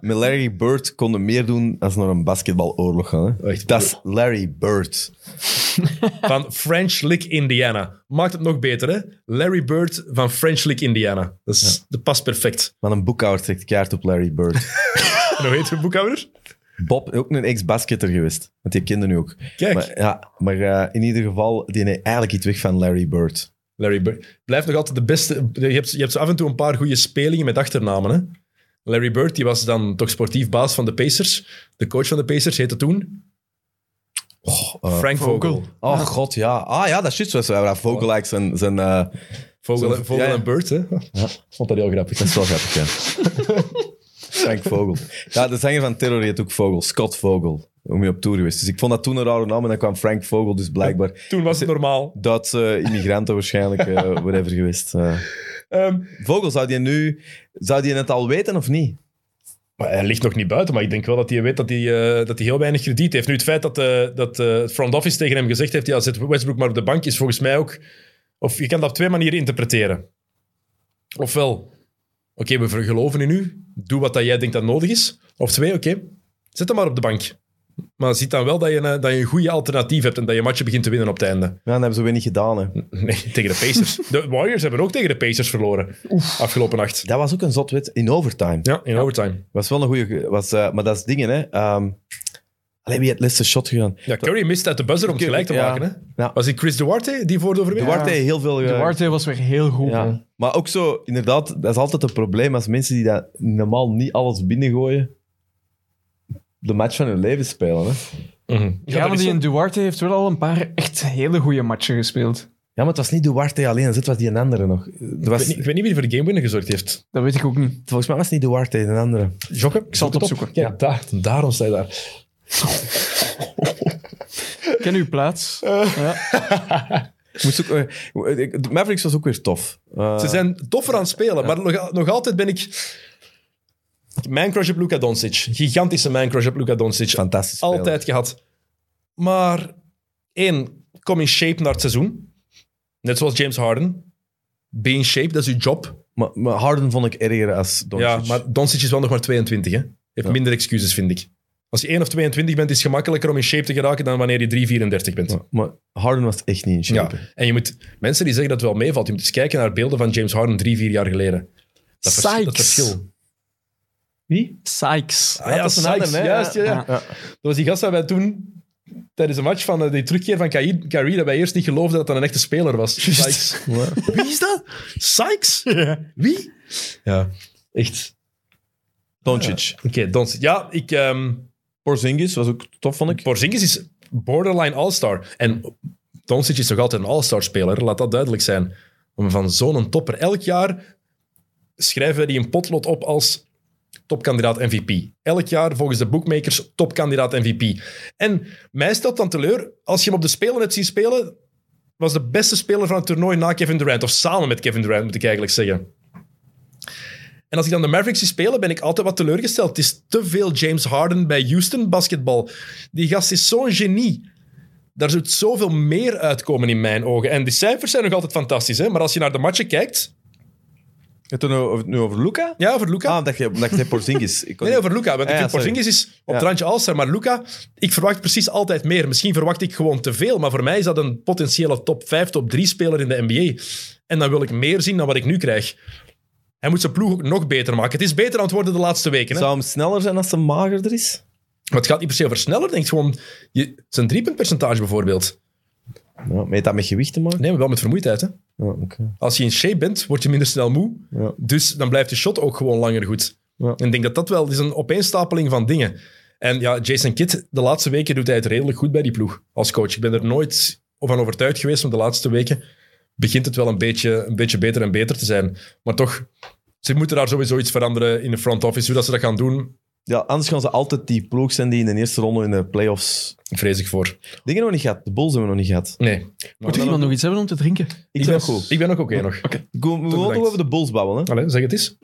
S2: Met Larry Bird konden meer doen als naar een basketbaloorlog gaan. hè.
S1: Oh, Echt.
S2: Dat is Larry Bird.
S1: van French Lick Indiana. Maakt het nog beter, hè? Larry Bird van French Lick Indiana. Dat, is, dat past perfect.
S2: Maar een boekhouder trekt kaart op Larry Bird.
S1: En hoe heet je boekhouder?
S2: Bob, ook een ex-basketter geweest. Want die kende nu ook.
S1: Kijk,
S2: Maar, ja, maar eh, in ieder geval, die neemt eigenlijk iets weg van Larry Bird.
S1: Larry Bird. Blijft nog altijd de beste. Je hebt, je hebt zo af en toe een paar goede spelingen met achternamen, hè? Larry Bird, die was dan toch sportief baas van de Pacers. De coach van de Pacers heette toen
S2: eh,
S1: Frank Ah, Vogel.
S3: Vogel.
S1: Vogel,
S2: Oh god, ja. Ah ja, dat is juist. Zo, ja, Vogel like zijn... zijn eh,
S1: Vogel,
S2: Zo-
S1: en
S2: ja, ja.
S1: Bird, hè? Vond dat heel grappig.
S2: dat is wel grappig, ja. Frank Vogel. Ja, de zanger van Terror heet ook Vogel. Scott Vogel. Om je op tour geweest. Dus ik vond dat toen een rare naam en dan kwam Frank Vogel, dus blijkbaar...
S1: Toen was het normaal.
S2: Duitse immigranten waarschijnlijk, eh whatever geweest. eh.
S1: Ehm,
S2: Vogel, zou die nu... Zou die het al weten of niet?
S1: Maar hij ligt nog niet buiten, maar ik denk wel dat hij weet dat hij, eh, dat hij heel weinig krediet heeft. Nu, het feit dat, eh dat eh, het front office tegen hem gezegd heeft, ja, zet Westbrook maar op de bank, is volgens mij ook... Of je kan dat op twee manieren interpreteren. Ofwel, oké, we ver- geloven in u, doe wat dat jij denkt dat nodig is. Of twee, oké, zet hem maar op de bank. Maar ziet dan wel dat je, een- dat je een goede alternatief hebt en dat je matchen begint te winnen op het einde.
S2: Ja, dat hebben ze weer niet gedaan, hè.
S1: Nee, tegen de Pacers. De Warriors hebben ook tegen de Pacers verloren afgelopen nacht.
S2: Dat was ook een zotwit in overtime.
S1: Ja, in overtime.
S2: Was wel een goede. Was, eh, maar dat is dingen, hè? Ehm alleen wie het laatste shot gegaan?
S1: Ja, Curry mist uit de buzzer om het
S2: Curry,
S1: gelijk te
S2: ja.
S1: maken. Hè?
S2: Ja.
S1: Was het Chris Duarte die voor de overwinning?
S2: Duarte heeft heel veel.
S3: De
S2: eh,
S3: Duarte was weer heel goed. hè.
S2: ja. Maar ook zo, inderdaad, dat is altijd een probleem als mensen die dat normaal niet alles binnengooien, de match van hun leven spelen. Hè.
S1: Mhm.
S3: Ja, maar die in Duarte heeft wel al een paar echt hele goede matchen gespeeld.
S2: Ja, maar het was niet Duarte alleen, het was die een andere nog. Er
S1: Ik
S2: was,
S1: weet, niet, ik weet niet wie voor de gamewinner gezorgd heeft.
S3: Dat weet ik ook niet.
S2: Volgens mij was het niet Duarte, een andere.
S1: Jokke?
S3: Ik zal het opzoeken.
S1: Ja, daar, daarom sta je daar.
S3: Ken uw plaats.
S1: Eh.
S3: Ja.
S2: Ik Moest ook, eh, ik- de Mavericks was ook weer tof. Eh,
S1: Ze zijn toffer aan het spelen, maar nog, nog altijd ben ik... Mijn crush op Luka Doncic. Gigantische mijn crush op Luka Doncic.
S2: fantastisch. spelen.
S1: Altijd gehad. Maar één, kom in shape naar het seizoen. Net zoals James Harden. Be in shape, dat is uw job.
S2: Maar, maar Harden vond ik erger als Doncic.
S1: Ja, maar Doncic is wel nog maar 22, hè? Heeft
S2: Ja.
S1: minder excuses, vind ik. Als je 1 of 22 bent, is het gemakkelijker om in shape te geraken dan wanneer je 3, 34 bent.
S2: Ja, maar Harden was echt niet in
S1: Ja.
S2: shape.
S1: En je moet, mensen die zeggen dat het wel meevalt, je moet eens kijken naar beelden van James Harden 3, 4 jaar geleden. Dat, vers- dat
S3: Sykes.
S1: verschil.
S2: Wie?
S3: Sykes.
S1: Ah, ja,
S2: dat is een
S1: Sykes,
S2: ander, hè?
S1: juist, ja, ja.
S3: Ja.
S2: Ja.
S1: Dat was die gast dat wij toen, tijdens een match van eh, die terugkeer van Kyrie, Kyrie, dat wij eerst niet geloofden dat dat een echte speler was. Sykes. Wie is dat? Sykes? Wie? Ja, echt.
S2: Doncic.
S1: Oké, Doncic. Ja, ik... ehm,
S2: Porzingis was ook tof, vond ik.
S1: Porzingis is borderline all-star. En Doncic is nog altijd een all-star speler, laat dat duidelijk zijn. om van zo'n topper. Elk jaar schrijven wij die een potlot op als topkandidaat MVP. Elk jaar volgens de bookmakers topkandidaat MVP. En mij stelt dan teleur, als je hem op de Spelen hebt zien spelen, was de beste speler van het toernooi na Kevin Durant. Of samen met Kevin Durant, moet ik eigenlijk zeggen. En als ik dan de Mavericks zie spelen, ben ik altijd wat teleurgesteld. Het is te veel James Harden bij Houston basketbal. Die gast is zo'n genie. Daar zou zoveel meer uitkomen in mijn ogen. En die cijfers zijn nog altijd fantastisch. Hè? Maar als je naar de matchen kijkt...
S2: Het nu over, nu over Luca?
S1: Ja, nou over Luca.
S2: Ah, omdat je, omdat je Porzingis... Ik kon
S1: Nee, nee,
S2: niet-
S1: over Luca. Want
S2: Ah,
S1: ik
S2: ja,
S1: vind
S2: sorry.
S1: Porzingis is op
S2: Ja.
S1: het randje Alster. Maar Luca, ik verwacht precies altijd meer. Misschien verwacht ik gewoon te veel. Maar voor mij is dat een potentiële top 5, top 3 speler in de NBA. En dan wil ik meer zien dan wat ik nu krijg. Hij moet zijn ploeg ook nog beter maken. Het is beter aan het worden de laatste weken. Hè?
S2: Zou hem sneller zijn als hij magerder is?
S1: Maar het gaat niet per se over sneller. Denk gewoon je, zijn driepuntpercentage bijvoorbeeld.
S2: Ja, maar heeft dat met gewicht te maken?
S1: Nee, maar wel met vermoeidheid. Hè?
S2: Ja, oké.
S1: Als je in shape bent, word je minder snel moe.
S2: Ja.
S1: Dus dan blijft je shot ook gewoon langer goed.
S2: Ja.
S1: En ik denk dat dat wel het is een opeenstapeling van dingen. En ja, Jason Kidd, de laatste weken doet hij het redelijk goed bij die ploeg als coach. Ik ben er nooit van overtuigd geweest, maar de laatste weken begint het wel een beetje, een beetje beter en beter te zijn. Maar toch, ze moeten daar sowieso iets veranderen in de front office. Hoe dat ze dat gaan doen,
S2: Ja, anders gaan ze altijd die ploeg zijn die in de eerste ronde in de playoffs...
S1: vrees ik voor.
S2: Dingen nog niet gehad. De Bulls hebben we nog niet gehad.
S1: Nee.
S3: Moet iemand nog iets hebben om te drinken?
S2: Ik
S1: ben,
S2: ben goed.
S1: ik ben ook oké nog.
S2: Ik wil we willen nog
S1: bedankt.
S2: over de Bulls babbelen. Hè.
S1: Allee, zeg het eens.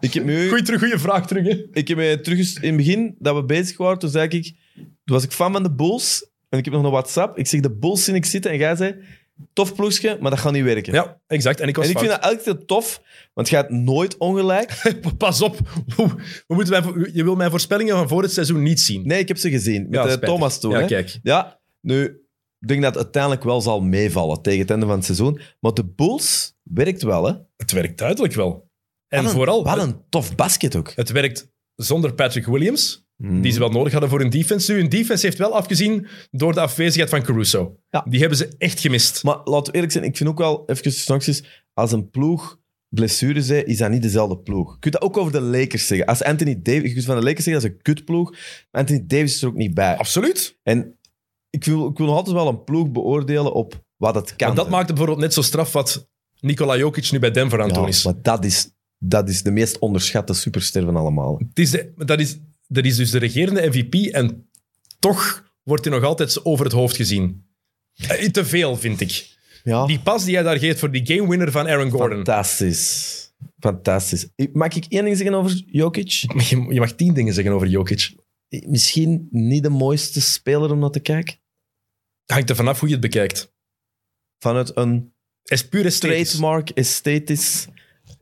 S2: Ik heb nu...
S1: Goeie, terug, goeie vraag terug, hè.
S2: Ik heb mij terug eens- in het begin dat we bezig waren, toen zei ik, toen was ik fan van de Bulls en ik heb nog een WhatsApp. Ik zeg de Bulls zie ik zitten en jij zei, tof ploegje, maar dat gaat niet werken.
S1: Ja, exact. En ik was
S2: en ik
S1: fout.
S2: vind dat elke keer tof, want je gaat nooit ongelijk.
S1: Pas op. Oeh, We moeten mijn, je wil mijn voorspellingen van voor het seizoen niet zien.
S2: Nee, ik heb ze gezien met
S1: Ja,
S2: eh,
S1: spijtig.
S2: Thomas toen.
S1: Ja,
S2: hè.
S1: kijk.
S2: ja, nu, ik denk dat het uiteindelijk wel zal meevallen tegen het einde van het seizoen. Maar de Bulls werkt wel, hè.
S1: Het werkt duidelijk wel. En
S2: Wat een-
S1: vooral,
S2: Wat
S1: het,
S2: een tof basket ook.
S1: het werkt zonder Patrick Williams,
S2: Mm.
S1: die ze wel nodig hadden voor hun defense. Nu, hun defense heeft wel afgezien door de afwezigheid van Caruso.
S2: Ja.
S1: Die hebben ze echt gemist.
S2: Maar laten we eerlijk zijn, ik vind ook wel, even sancties, als een ploeg blessures heeft, is dat niet dezelfde ploeg. Je kunt dat ook over de Lakers zeggen. Als Anthony Davis, je kunt van de Lakers zeggen, dat is een kutploeg, maar Anthony Davis is er ook niet bij.
S1: Absoluut.
S2: En ik wil, ik wil nog altijd wel een ploeg beoordelen op wat het kan.
S1: En dat maakt het bijvoorbeeld net zo straf wat Nikola Jokic nu bij Denver aan het doen
S2: ja,
S1: is.
S2: maar dat is, dat is de meest onderschatte superster van allemaal.
S1: Het is de- dat, is, dat is dus de regerende MVP en toch wordt hij nog altijd zo over het hoofd gezien. Eh, Te veel, vind ik.
S2: Ja,
S1: Die pas die hij daar geeft voor die game winner van Aaron Gordon.
S2: fantastisch. Fantastisch. Ik- Mag ik één ding zeggen over Jokic? Eh,
S1: Maar Je, je mag tien dingen zeggen over Jokic.
S2: Misschien niet de mooiste speler om naar te kijken.
S1: Het hangt er vanaf hoe je het bekijkt.
S2: Vanuit een
S1: Hij is puur esthetisch.
S2: trademark, esthetisch,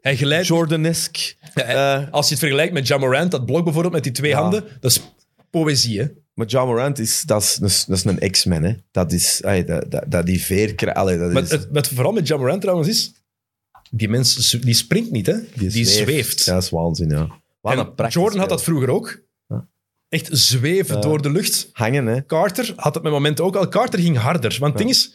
S1: Hij glijdt.
S2: Jordanesk.
S1: Ja, hij-
S2: Eh,
S1: als je het vergelijkt met Jamorant, dat blok bijvoorbeeld met die twee
S2: Ja.
S1: handen, dat is poëzie. Hè?
S2: maar John Morant is, dat is, dat is, dat is een X-Men. hè. Dat is ay, dat, dat, dat die veerkracht. allee, dat
S1: Maar
S2: is,
S1: het, wat vooral met Jamorant trouwens is, die mens z- die springt niet, hè? die, zweeft.
S2: Ja, dat is waanzin, ja. Wat
S1: En
S2: een prachtig
S1: Jordan had dat
S2: speler.
S1: vroeger ook.
S2: Ja.
S1: Echt zweven
S2: Ja.
S1: door de lucht.
S2: hangen, hè.
S1: Carter had het met moment ook al. Carter ging harder. Want het ding is,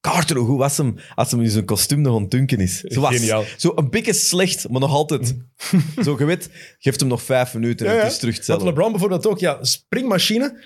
S2: Carter, hoe was hem als hem in zijn kostuum nog aan het dunken is? Zo, was,
S1: Geniaal.
S2: zo een beetje slecht, maar nog altijd. zo, je weet, geeft hem nog vijf minuten en
S1: Ja,
S2: het
S1: ja.
S2: is terug
S1: Want
S2: hetzelfde.
S1: LeBron bijvoorbeeld ook, ja, springmachine,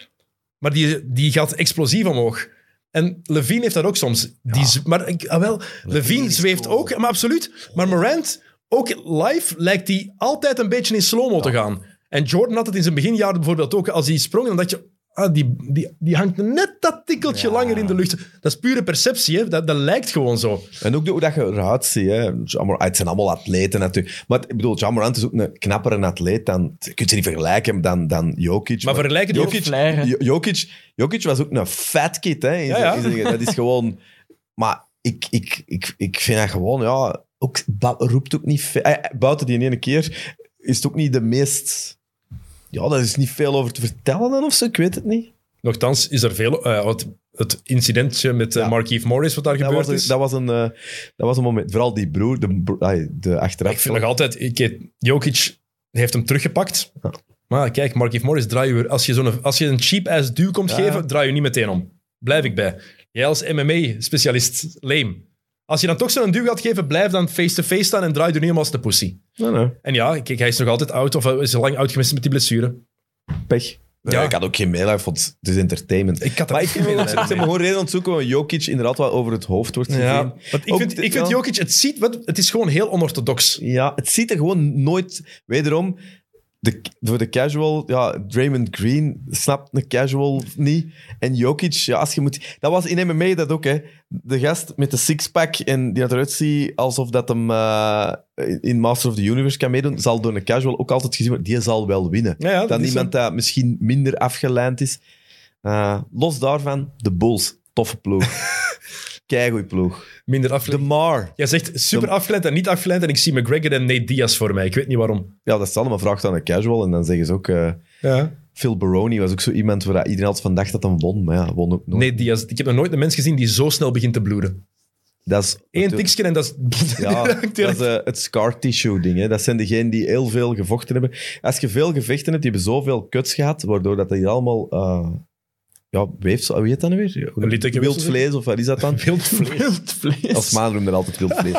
S1: maar die, die gaat explosief omhoog. En Levine heeft dat ook soms. Die, z- Maar ik- ah, wel, Levine
S2: is Oh.
S1: zweeft
S2: cool.
S1: ook, maar absoluut. Maar Morant, ook live, lijkt hij altijd een beetje in slow-mo te gaan. En Jordan had het in zijn beginjaren bijvoorbeeld ook. Als hij sprong, dan dacht je, ah, die, die, die hangt net dat tikkeltje langer in de lucht. Dat is pure perceptie, hè? Dat, dat lijkt gewoon zo.
S2: En ook de- hoe dat je eruit ziet. Hè. Ja, maar Het zijn allemaal atleten natuurlijk. Maar ik bedoel, John Morant is ook een knappere atleet. Dan, je kunt ze niet vergelijken dan, dan Jokic.
S1: Maar vergelijk het
S3: Jokic-
S1: ook-
S3: Flair, hè.
S2: Jo- Jokic, Jokic was ook een fat kid. Hè, in
S1: Ja,
S2: zijn-
S1: ja.
S2: in zijn- dat is gewoon... Maar ik, ik, ik, ik vind dat gewoon... Ja, ook, ba- roept ook niet veel... eh, Buiten die ene keer is het ook niet de meest... Ja, daar is niet veel over te vertellen dan of zo. Ik weet het niet.
S1: Nochtans is er veel... eh, het, het incidentje met eh,
S2: Ja.
S1: Markieff Morris, wat daar
S2: Dat
S1: gebeurd
S2: was,
S1: is.
S2: een, dat, was een, eh, dat was een moment. Vooral die broer, de, bro- ay, de achteraf. Oh.
S1: Ik vind nog altijd, ik, Jokic heeft hem teruggepakt. Maar kijk, Markieff Morris, draai je, weer- als, je zo'n, als je een cheap-ass duw komt
S2: Ja.
S1: geven, draai je niet meteen om. Blijf ik bij. Jij als MMA-specialist, lame. Als je dan toch zo'n duw gaat geven, blijf dan face-to-face staan en draai je er niet om als de pussy.
S2: Nee, nee.
S1: eh, En ja, kijk, hij is nog altijd oud, of hij is lang oud geweest met die blessure.
S2: Pech. Ja. Ik had ook geen mail, ik vond het is entertainment.
S1: Ik had er
S2: maar ik
S1: ook
S2: vind
S1: geen
S2: wel-
S1: mail
S2: ik heb gewoon reden ontzoeken waarom Jokic inderdaad wel over het hoofd wordt gegeven.
S1: Ja, want ik
S2: Ook
S1: vind,
S2: dit-
S1: ik vind
S2: ja.
S1: Jokic, het, ziet, wat- het is gewoon heel onorthodox.
S2: Ja, het ziet er gewoon nooit... Wederom, de, voor de casual... Ja, Draymond Green snapt een casual niet. En Jokic, ja, als je moet... Dat was in MMA dat ook, hè. De gast met de sixpack en die dat eruit ziet alsof dat hem eh, in Master of the Universe kan meedoen, zal door een casual ook altijd gezien worden. Die zal wel winnen.
S1: Ja, ja, Ah, dat
S2: dan
S1: is
S2: iemand dat misschien minder afgeleind is. Eh, los daarvan, de Bulls. Toffe ploeg. Keigoed ploeg.
S1: een- minder
S2: De
S1: afgeleid.
S2: Mar.
S1: Jij zegt super afgeleid en niet afgeleid en ik zie McGregor en Nate Diaz voor mij. Ik weet niet waarom.
S2: Ja, dat is allemaal vraagt aan een casual. En dan zeggen ze ook... eh,
S1: Ja.
S2: Phil Baroni was ook zo iemand waar iedereen altijd van dacht dat hij won, maar ja, won ook nooit.
S1: Nate Diaz. Ik heb nog nooit een mens gezien die zo snel begint te bloeden.
S2: dat is
S1: Eén tikje en dat is...
S2: Ja,
S1: direct-
S2: dat is eh, het scar tissue ding. Hè. Dat zijn degenen die heel veel gevochten hebben. Als je veel gevechten hebt, die hebben zoveel kuts gehad, waardoor dat hier allemaal... eh, ja, weefsel... Hoe heet dat nu weer?
S1: Een littekje
S2: Wild
S1: weefsel?
S2: vlees, of wat is dat dan?
S1: Wild vlees.
S3: Wild vlees.
S2: Als maan noemde dat altijd wild vlees.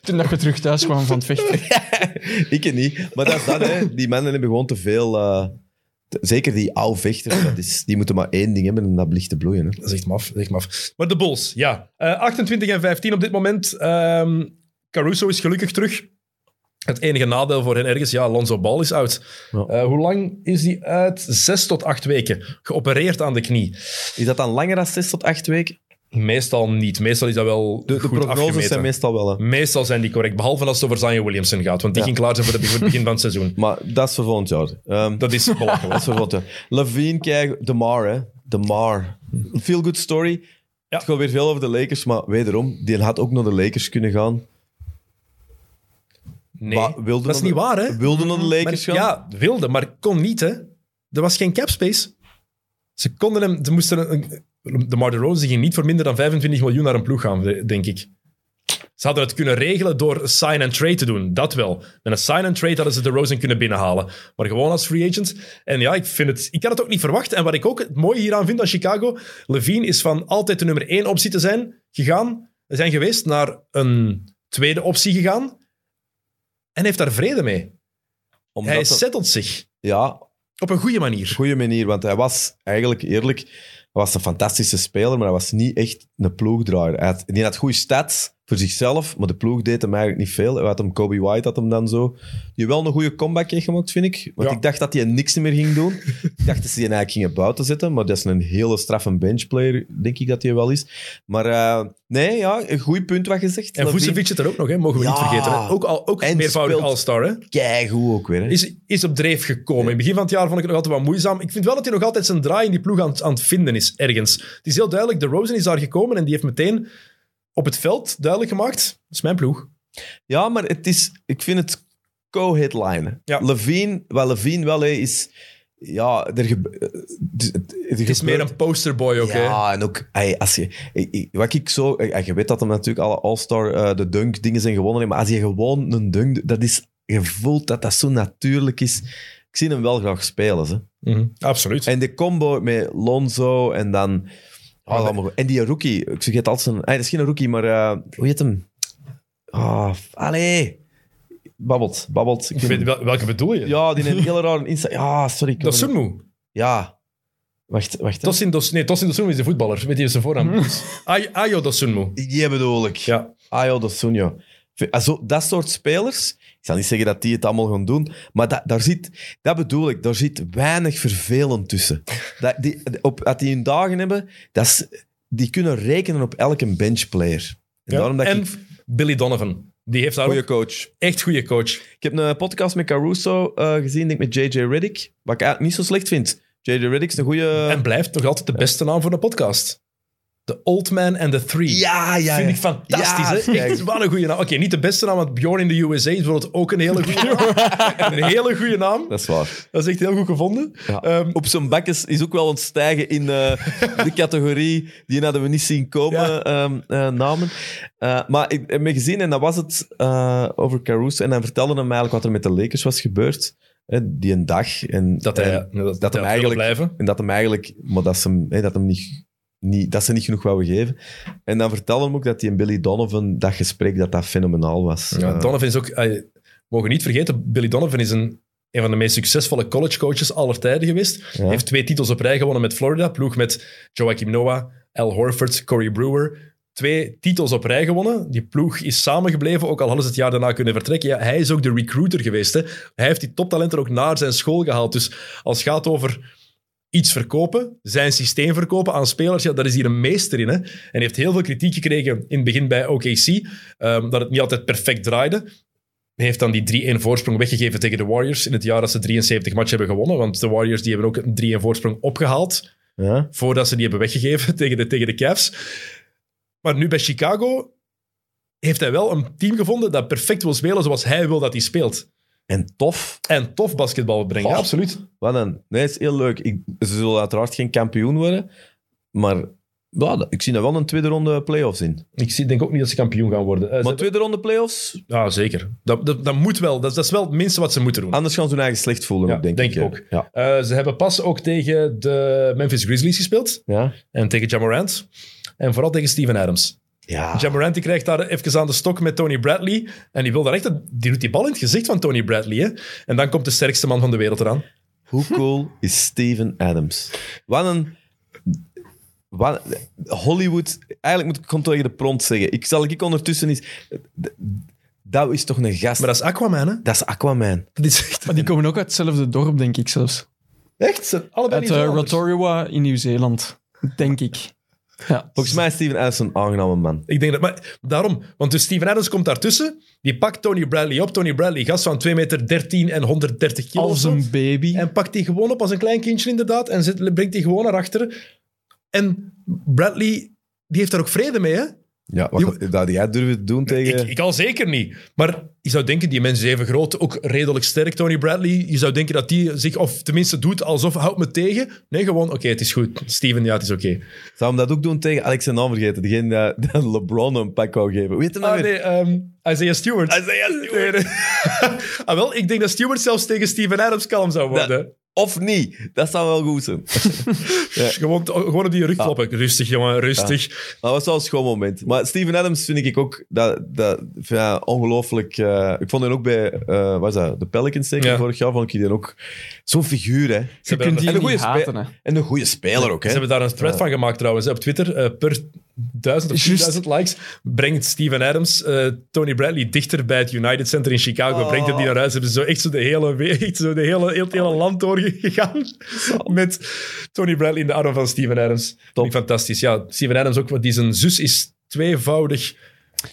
S3: Toen dat je terug thuis kwam van het vechten.
S2: Ik het niet. Maar dat is dat, hè. Die mannen hebben gewoon te veel... eh, te- zeker die oude vechters, dat is, die moeten maar één ding hebben en dat blicht te bloeien. Hè.
S1: Dat is echt maf, dat is echt maf. Maar de Bulls, ja. Eh, 28 en 15 op dit moment. Ehm, Caruso is gelukkig terug. Het enige nadeel voor hen ergens, ja, Lonzo Ball is uit.
S2: Ja.
S1: Eh, hoe lang is die uit? Zes tot acht weken. Geopereerd aan de knie.
S2: Is dat dan langer dan zes tot acht weken?
S1: Meestal niet. Meestal is dat wel
S2: De, de
S1: goed
S2: prognoses
S1: afgemeten.
S2: zijn meestal wel... Hè.
S1: Meestal zijn die correct, behalve als het over Zion Williamson gaat, want die
S2: Ja.
S1: ging klaar zijn voor, de, voor het begin van het seizoen.
S2: Maar dat is voor volgend jaar. Ehm, dat
S1: Dat is belachelijk.
S2: is voor volgend jaar. Levine, kijk, De Mar, hè. De Mar. Feel good story. Het gaat weer veel over de Lakers, maar wederom, die had ook naar de Lakers kunnen gaan.
S1: Nee,
S2: Wa- wilde
S1: dat is
S2: naar
S1: niet
S2: de-
S1: waar, hè? Mm-hmm.
S2: Wilde naar de
S1: Maar-
S2: Lakers gaan.
S1: ja, wilde, maar kon niet, hè. Er was geen capspace. Ze konden hem... Ze moesten een, een- de Marder Rose ging niet voor minder dan 25 miljoen naar een ploeg gaan, de- denk ik. Ze hadden het kunnen regelen door sign-and-trade te doen, dat wel. Met een sign-and-trade hadden ze de Rosen kunnen binnenhalen. Maar gewoon als free agent. En ja, ik, vind het, ik had het ook niet verwacht. En wat ik ook het mooie hieraan vind aan Chicago, Levine is van altijd de nummer één optie te zijn gegaan, zijn geweest naar een tweede optie gegaan. En heeft daar vrede mee.
S2: Omdat
S1: Hij
S2: dat-
S1: settelt zich
S2: ja,
S1: op een goede manier.
S2: goede manier, want hij was eigenlijk eerlijk, hij was een fantastische speler, maar hij was niet echt een ploegdraaier. Hij had, die had goede stats voor zichzelf, maar de ploeg deed hem eigenlijk niet veel. Hij had hem, Kobe White had hem dan zo. Die wel een goede comeback heeft gemaakt, vind ik. Want
S1: Ja.
S2: ik dacht dat hij niks meer ging doen. ik dacht dat ze die eigenlijk gingen buiten zetten, maar dat is een hele straffe benchplayer, denk ik dat hij wel is. Maar eh, nee, ja, een goed punt wat je zegt.
S1: En
S2: Levine.
S1: Vucevic zit er ook nog, hè? mogen we niet
S2: Ja.
S1: vergeten. hè. Ook, al, ook
S2: En
S1: meervoudig
S2: speelt-
S1: All-Star. Hè?
S2: Keigoed ook weer. Hè?
S1: Is, is op dreef gekomen. In het begin van het jaar vond ik het nog altijd wat moeizaam. Ik vind wel dat hij nog altijd zijn draai in die ploeg aan, het- aan het vinden is, ergens. Het is heel duidelijk, de Rosen is daar gekomen en die heeft meteen op het veld duidelijk gemaakt, dat is mijn ploeg.
S2: Ja, maar het is, ik vind het co-headline.
S1: Ja.
S2: Levine, wat Levine wel hè, is... Ja, er gebe- eh, het- het-
S1: Het is meer een posterboy ook. hè.
S2: Ja, en ook... ey, als je, ey, ey, wat ik zo... ey, ey, je weet dat hem natuurlijk alle All-Star eh, de dunk dingen zijn gewonnen. hè, Maar als je gewoon een dunk... Dat is... Je voelt dat dat zo natuurlijk is. Ik zie hem wel graag spelen. Hè.
S1: Mhm, Absoluut.
S2: En de combo met Lonzo en dan... Oh, allemaal goed. En die rookie. Ik vergeet altijd zijn... Hij is geen rookie, maar... eh, hoe heet hem? Ah, allee. Babbelt, babbelt. Ik
S1: Ik weet
S2: vind-
S1: wel- welke bedoel je?
S2: Ja, die heeft een hele rare Insta... Ja, sorry. ik kan me niet-
S1: Dosunmu.
S2: Ja. Wacht, wacht. hè.
S1: Tosin Dos, nee, Tosin Dosunmu is de voetballer. Weet je zijn voornaam? Ay- Ayo Dosunmu.
S2: Die bedoel ik.
S1: Ja.
S2: Ayo Dosunjo. Dat soort spelers, ik zal niet zeggen dat die het allemaal gaan doen, maar dat, daar zit, dat bedoel ik, daar zit weinig vervelend tussen. Dat die, op, dat die hun dagen hebben, dat is, die kunnen rekenen op elke benchplayer. En
S1: Ja.
S2: daarom dat
S1: en
S2: ik...
S1: Billy Donovan. Die heeft daar
S2: Goeie
S1: ook
S2: coach.
S1: echt goede coach.
S2: Ik heb een podcast met Caruso eh, gezien, denk ik, met J.J. Reddick, wat ik eigenlijk niet zo slecht vind. J.J. Reddick is een goede...
S1: en blijft nog altijd de beste naam voor een podcast. The Old Man and the Three.
S2: Ja, ja,
S1: Vind
S2: ja.
S1: ik fantastisch.
S2: Ja,
S1: hè? Echt, wat een goede naam. Oké, niet de beste naam, want Bjorn in the USA is bijvoorbeeld ook een hele goede naam. een hele goede naam.
S2: Dat is waar.
S1: Dat is echt heel goed gevonden.
S2: Ja.
S1: Ehm,
S2: Op zijn bak is, is ook wel ontstijgen in eh, de categorie. Die hadden we niet zien komen,
S1: Ja.
S2: ehm, eh, namen. Eh, maar ik heb me gezien en dat was het eh, over Caruso. En dan vertelde hem eigenlijk wat er met de Lakers was gebeurd. eh, die een dag. En,
S1: dat hij,
S2: en,
S1: dat,
S2: dat
S1: hij
S2: hem
S1: wil
S2: eigenlijk-
S1: blijven.
S2: en dat hem eigenlijk... Maar dat ze hem, eh, dat hem niet, niet... Dat ze niet genoeg wouden geven. En dan vertelde hem ook dat die en Billy Donovan dat gesprek, dat dat fenomenaal was.
S1: Ja,
S2: Eh,
S1: Donovan is ook... eh, mogen niet vergeten, Billy Donovan is een een van de meest succesvolle collegecoaches aller tijden geweest. Hij heeft twee titels op rij gewonnen met Florida, ploeg met Joachim Noah, Al Horford, Corey Brewer. Twee titels op rij gewonnen. Die ploeg is samengebleven, ook al hadden ze het jaar daarna kunnen vertrekken. Ja, hij is ook de recruiter geweest. Hè. Hij heeft die toptalenten ook naar zijn school gehaald. Dus als het gaat over iets verkopen, zijn systeem verkopen aan spelers, ja, daar is hier een meester in. Hè? En hij heeft heel veel kritiek gekregen in het begin bij OKC, ehm, dat het niet altijd perfect draaide. Hij heeft dan die 3-1 voorsprong weggegeven tegen de Warriors in het jaar dat ze 73 matchen hebben gewonnen, want de Warriors die hebben ook een 3-1 voorsprong opgehaald
S2: Ja.
S1: voordat ze die hebben weggegeven tegen de, tegen de Cavs. Maar nu bij Chicago heeft hij wel een team gevonden dat perfect wil spelen zoals hij wil dat hij speelt.
S2: En tof.
S1: En tof basketbal brengen.
S2: Oh.
S1: Ja, absoluut.
S2: Wat een... Nee, het is heel leuk. Ik, ze zullen uiteraard geen kampioen worden, maar ja, dat- ik zie daar wel een tweede ronde playoffs in.
S1: Ik zie- denk ook niet dat ze kampioen gaan worden. Eh, ze
S2: Maar
S1: hebben-
S2: tweede ronde playoffs,
S1: Ja, zeker. Dat, dat, dat moet wel. Dat, is- dat is wel het minste wat ze moeten doen.
S2: anders gaan ze hun eigen slecht voelen,
S1: Ja,
S2: ook, denk,
S1: denk
S2: ik.
S1: ik
S2: hè.
S1: ook.
S2: Ja.
S1: Eh, ze hebben pas ook tegen de Memphis Grizzlies gespeeld.
S2: Ja.
S1: En tegen Jamorant. En vooral tegen Steven Adams.
S2: ja.
S1: Jamorant die krijgt daar even aan de stok met Tony Bradley. En die wil daar echt... een- Die doet die bal in het gezicht van Tony Bradley. Hè? En dan komt de sterkste man van de wereld eraan.
S2: Hoe cool is Steven Adams? Wat een... Wat, Hollywood... Eigenlijk moet ik gewoon tegen de prompt zeggen. Ik zal ik ondertussen eens... Dat is toch een gast...
S1: Maar dat is Aquaman, hè?
S2: dat is Aquaman.
S1: Dat is echt...
S3: Maar die komen ook uit hetzelfde dorp, denk ik zelfs.
S1: Echt? Ze- Allebei
S3: Uit
S1: niet
S3: eh,
S1: zo anders.
S3: Rotorua in Nieuw-Zeeland, denk ik. Ja.
S2: Volgens mij is Steven Adams een aangename man.
S1: Ik denk dat, maar daarom, want dus Steven Adams komt daartussen, die pakt Tony Bradley op. Tony Bradley, gast van 2 meter 13 en 130 kilo. of
S3: Als
S1: zo.
S3: een baby.
S1: En pakt die gewoon op als een klein kindje, inderdaad. En zit, brengt die gewoon naar achteren. En Bradley, die heeft daar ook vrede mee, hè?
S2: Ja,
S1: wat-
S2: dat jij durven doen tegen...
S1: Ik, ik al zeker niet. Maar je zou denken, die mens is even groot, ook redelijk sterk, Tony Bradley. Je zou denken dat die zich, of tenminste doet alsof, houdt me tegen. Nee, gewoon, oké, het is goed. Steven, ja, het is oké.
S2: Zou hem dat ook doen tegen... Alex zijn naam vergeten. Degene die, die LeBron een pak wou geven. Weet je nou
S1: Ah,
S2: weer?
S1: nee, ehm, Isaiah Stewart. Isaiah Stewart. ah, wel, ik denk dat Stewart zelfs tegen Steven Adams kalm zou worden.
S2: Of niet? Dat zou wel goed zijn.
S1: Gewoon, gewoon op die rug kloppen. Rustig, jongen, rustig.
S2: Maar dat was wel een schoon moment. Maar Steven Adams vind ik ook dat, dat, vind ik, ja, ongelooflijk. eh, ik vond hem ook bij eh, wat was dat, de Pelicans zeker
S1: Ja.
S2: vorig jaar. Vond ik die ook zo'n figuur. Hè.
S3: Je kunt die
S2: En een goede
S3: niet haten, hè.
S2: spe- en een goede speler ook. Hè.
S1: Ze hebben daar een thread van gemaakt trouwens hè, op Twitter. Eh, per duizend of
S3: Juist.
S1: 10.000 likes brengt Steven Adams eh, Tony Bradley dichter bij het United Center in Chicago.
S2: Oh.
S1: Brengt hem die naar huis. Hebben ze zo echt zo de hele, we- echt zo de hele, heel, het hele
S3: Oh.
S1: land doorgegaan met Tony Bradley in de armen van Steven Adams. Vind ik fantastisch. Ja, Steven Adams ook, want die zijn zus is tweevoudig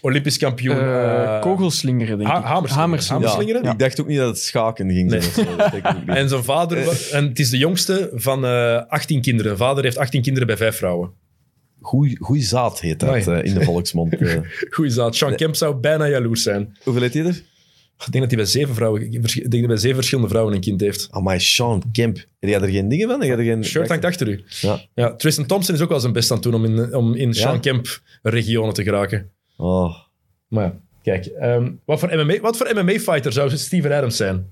S1: Olympisch kampioen.
S3: Eh,
S1: eh,
S3: kogelslingeren, denk ik.
S1: ha- hamerslingeren.
S3: Hamerslingeren.
S1: Ja. slingeren?
S2: Ik dacht ook niet dat het schaken ging zijn. of zo, dat denk ik ook niet.
S1: En zijn
S3: Eh.
S1: vader, wa- en het is de jongste van eh 18 kinderen. Vader heeft 18 kinderen bij vijf vrouwen.
S2: Goeie, goeie zaad heet dat
S1: Nee.
S2: eh, in de volksmond. eh.
S1: Goeie zaad. Sean Kemp zou bijna jaloers zijn.
S2: Hoeveel heet hij er?
S1: Ik denk dat hij bij zeven, vrouwen, ik vers- ik denk dat hij bij zeven verschillende vrouwen een kind heeft.
S2: Amai, Sean Kemp. Heb jij er geen dingen van? Heb jij er geen...
S1: Shirt hangt achter u.
S2: Ja.
S1: Ja, Tristan Thompson is ook wel zijn best aan het doen om in, om in Sean
S2: Ja?
S1: Kemp regionen te geraken.
S2: Oh.
S1: Maar ja, kijk, ehm, wat voor MMA wat voor MMA-fighter zou Steven Adams zijn?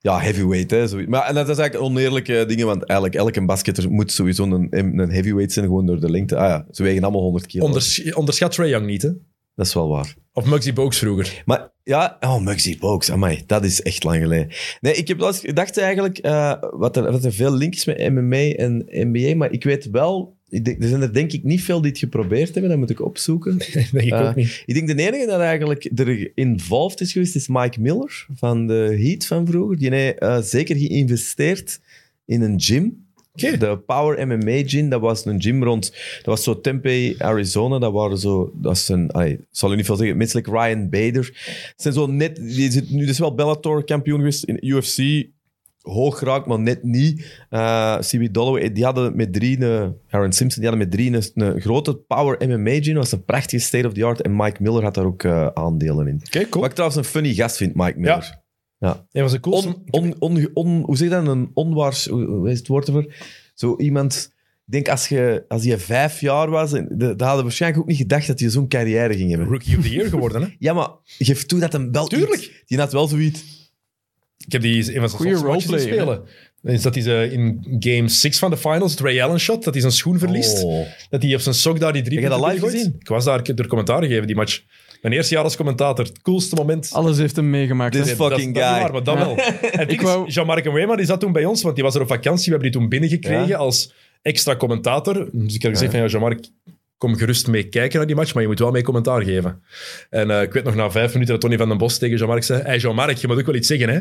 S2: Ja, heavyweight. Hè, zoiets. maar en dat is eigenlijk oneerlijke dingen, want eigenlijk elke basketter moet sowieso een, een heavyweight zijn, gewoon door de lengte. Ah ja, ze wegen allemaal 100 kilo.
S1: Onders- onderschat Trae Young niet, hè?
S2: Dat is wel waar.
S1: Of Muggsy Bogues vroeger.
S2: Maar ja, oh, Muggsy Bogues, amai, dat is echt lang geleden. Nee, ik heb wel eens gedacht eigenlijk, eh, wat, er, wat er veel link is met MMA en NBA, maar ik weet wel, ik denk, er zijn er denk ik niet veel die het geprobeerd hebben, dat moet ik opzoeken.
S1: Dat denk ik
S2: Eh,
S1: ook niet.
S2: Ik denk de enige dat eigenlijk er involved is geweest, is Mike Miller van de Heat van vroeger. Die heeft eh, zeker geïnvesteerd in een gym.
S1: Oké.
S2: De Power MMA gym, dat was een gym rond... Dat was zo Tempe, Arizona. Dat waren zo... Dat is een... allee, ik zal u niet veel zeggen. Mensen like Ryan Bader. Het zijn zo net... Die zit nu dus wel Bellator-kampioen geweest in UFC. Hoog geraakt, maar net niet. Eh CB Dolloway, die hadden met drie... een- Aaron Simpson, die hadden met drie een, een grote Power MMA gym. Dat was een prachtige state-of-the-art. En Mike Miller had daar ook eh, aandelen in.
S1: Oké, cool.
S2: Wat ik trouwens een funny gast vind, Mike Miller.
S1: Ja. Een van zijn coolste...
S2: On, on, on, on- hoe zeg je dat? Een onwaars... Hoe, hoe is het woord ervoor? Zo iemand... Ik denk, als je, als je vijf jaar was, en de- dat hadden we waarschijnlijk ook niet gedacht dat je zo'n carrière ging hebben.
S1: Rookie of the Year geworden, hè?
S2: Ja, maar geef toe dat hem wel...
S1: Tuurlijk.
S2: iets- Die had wel zoiets...
S1: Ik heb die een van zijn
S3: Goeie
S1: zotste matches zien
S3: roleplayer,
S1: spelen. Is dat hij ze in game 6 van de finals, het Ray Allen shot, dat hij zijn schoen verliest.
S2: Oh.
S1: Dat hij op zijn sok daar die drie
S2: Heb je dat
S1: punten
S2: live
S1: gooit.
S2: gezien?
S1: Ik was daar, ik heb er commentaar gegeven, die match. Mijn eerste jaar als commentator, het coolste moment.
S3: Alles heeft hem meegemaakt.
S2: Dit
S3: hè.
S2: is
S1: dat-
S2: fucking
S1: dat is
S2: guy.
S1: waar, maar dan
S3: Ja.
S1: wel. En het ding
S3: wou-
S1: is, Jean-Marc Weema die zat toen bij ons, want die was er op vakantie. We hebben die toen binnengekregen
S2: Ja.
S1: als extra commentator. Dus ik had gezegd van, ja, Jean-Marc, kom gerust mee kijken naar die match, maar je moet wel mee commentaar geven. En eh, ik weet nog, na vijf minuten dat Tony van den Bos tegen Jean-Marc zei, hey Jean-Marc, je moet ook wel iets zeggen, hè?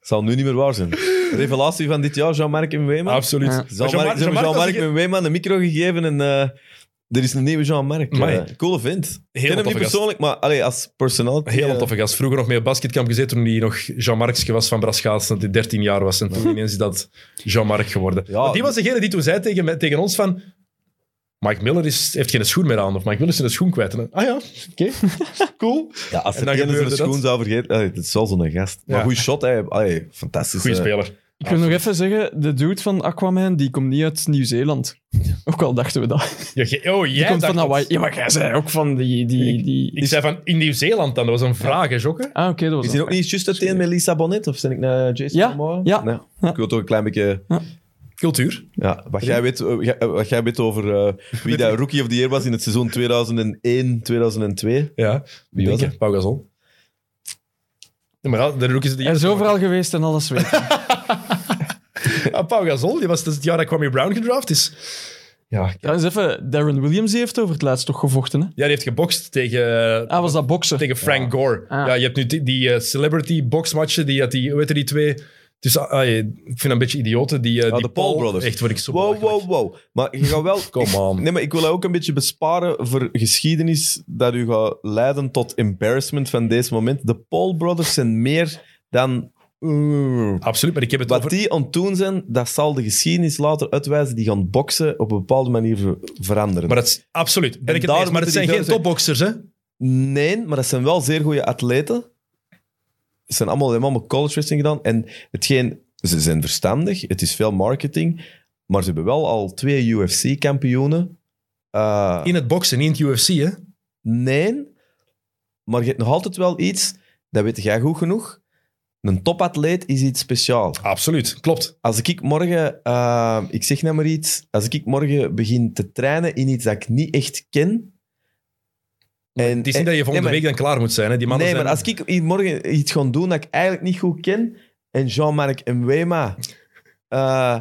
S2: Zal nu niet meer waar zijn. Revelatie van dit jaar, Jean-Marc en Weeman.
S1: Absoluut.
S3: Ja.
S1: Maar
S2: Jean-Marc Jean
S1: Jean-Marc- Jean-Marc was
S2: Jean-Marc
S1: een
S2: en Weeman een micro gegeven en eh, er is een nieuwe Jean-Marc.
S1: Amai.
S2: Eh, coole vent. Ik ken hem
S1: toffe gast.
S2: niet persoonlijk, maar allee, als personality.
S1: Heel
S2: eh,
S1: toffe gast. Vroeger nog mee op basketkamp gezeten toen hij nog Jean-Marc was van Braschaats, dat hij 13 jaar was. En toen ineens is dat Jean-Marc geworden.
S2: Ja.
S1: Maar die was degene die toen zei tegen, me- tegen ons van... Mike Miller is, heeft geen schoen meer aan, of Mike Miller is zijn schoen kwijt. En dan, ah ja, oké, cool.
S2: Ja, als
S1: En
S2: er
S1: dan
S2: één zijn
S1: gebeurde
S2: schoen
S1: dat.
S2: zou vergeten... Allee, het is wel zo'n gast. Maar
S1: Ja.
S2: goed shot, hè. Allee, fantastisch.
S1: Goeie
S2: eh.
S1: speler.
S3: Ik wil nog even zeggen, de dude van Aquaman, die komt niet uit Nieuw-Zeeland. Ook al dachten we dat.
S1: Ja, ge- oh, jij
S3: Die komt
S1: dacht
S3: van
S1: dat.
S3: Hawaii. Ja, maar jij zei ook van die... die, die...
S1: Ik zei van, in Nieuw-Zeeland dan, dat was een vraag, hè, Jokke?
S3: Ah, oké, dat was
S2: Is hier
S3: het.
S2: ook niet juist het een met Lisa Bonnet? Of ben ik naar Jason
S3: Ja,
S2: Momoa?
S3: ja.
S2: Nee.
S3: Ja.
S2: Ik wil toch een klein beetje...
S1: Cultuur.
S2: Ja, wat, jij weet, eh, jij- eh, wat jij weet over eh, wie dat Rookie of the Year was in het seizoen 2001, 2002.
S1: Ja.
S2: Wie was
S1: Denk je? Pau Gasol. Ja, maar ja, de rookies die...
S3: Hij is overal geweest en alles weet. hij.
S1: Ah, Pau Gasol, die was dat is het jaar dat Kwame Brown gedraft is. Ja,
S3: Trouwens, even, Darren Williams die heeft over het laatst toch gevochten, hè?
S1: Ja, die heeft gebokst tegen, eh,
S3: Ah, was dat boksen?
S1: tegen Frank Gore.
S3: Ah.
S1: Ja, je hebt nu die, die eh, celebrity boxmatchen, die, had die, hoe heet die twee? Dus, ah, ah, ik vind dat een beetje idioten. Die, eh,
S2: Ja,
S1: die
S2: de Paul Brothers.
S1: Echt, word ik zo
S2: Wow,
S1: belachelijk.
S2: wow, wow. Maar je gaat wel...
S1: Come on.
S2: Nee, maar ik wil dat ook een beetje besparen voor geschiedenis dat u gaat leiden tot embarrassment van deze moment. De Paul Brothers zijn meer dan... mm,
S1: Absoluut, maar ik heb het
S2: Wat
S1: over...
S2: die aan het doen zijn, dat zal de geschiedenis later uitwijzen. Die gaan boksen op een bepaalde manier ver- veranderen.
S1: Maar dat is absoluut. Ben
S2: En
S1: ik het mee
S2: daarom
S1: eens, maar het zijn
S2: moeten
S1: geen
S2: die
S1: topboxers, hè?
S2: Nee, maar dat zijn wel zeer goede atleten. Ze zijn allemaal, hebben allemaal college wrestling gedaan. En hetgeen, ze zijn verstandig, het is veel marketing. Maar ze hebben wel al twee UFC-kampioenen. Eh,
S1: In het boksen, niet in het UFC, hè?
S2: Nee, maar je hebt nog altijd wel iets, dat weet jij goed genoeg. Een topatleet is iets speciaals.
S1: Absoluut, klopt.
S2: Als ik morgen, eh, ik zeg nou maar iets, als ik morgen begin te trainen in iets dat ik niet echt ken. En,
S1: Het is niet dat je volgende
S2: nee,
S1: week dan klaar moet zijn, hè? Die mannen
S2: nee,
S1: zijn...
S2: maar als ik i- morgen iets ga doen dat ik eigenlijk niet goed ken, en Jean-Marc en Wema, eh,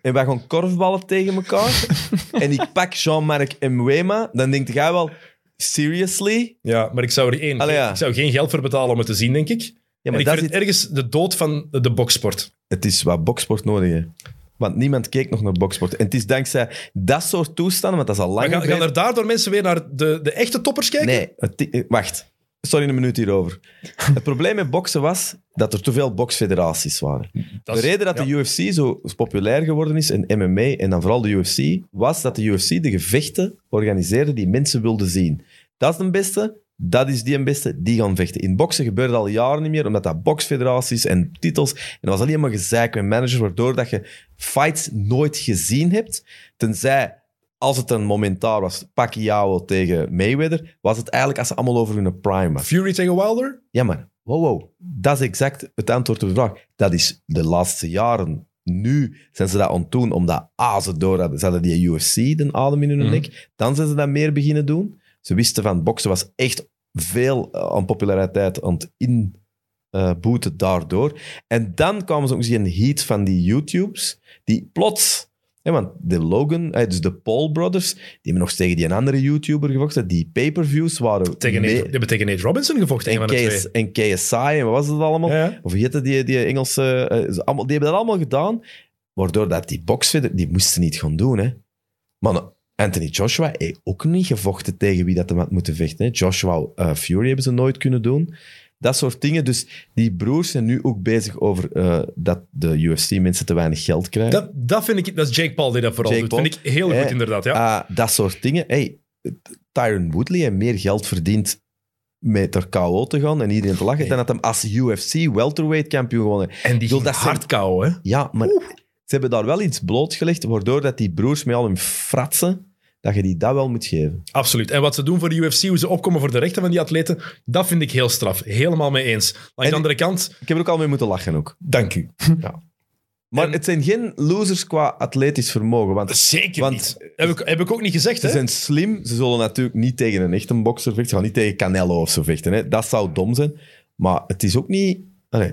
S2: en wij gaan korfballen tegen elkaar, en ik pak Jean-Marc en Wema, dan denkt jij wel, seriously?
S1: Ja, maar ik zou er één...
S2: Allee, ja.
S1: Ik zou geen geld voor betalen om het te zien, denk ik.
S2: Ja,
S1: en
S2: maar
S1: ik
S2: dat
S1: vind
S2: is,
S1: het
S2: het...
S1: ergens de dood van de boksport.
S2: is wat boksport nodig heeft. Want niemand keek nog naar boksport. En het is dankzij dat soort toestanden, want dat is al
S1: Maar
S2: lang
S1: gaan, gaan
S2: geleden-
S1: er daardoor mensen weer naar de, de echte toppers kijken?
S2: Nee, het i- eh, wacht. Sorry, een minuut hierover. Het probleem met boksen was dat er te veel boksfederaties waren.
S1: Dat
S2: de
S1: is-
S2: reden dat
S1: ja.
S2: de UFC zo populair geworden is, en MMA, en dan vooral de UFC, was dat de UFC de gevechten organiseerde die mensen wilden zien. Dat is de beste, dat is die een beste, die gaan vechten. In boksen gebeurde dat al jaren niet meer, omdat dat boksfederaties en titels... En dat was alleen maar gezeik met managers, waardoor dat je fights nooit gezien hebt, tenzij... Als het een momentaar was, Pacquiao tegen Mayweather, was het eigenlijk als ze allemaal over hun prime was.
S1: Fury tegen Wilder?
S2: Ja, maar wow, wow. Dat is exact het antwoord op de vraag. Dat is de laatste jaren. Nu zijn ze dat aan het doen, omdat A, ze door hadden. Ze hadden die UFC, de adem in hun
S1: Mhm.
S2: nek. Dan zijn ze dat meer beginnen doen. Ze wisten van, boksen was echt veel eh, aan populariteit aan het inboeten daardoor. En dan kwamen ze ook eens in heat van die YouTubes, die plots... hè, want de Logan, eh, dus de Paul Brothers, die hebben nog eens tegen die andere YouTuber gevochten. Die pay-per-views waren...
S1: Tegen
S2: me-
S1: Nate, die hebben tegen Nate Robinson gevochten, een
S2: en,
S1: van de
S2: KS,
S1: twee.
S2: en KSI en wat was het allemaal?
S1: Ja, ja.
S2: Of hoe heette die, die Engelse... eh, ze allemaal, die hebben dat allemaal gedaan, waardoor dat die boxfitter... Die moesten niet gaan doen, hè. Maar Anthony Joshua heeft ook niet gevochten tegen wie dat hem had moeten vechten. Hè. Joshua eh, Fury hebben ze nooit kunnen doen. Dat soort dingen. Dus die broers zijn nu ook bezig over eh, dat de UFC-mensen te weinig geld krijgen.
S1: Dat, dat vind ik, dat is Jake Paul die dat vooral
S2: Jake
S1: doet. Vind ik heel goed,
S2: Paul.
S1: inderdaad. Ja.
S2: Ah, dat soort dingen. Hey, Tyron Woodley heeft meer geld verdiend met er KO te gaan en iedereen te lachen, dan dat hem als UFC welterweight kampioen gewonnen. heeft.
S1: en die
S2: bedoel,
S1: ging
S2: dat zijn-
S1: hard kou, hè.
S2: Ja, maar ze hebben daar wel iets blootgelegd, waardoor dat die broers met al hun fratsen, dat je die dat wel moet geven.
S1: Absoluut. En wat ze doen voor de UFC, hoe ze opkomen voor de rechten van die atleten, dat vind ik heel straf. Helemaal mee eens. Aan de
S2: En-
S1: andere kant,
S2: Ik heb er ook al mee moeten lachen ook.
S1: dank u.
S2: Maar het zijn geen losers qua atletisch vermogen. Want
S1: Zeker
S2: Want-
S1: niet. Heb ik, heb ik ook niet gezegd,
S2: Ze
S1: hè?
S2: zijn slim. Ze zullen natuurlijk niet tegen een echte bokser vechten. Ze gaan niet tegen Canelo of zo vechten. Hè. Dat zou dom zijn. Maar het is ook niet... Allee,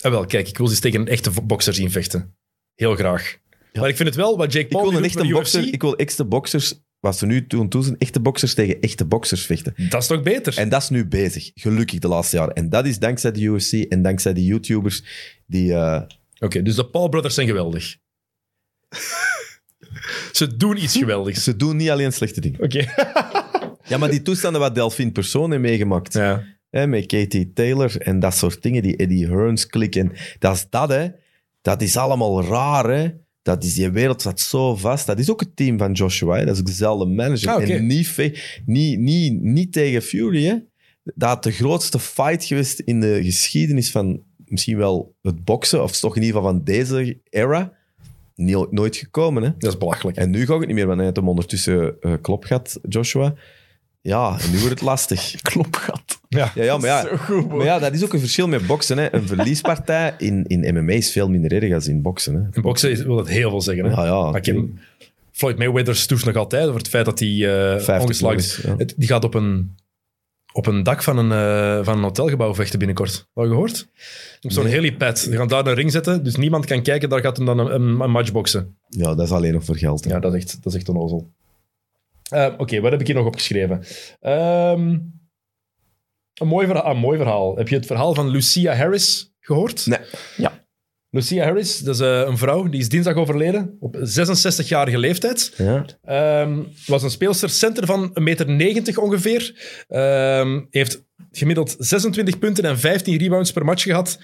S1: Ah, wel, kijk, ik wil ze eens tegen een echte vo- bokser zien vechten. Heel graag. Maar ik vind het wel, wat Jake
S2: ik
S1: Paul
S2: wil
S1: nu
S2: een
S1: doet met
S2: echte
S1: de
S2: bokser...
S1: UFC,
S2: Ik wil echte boksers... Wat ze nu toen toen zijn, echte boksers tegen echte boksers vechten.
S1: dat is toch beter?
S2: En dat is nu bezig, gelukkig, de laatste jaren. En dat is dankzij de UFC en dankzij de YouTubers die... eh,
S1: Oké, dus de Paul Brothers zijn geweldig. ze doen iets geweldigs.
S2: ze doen niet alleen slechte dingen.
S1: Oké.
S2: Ja, maar die toestanden wat Delphine Persoon heeft meegemaakt.
S1: Ja.
S2: Hè, met Katie Taylor en dat soort dingen, die Eddie Hearns klikken. Dat is dat, hè. Dat is allemaal raar, hè. Dat is, die wereld zat zo vast. Dat is ook het team van Joshua, hè. Dat is ook dezelfde manager.
S1: Ah, oké.
S2: En niet, ve- niet, niet, niet tegen Fury, hè. Dat had de grootste fight geweest in de geschiedenis van misschien wel het boksen, of toch in ieder geval van deze era. Niel- Nooit gekomen, hè.
S1: Dat is belachelijk.
S2: En nu ga ik het niet meer, want hij heeft hem ondertussen eh, klop gehad, Joshua. Ja, en nu wordt het lastig.
S3: Klopgat.
S1: Ja.
S2: Ja, ja, maar ja,
S3: Zo goed,
S2: maar ja, dat is ook een verschil met boksen. Hè. Een verliespartij in, in MMA is veel minder erg dan in boksen. Hè.
S1: In boksen is- wil dat heel veel zeggen, hè?
S2: Ja, ja.
S1: Maar ik- Floyd Mayweather stoeft nog altijd over het feit dat hij eh,
S2: 50
S1: ongeslagen
S2: nog
S1: is.
S2: eens, ja.
S1: Het- Die gaat op een, op een dak van een, eh, van een hotelgebouw vechten binnenkort. Al gehoord? Op zo'n helipad. Ze gaan daar een ring zetten, dus niemand kan kijken. Daar gaat hem dan een, een, een match boksen.
S2: Ja, dat is alleen nog voor geld. hè.
S1: Ja, dat is echt, dat is echt onnozel. Eh, Oké, wat heb ik hier nog opgeschreven? Ehm, een mooi verhaal, ah, mooi verhaal. Heb je het verhaal van Lucia Harris gehoord?
S2: Nee.
S3: Ja.
S1: Lucia Harris, dat is eh, een vrouw, die is dinsdag overleden, op 66-jarige leeftijd.
S2: Ja.
S1: Ehm, was een speelster center van 1,90 meter ongeveer. Ehm, heeft gemiddeld 26 punten en 15 rebounds per match gehad.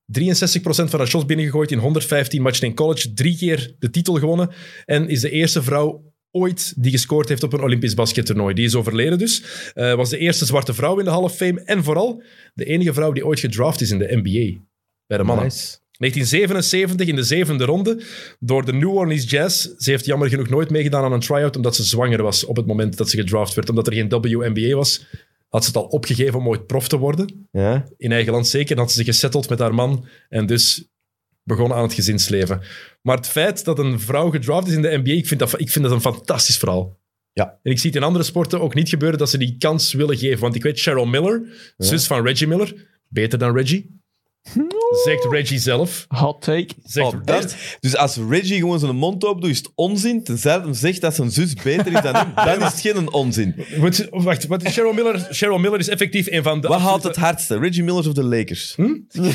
S1: 63% van haar shots binnengegooid in 115 matchen in college. Drie keer de titel gewonnen. En is de eerste vrouw ooit die gescoord heeft op een Olympisch baskettoernooi. Die is overleden dus. Eh, was de eerste zwarte vrouw in de Hall of Fame. En vooral de enige vrouw die ooit gedraft is in de NBA. Bij de mannen.
S2: Nice.
S1: 1977 in de zevende ronde door de New Orleans Jazz. Ze heeft jammer genoeg nooit meegedaan aan een try-out omdat ze zwanger was op het moment dat ze gedraft werd. Omdat er geen WNBA was, had ze het al opgegeven om ooit prof te worden.
S2: Ja.
S1: In eigen land zeker. Dan had ze zich gesetteld met haar man en dus begon aan het gezinsleven. Maar het feit dat een vrouw gedraft is in de NBA, ik vind dat, ik vind dat een fantastisch verhaal.
S2: Ja.
S1: En ik zie het in andere sporten ook niet gebeuren dat ze die kans willen geven. Want ik weet, Cheryl Miller, zus van Reggie Miller, beter dan Reggie, zegt Reggie zelf.
S3: Hot take.
S1: Zegt,
S2: Oh, dat- dus als Reggie gewoon zijn mond open doet, is het onzin. Tenzij hij hem zegt dat zijn zus beter is dan hem, dan is het geen onzin.
S1: Wat- oh, wacht, wat is Cheryl Miller? Cheryl Miller is effectief een van de...
S2: Wat haalt het hardste? Reggie Miller of de Lakers?
S1: Eh,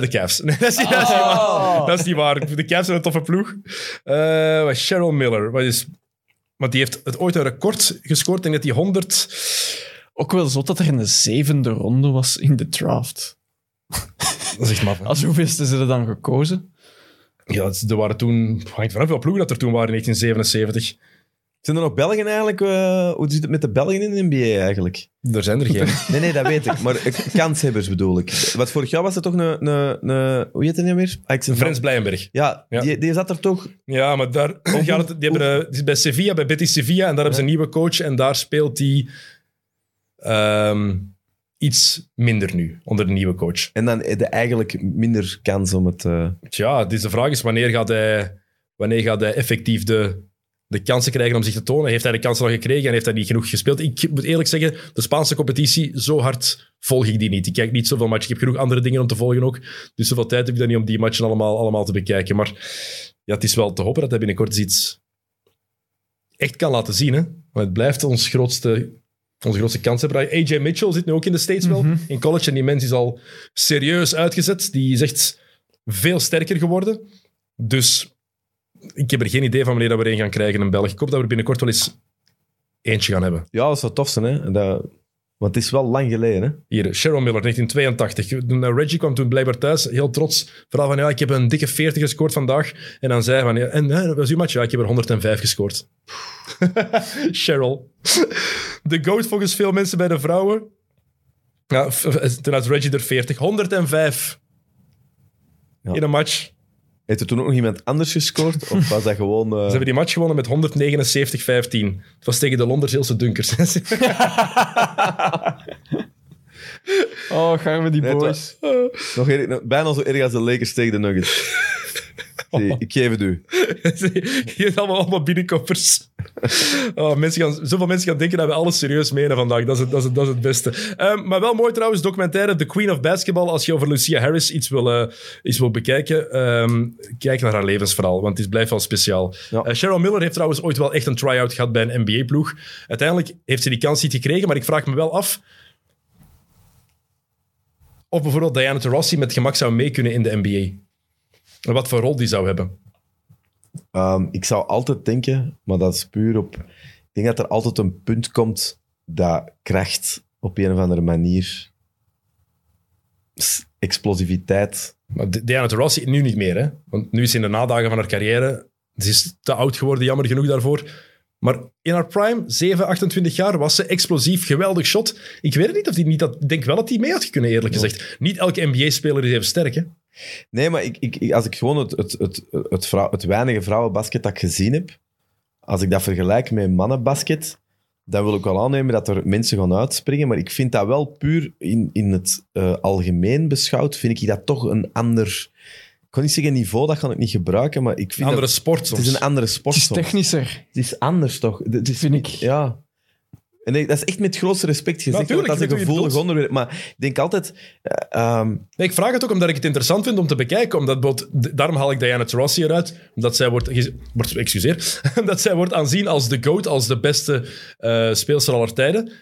S1: de Cavs. Nee, dat, is niet, dat, is niet waar. dat is niet waar. De Cavs zijn een toffe ploeg. Eh, wat is Cheryl Miller. Wat is, want die heeft het ooit een record gescoord. Ik denk dat die 100...
S3: Ook wel zot dat er in de zevende ronde was in de draft.
S1: Dat is echt maf. hè.
S3: Als hoeveelste ze er dan gekozen?
S1: Ja, dat is- er waren toen... Het hangt vanaf welke ploegen dat er toen waren in 1977.
S2: Zijn er nog Belgen eigenlijk? eh, hoe zit het met de Belgen in de NBA eigenlijk?
S1: Er zijn er geen.
S2: Nee, nee, dat weet ik. Maar eh, kanshebbers bedoel ik. Want vorig jaar was er toch een... een, een hoe heet het nou weer? Ah, ik zeg-
S1: Frans Blijenberg.
S2: Ja,
S1: Ja.
S2: Die, die zat er toch...
S1: Ja, maar daar gaat het, die hebben, eh, die is bij Sevilla, bij Betis Sevilla, en daar hebben ze een nieuwe coach en daar speelt hij ehm, iets minder nu onder de nieuwe coach.
S2: En dan heb je eigenlijk minder kans om het... eh,
S1: Tja, dus de vraag is wanneer gaat hij, wanneer gaat hij effectief de, de kansen krijgen om zich te tonen? Heeft hij de kansen al gekregen en heeft hij niet genoeg gespeeld? Ik moet eerlijk zeggen, de Spaanse competitie, zo hard volg ik die niet. Ik kijk niet zoveel matchen. Ik heb genoeg andere dingen om te volgen ook. Dus zoveel tijd heb ik dan niet om die matchen allemaal, allemaal te bekijken. Maar ja, het is wel te hopen dat hij binnenkort eens iets echt kan laten zien. Hè? Want het blijft ons grootste... Onze grootste kans hebben. AJ Mitchell zit nu ook in de States wel. In college. En die mens is al serieus uitgezet. Die is echt veel sterker geworden. Dus ik heb er geen idee van wanneer dat we er een gaan krijgen in België. Ik hoop dat we er binnenkort wel eens eentje gaan hebben.
S2: Ja, dat zou tof zijn, hè. Dat, want het is wel lang geleden, hè.
S1: Hier, Cheryl Miller, 1982. Toen, eh, Reggie kwam toen blijkbaar thuis, heel trots. Vooral van, ja, ik heb een dikke 40 gescoord vandaag. En dan zei hij van, ja, en hè, dat was uw match? Ja, ik heb er 105 gescoord. Cheryl. De goat volgens veel mensen bij de vrouwen. Ja, f- f- toen had Reggie er 40. 105
S2: Ja.
S1: in een match.
S2: Heeft er toen ook nog iemand anders gescoord? Of was dat gewoon... eh,
S1: Ze hebben die match gewonnen met 179-15. Het was tegen de Londersheelse Dunkers.
S3: Oh, gaan we die
S2: Nee, het
S3: boys.
S2: Nog erg- nog- bijna zo erg als de Lakers tegen de Nuggets. Zie, ik geef het u.
S1: Hier zijn allemaal, allemaal binnenkoppers. Oh, mensen gaan, zoveel mensen gaan denken dat we alles serieus menen vandaag. Dat is het, dat is het, dat is het beste. Ehm, maar wel mooi trouwens, documentaire The Queen of Basketball. Als je over Lucia Harris iets wil, eh, iets wil bekijken, ehm, kijk naar haar levensverhaal, want het is, blijft wel speciaal.
S2: Ja.
S1: Eh, Cheryl Miller heeft trouwens ooit wel echt een try-out gehad bij een NBA-ploeg. Uiteindelijk heeft ze die kans niet gekregen, maar ik vraag me wel af... Of bijvoorbeeld Diana Taurasi met gemak zou mee kunnen in de NBA. En wat voor rol die zou hebben.
S2: Ehm, ik zou altijd denken, maar dat is puur op... Ik denk dat er altijd een punt komt dat kracht op een of andere manier... s- Explosiviteit.
S1: Maar D- Diana Taurasi nu niet meer, hè? Want nu is ze in de nadagen van haar carrière. Ze is te oud geworden, jammer genoeg daarvoor. Maar in haar prime, 7, 28 jaar, was ze explosief, geweldig shot. Ik weet het niet of die niet dat. Ik denk wel dat die mee had kunnen, eerlijk gezegd. Niet elke NBA-speler is even sterk, hè?
S2: Nee, maar ik, ik, ik- als ik gewoon het, het, het, het, vrouw, het weinige vrouwenbasket dat ik gezien heb, als ik dat vergelijk met mannenbasket, dan wil ik wel aannemen dat er mensen gaan uitspringen. Maar ik vind dat wel puur in, in het eh, algemeen beschouwd, vind ik dat toch een ander... Ik kan niet zeggen niveau, dat kan ik niet gebruiken, maar ik vind
S1: Andere
S2: dat...
S1: sport
S2: Het is een andere sport.
S3: Het is
S2: soms.
S3: technischer.
S2: Het is anders toch? Het- Het is,
S3: Vind ik.
S2: Ja. En ik- dat is echt met het grootste respect gezegd.
S1: Natuurlijk,
S2: want dat is
S1: ik
S2: een
S1: weet hoe je
S2: gevoelig
S1: het
S2: onderwerp. Maar ik denk altijd... eh, ehm,
S1: Nee, ik vraag het ook omdat ik het interessant vind om te bekijken. Omdat bijvoorbeeld- d- daarom haal ik Diana Taurasi eruit. Omdat zij wordt, gez- wordt, excuseer, omdat zij wordt aanzien als de GOAT, als de beste eh speelster aller tijden.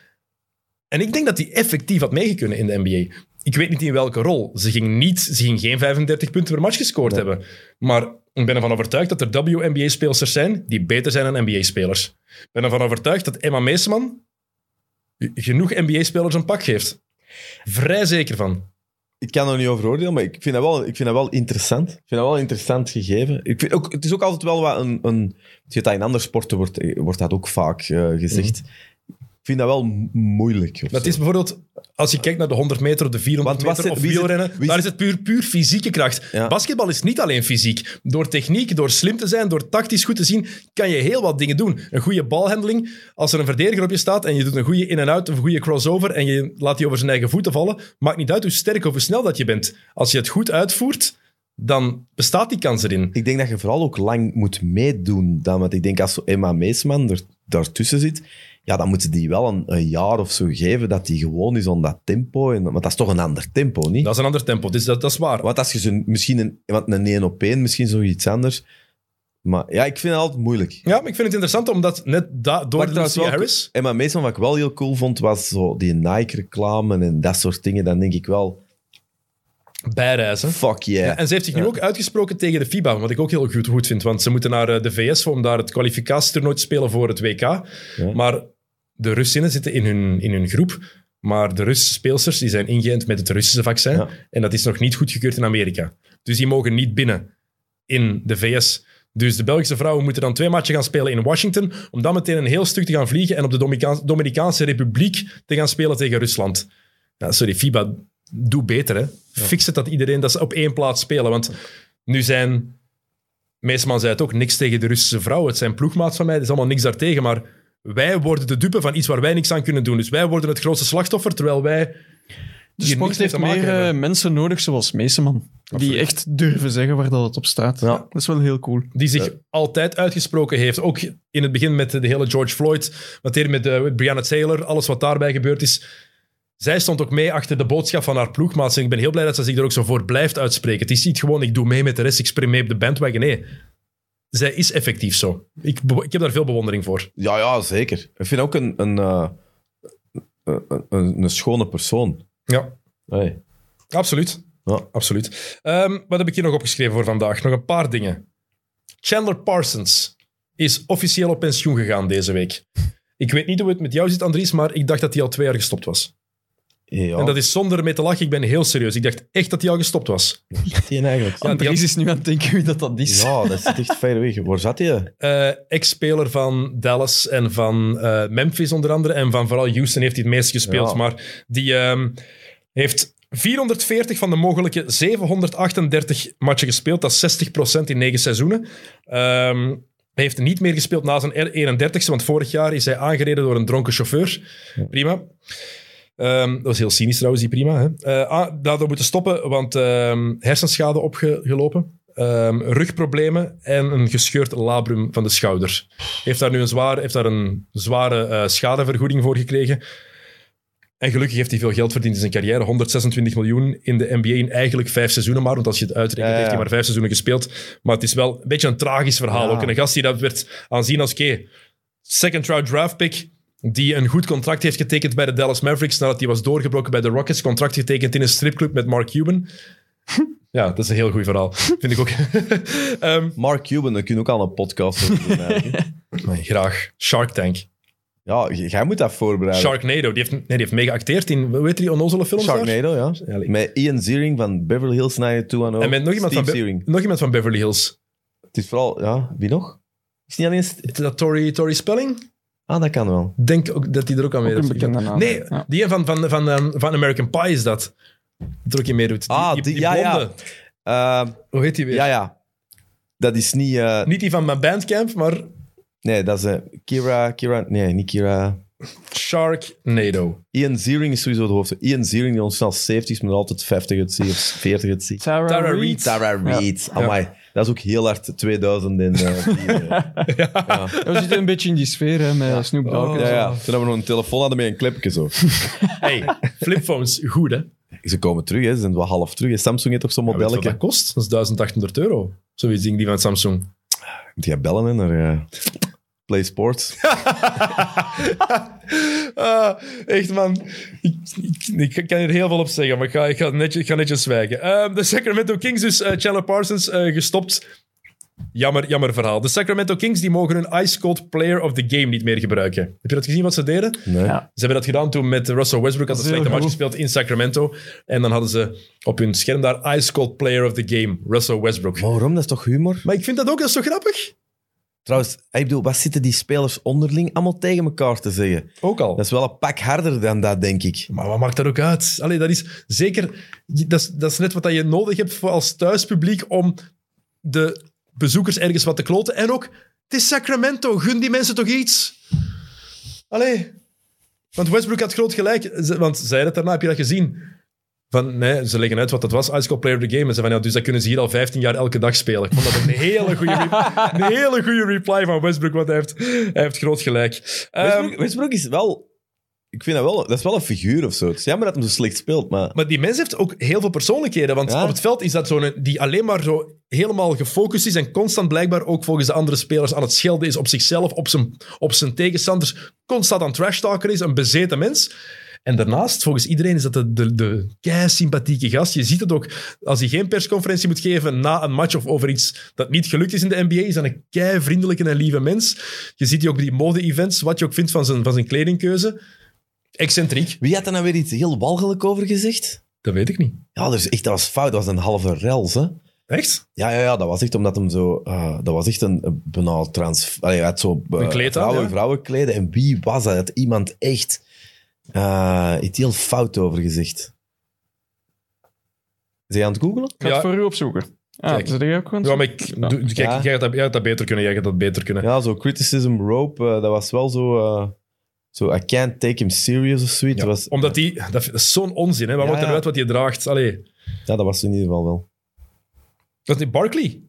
S1: En ik denk dat die effectief had meegekunnen in de NBA. Ik weet niet in welke rol. Ze ging, niet, ze ging geen 35 punten per match gescoord
S2: Nee.
S1: hebben. Maar ik ben ervan overtuigd dat er WNBA-spelers zijn die beter zijn dan NBA-spelers. Ik ben ervan overtuigd dat Emma Meesman genoeg NBA-spelers een pak geeft. Vrij zeker van.
S2: ik kan er niet over oordelen, maar ik vind dat wel, ik vind dat wel interessant. Ik vind dat wel een interessant gegeven. Ik vind ook, het is ook altijd wel wat een... een je weet dat in andere sporten wordt, eh, wordt dat ook vaak eh, gezegd. Ik vind dat wel mo- moeilijk. of
S1: Dat
S2: zo.
S1: Mhm. is bijvoorbeeld, als je kijkt naar de 100 meter of de 400
S2: Want was
S1: meter
S2: er-
S1: of
S2: wie zit-
S1: wielrennen,
S2: wie
S1: daar is
S2: zit-
S1: het puur, puur fysieke kracht.
S2: Ja.
S1: Basketbal is niet alleen fysiek. Door techniek, door slim te zijn, door tactisch goed te zien, kan je heel wat dingen doen. Een goede balhandeling, als er een verdediger op je staat en je doet een goede in- en uit of een goede crossover en je laat die over zijn eigen voeten vallen, maakt niet uit hoe sterk of hoe snel dat je bent. Als je het goed uitvoert, dan bestaat die kans erin.
S2: Ik denk dat je vooral ook lang moet meedoen. Dan, want ik denk als zo Emma Meesman er, daartussen zit, ja, dan moeten die wel een, een jaar of zo geven dat die gewoon is aan dat tempo. En, want dat is toch een ander tempo, niet?
S1: Dat is een ander tempo, dus dat, dat is waar.
S2: Want als je ze misschien een, want een 1 op 1, misschien zoiets anders. Maar ja, ik vind het altijd moeilijk.
S1: Ja, maar ik vind het interessant omdat net da- door
S2: Wat
S1: de
S2: trouwens
S1: Lucia
S2: wel-
S1: Harris...
S2: Emma Mason, wat ik wel heel cool vond, was zo die Nike-reclame en dat soort dingen. Dan denk ik wel,
S1: Bijreizen.
S2: fuck yeah.
S1: Ja, en ze heeft zich nu
S2: Ja.
S1: ook uitgesproken tegen de FIBA, wat ik ook heel goed, goed vind. Want ze moeten naar eh, de VS om daar het kwalificatietoernooi te spelen voor het WK. Maar de Russinnen zitten in hun, in hun groep. Maar de Russische speelsters die zijn ingeënt met het Russische vaccin.
S2: Ja.
S1: En dat is nog niet goedgekeurd in Amerika. Dus die mogen niet binnen in de VS. Dus de Belgische vrouwen moeten dan twee matchen gaan spelen in Washington. Om dan meteen een heel stuk te gaan vliegen en op de Dominicaans- Dominicaanse Republiek te gaan spelen tegen Rusland. Ja, sorry, FIBA, doe beter. Hè. Fix het dat iedereen dat ze op één plaats spelen. Want nu zijn, Meesman zei het ook, niks tegen de Russische vrouwen. Het zijn ploegmaats van mij, er is allemaal niks daartegen. Maar wij worden de dupe van iets waar wij niks aan kunnen doen. Dus wij worden het grootste slachtoffer, terwijl wij...
S3: De
S1: hier niks
S3: sport
S1: mee
S3: heeft
S1: te maken
S3: meer eh,
S1: hebben.
S3: mensen nodig, zoals Meeseman. Die
S1: Absoluut.
S3: echt durven zeggen waar dat het op staat.
S2: Ja.
S3: Dat is wel heel cool.
S1: Die zich altijd uitgesproken heeft. Ook in het begin met de hele George Floyd, meteen met eh, Breonna Taylor, alles wat daarbij gebeurd is. Zij stond ook mee achter de boodschap van haar ploegmaats. En ik ben heel blij dat ze zich er ook zo voor blijft uitspreken. Het is niet gewoon, ik doe mee met de rest, ik spring mee op de bandwagon. Nee, zij is effectief zo. Ik, be- ik heb daar veel bewondering voor.
S2: Ja, ja, zeker. Ik vind ook een, een, eh, een, een, een schone persoon.
S1: Ja,
S2: Hey.
S1: absoluut.
S2: Ja.
S1: absoluut. Ehm, wat heb ik hier nog opgeschreven voor vandaag? Nog een paar dingen. Chandler Parsons is officieel op pensioen gegaan deze week. Ik weet niet hoe het met jou zit, Andries, maar ik dacht dat hij al twee jaar gestopt was.
S2: Ja,
S1: En dat is zonder ermee te lachen, ik ben heel serieus. Ik dacht echt dat hij al gestopt was.
S2: zit hij eigenlijk?
S1: Ja, die
S3: Andries is nu aan het denken wie dat dat is.
S2: Ja, dat zit echt ver weg. Waar zat hij?
S1: Eh, Ex-speler van Dallas en van eh, Memphis onder andere. En van vooral Houston heeft hij het meest gespeeld.
S2: Ja.
S1: Maar die ehm, heeft 440 van de mogelijke 738 matchen gespeeld. Dat is 60% in negen seizoenen. Ehm, hij heeft niet meer gespeeld na zijn 31ste, want vorig jaar is hij aangereden door een dronken chauffeur. Prima. Ehm, dat was heel cynisch trouwens, die prima. Hè? Eh, ah, daardoor moeten stoppen, want ehm, hersenschade opgelopen. ehm, rugproblemen en een gescheurd labrum van de schouder. Heeft daar nu een, zwaar, heeft daar een zware eh, schadevergoeding voor gekregen. En gelukkig heeft hij veel geld verdiend in zijn carrière. 126 miljoen in de NBA in eigenlijk vijf seizoenen maar. Want als je het uitrekent,
S2: Ja, ja.
S1: heeft hij maar vijf seizoenen gespeeld. Maar het is wel een beetje een tragisch verhaal.
S2: Ja.
S1: Ook En een gast die dat werd aanzien als... oké, second round draft pick die een goed contract heeft getekend bij de Dallas Mavericks nadat hij was doorgebroken bij de Rockets. Contract getekend in een stripclub met Mark Cuban. Ja, dat is een heel goed verhaal. Vind ik ook. Ehm,
S2: Mark Cuban, daar kun je ook al een podcast over doen. eigenlijk.
S1: nee, graag. Shark Tank.
S2: ja, j- jij moet dat voorbereiden.
S1: Sharknado. Die heeft, nee, die heeft mee geacteerd in, hoe heet die onnozele films daar?
S2: Sharknado, ja.
S1: Ja, like-
S2: Met Ian Ziering van Beverly Hills 90210.
S1: En met nog iemand, van
S2: Steve
S1: Be-
S2: Ziering.
S1: nog iemand van Beverly Hills.
S2: Het is vooral, ja, wie nog? Is niet alleen... St-
S1: Is dat Tori, Tori Spelling?
S2: Ah, dat kan wel.
S1: Denk ook dat hij er ook aan
S3: Ook
S1: meedoet.
S3: een bekende naam.
S1: Nee,
S3: Ja.
S1: die van, van, van, ehm, van American Pie is dat. Dat er ook in meedoet. Die-
S2: Ah,
S1: die,
S2: die-
S1: die
S2: ja, ja.
S1: blonde.
S2: Eh,
S1: Hoe heet die weer?
S2: ja, ja. Dat is niet... eh,
S1: Niet die van mijn bandcamp, maar
S2: nee, dat is eh, Kira... Kira... Nee, niet Kira...
S1: Sharknado.
S2: Ian Ziering is sowieso de hoofd. Ian Ziering, die ons snel 70 is, maar altijd 50 het ziet of 40 het ziet.
S3: Tara,
S1: Tara
S3: Reid.
S1: Reid.
S2: Tara Reid. Amai. Dat is ook heel hard 2000 in... eh, die, eh,
S3: We zitten een beetje in die sfeer hè, met Snoop Dogg.
S1: Oh.
S3: en
S2: ja,
S3: zo.
S2: ja. Toen hebben we nog een telefoon hadden met een clipje zo.
S1: Hey, flipphones, goed hè?
S2: Ze komen terug, hè. ze zijn wel half terug. hè. Samsung heeft toch zo'n
S1: Weet je wat
S2: modelletje.
S1: dat kost? Dat is 1800 euro. Zoiets ding die van Samsung.
S2: Moet jij bellen hè, naar eh, Play Sports?
S1: Ah, echt man, ik, ik, ik kan er heel veel op zeggen, maar ik ga, ik ga, netjes, ik ga netjes zwijgen. Ehm, de Sacramento Kings, dus eh, Chandler Parsons eh, gestopt. Jammer, jammer verhaal. De Sacramento Kings die mogen hun Ice Cold Player of the Game niet meer gebruiken. Heb je dat gezien wat ze deden?
S2: Nee.
S3: Ja.
S1: Ze hebben dat gedaan toen met Russell Westbrook. Had een
S3: Dat is heel
S1: slechte match
S3: goed.
S1: gespeeld in Sacramento. En dan hadden ze op hun scherm daar Ice Cold Player of the Game, Russell Westbrook.
S2: Maar waarom? Dat is toch humor?
S1: Maar ik vind dat ook, dat is zo grappig?
S2: Trouwens, ik bedoel, wat zitten die spelers onderling allemaal tegen elkaar te zeggen?
S1: Ook al.
S2: Dat is wel een pak harder dan dat, denk ik.
S1: Maar wat maakt dat ook uit? Allee, dat is zeker... Dat is, dat is net wat dat je nodig hebt voor als thuispubliek om de bezoekers ergens wat te kloten. En ook, het is Sacramento. Gun die mensen toch iets? Allee. Want Westbrook had groot gelijk. Ze- Want zij dat daarna, heb je dat gezien? Van, nee, ze leggen uit wat dat was. Ice Cold Player of the Game. En ze van, ja, dus dat kunnen ze hier al 15 jaar elke dag spelen. Ik vond dat een hele goede, re- een hele goede reply van Westbrook. Want hij heeft, hij heeft groot gelijk. Ehm,
S2: Westbrook, Westbrook is wel... Ik vind dat wel... Dat is wel een figuur of zo. Het is jammer dat hem zo slecht speelt, maar...
S1: Maar die mens heeft ook heel veel persoonlijkheden. Want
S2: Ja.
S1: op het veld is dat zo'n die alleen maar zo helemaal gefocust is en constant blijkbaar ook volgens de andere spelers aan het schelden is op zichzelf, op zijn, op zijn tegenstanders, constant aan het trashtalken is, een bezeten mens. En daarnaast, volgens iedereen, is dat de, de, de kei-sympathieke gast. Je ziet het ook als hij geen persconferentie moet geven na een match of over iets dat niet gelukt is in de NBA. Is dat een kei-vriendelijke en lieve mens. Je ziet die ook bij die mode-events, wat je ook vindt van zijn, van zijn kledingkeuze. Excentriek,
S2: Wie had er nou weer iets heel walgelijk over gezegd?
S1: dat weet ik niet.
S2: Ja, dus echt, dat was fout. Dat was een halve rels, hè?
S1: Echt?
S2: Ja, ja, ja, dat was echt omdat hem zo... eh, dat was echt een, een bijna trans... Allee, hij had zo eh,
S1: Een kleed aan,
S2: vrouwen,
S1: ja.
S2: vrouwenkleden. En wie was dat? Had iemand echt eh iets heel fout over gezegd? Zijn je aan het googelen?
S3: Ik ga
S1: Ja.
S3: het voor u opzoeken. Ah,
S1: Kijk.
S3: zit jij ook gewoon?
S1: Ja, maar ik,
S3: Ja.
S1: doe- kijk,
S2: Ja.
S1: jij, gaat dat, jij gaat dat beter kunnen. Jij gaat dat beter kunnen.
S2: Ja, zo criticism rope, eh, dat was wel zo... eh, zo, I can't take him serious of zoiets.
S1: Ja,
S2: Dat was,
S1: Omdat die, dat, dat is zo'n onzin, hè? Wat
S2: Ja,
S1: maakt
S2: ja.
S1: eruit wat je draagt? Allee.
S2: ja, dat was in ieder geval wel.
S1: Dat is niet Barkley.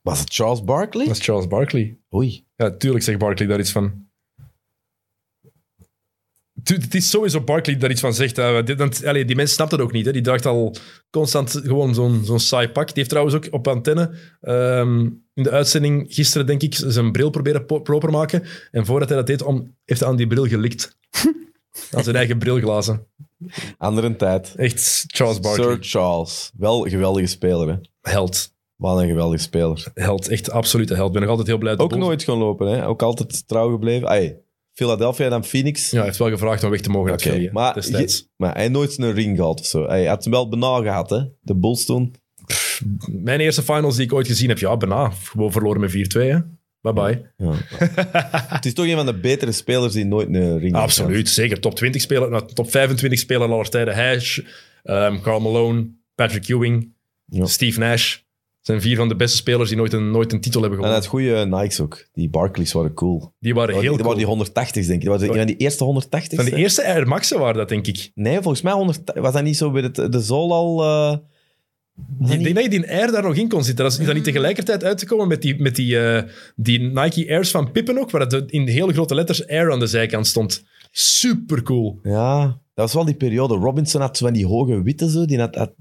S2: Was het Charles Barkley?
S1: Dat is Charles Barkley.
S2: Oei.
S1: Ja, tuurlijk zegt Barkley daar iets van. Tu- het is sowieso Barkley die daar iets van zegt. hè. Dit- want, allee, die mens snapt dat ook niet. Hè? Die draagt al constant gewoon zo'n zo'n saai pak. Die heeft trouwens ook op antenne ehm, in de uitzending gisteren, denk ik, zijn bril proberen po- proper maken. En voordat hij dat deed, om, heeft hij aan die bril gelikt. aan zijn eigen brilglazen.
S2: Andere tijd.
S1: Echt Charles Barkley.
S2: Sir Charles. Wel een geweldige speler, hè.
S1: Held.
S2: Wat een geweldige speler.
S1: Held. Echt absolute held. Ik ben nog altijd heel blij. dat
S2: Ook
S1: de Bulls-
S2: nooit gaan lopen, hè? Ook altijd trouw gebleven. Ay, Philadelphia, dan Phoenix.
S1: Ja, hij heeft wel gevraagd om weg te mogen uit
S2: Oké,
S1: Philly, hè,
S2: maar,
S1: destijds.
S2: je- maar hij heeft nooit een ring gehad of zo. Hij had hem wel bijna gehad, hè? De Bulls toen.
S1: Mijn eerste finals die ik ooit gezien heb, ja, bijna. Gewoon verloren met 4-2, hè. Bye-bye.
S2: Ja. het is toch een van de betere spelers die nooit een ring had.
S1: Absoluut, zeker. Top 20 speler, nou, top 25 speler aller tijden. Hash, ehm Carl Malone, Patrick Ewing,
S2: Ja.
S1: Steve Nash. zijn vier van de beste spelers die nooit een, nooit een titel hebben
S2: En
S1: gewonnen.
S2: het goede Nikes ook. Die Barclays waren cool.
S1: Die waren
S2: Die
S1: heel
S2: waren
S1: cool.
S2: die 180's, denk ik. Dat waren die eerste 180's.
S1: Van de eerste Air Max'en waren dat, denk ik.
S2: Nee, volgens mij 100, was dat niet zo bij het, de zool al... eh, was dat
S1: Ik
S2: niet-
S1: denk dat je die Air daar nog in kon zitten. Dat is, is
S2: Ah.
S1: dat niet tegelijkertijd uit te komen met die, met die, eh, die Nike Airs van Pippen ook, waar het in hele grote letters Air aan de zijkant stond. Super cool.
S2: Ja, dat was wel die periode. Robinson had zo van die hoge witte zo. Die had, had-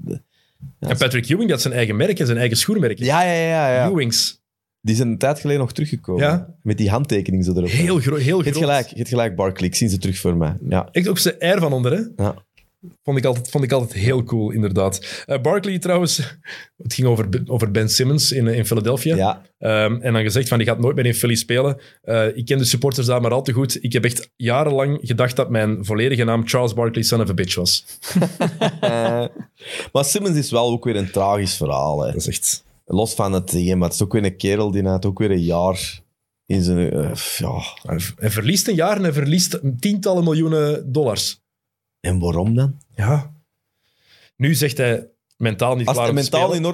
S1: en Patrick Ewing had zijn eigen merk en zijn eigen schoenmerk.
S2: ja, ja, ja, ja.
S1: Ewings.
S2: Die zijn een tijd geleden nog teruggekomen.
S1: Ja.
S2: Met die handtekening zo erop.
S1: Heel, gro heel
S2: Je
S1: groot.
S2: hebt gelijk, je hebt gelijk, Barkley. Ik zie ze terug voor mij. Ja.
S1: Echt op zijn air van onder, hè?
S2: Ja.
S1: Vond ik, altijd, vond ik altijd heel cool, inderdaad. Eh Barkley trouwens, het ging over, B- over Ben Simmons in, eh, in Philadelphia.
S2: Ja.
S1: Ehm, en dan gezegd van, die gaat nooit meer in Philly spelen. Eh, ik ken de supporters daar maar al te goed. Ik heb echt jarenlang gedacht dat mijn volledige naam Charles Barkley son of a bitch was.
S2: Eh, maar Simmons is wel ook weer een tragisch verhaal. Hè.
S1: Dat is echt...
S2: Los van het ding, hè, maar het is ook weer een kerel die na het ook weer een jaar in zijn... eh, f- ja.
S1: Hij verliest een jaar en hij verliest tientallen miljoenen dollars.
S2: En waarom dan?
S1: Ja. Nu zegt hij mentaal niet
S2: Als
S1: klaar
S2: het
S1: om te
S2: mentaal
S1: spelen.
S2: in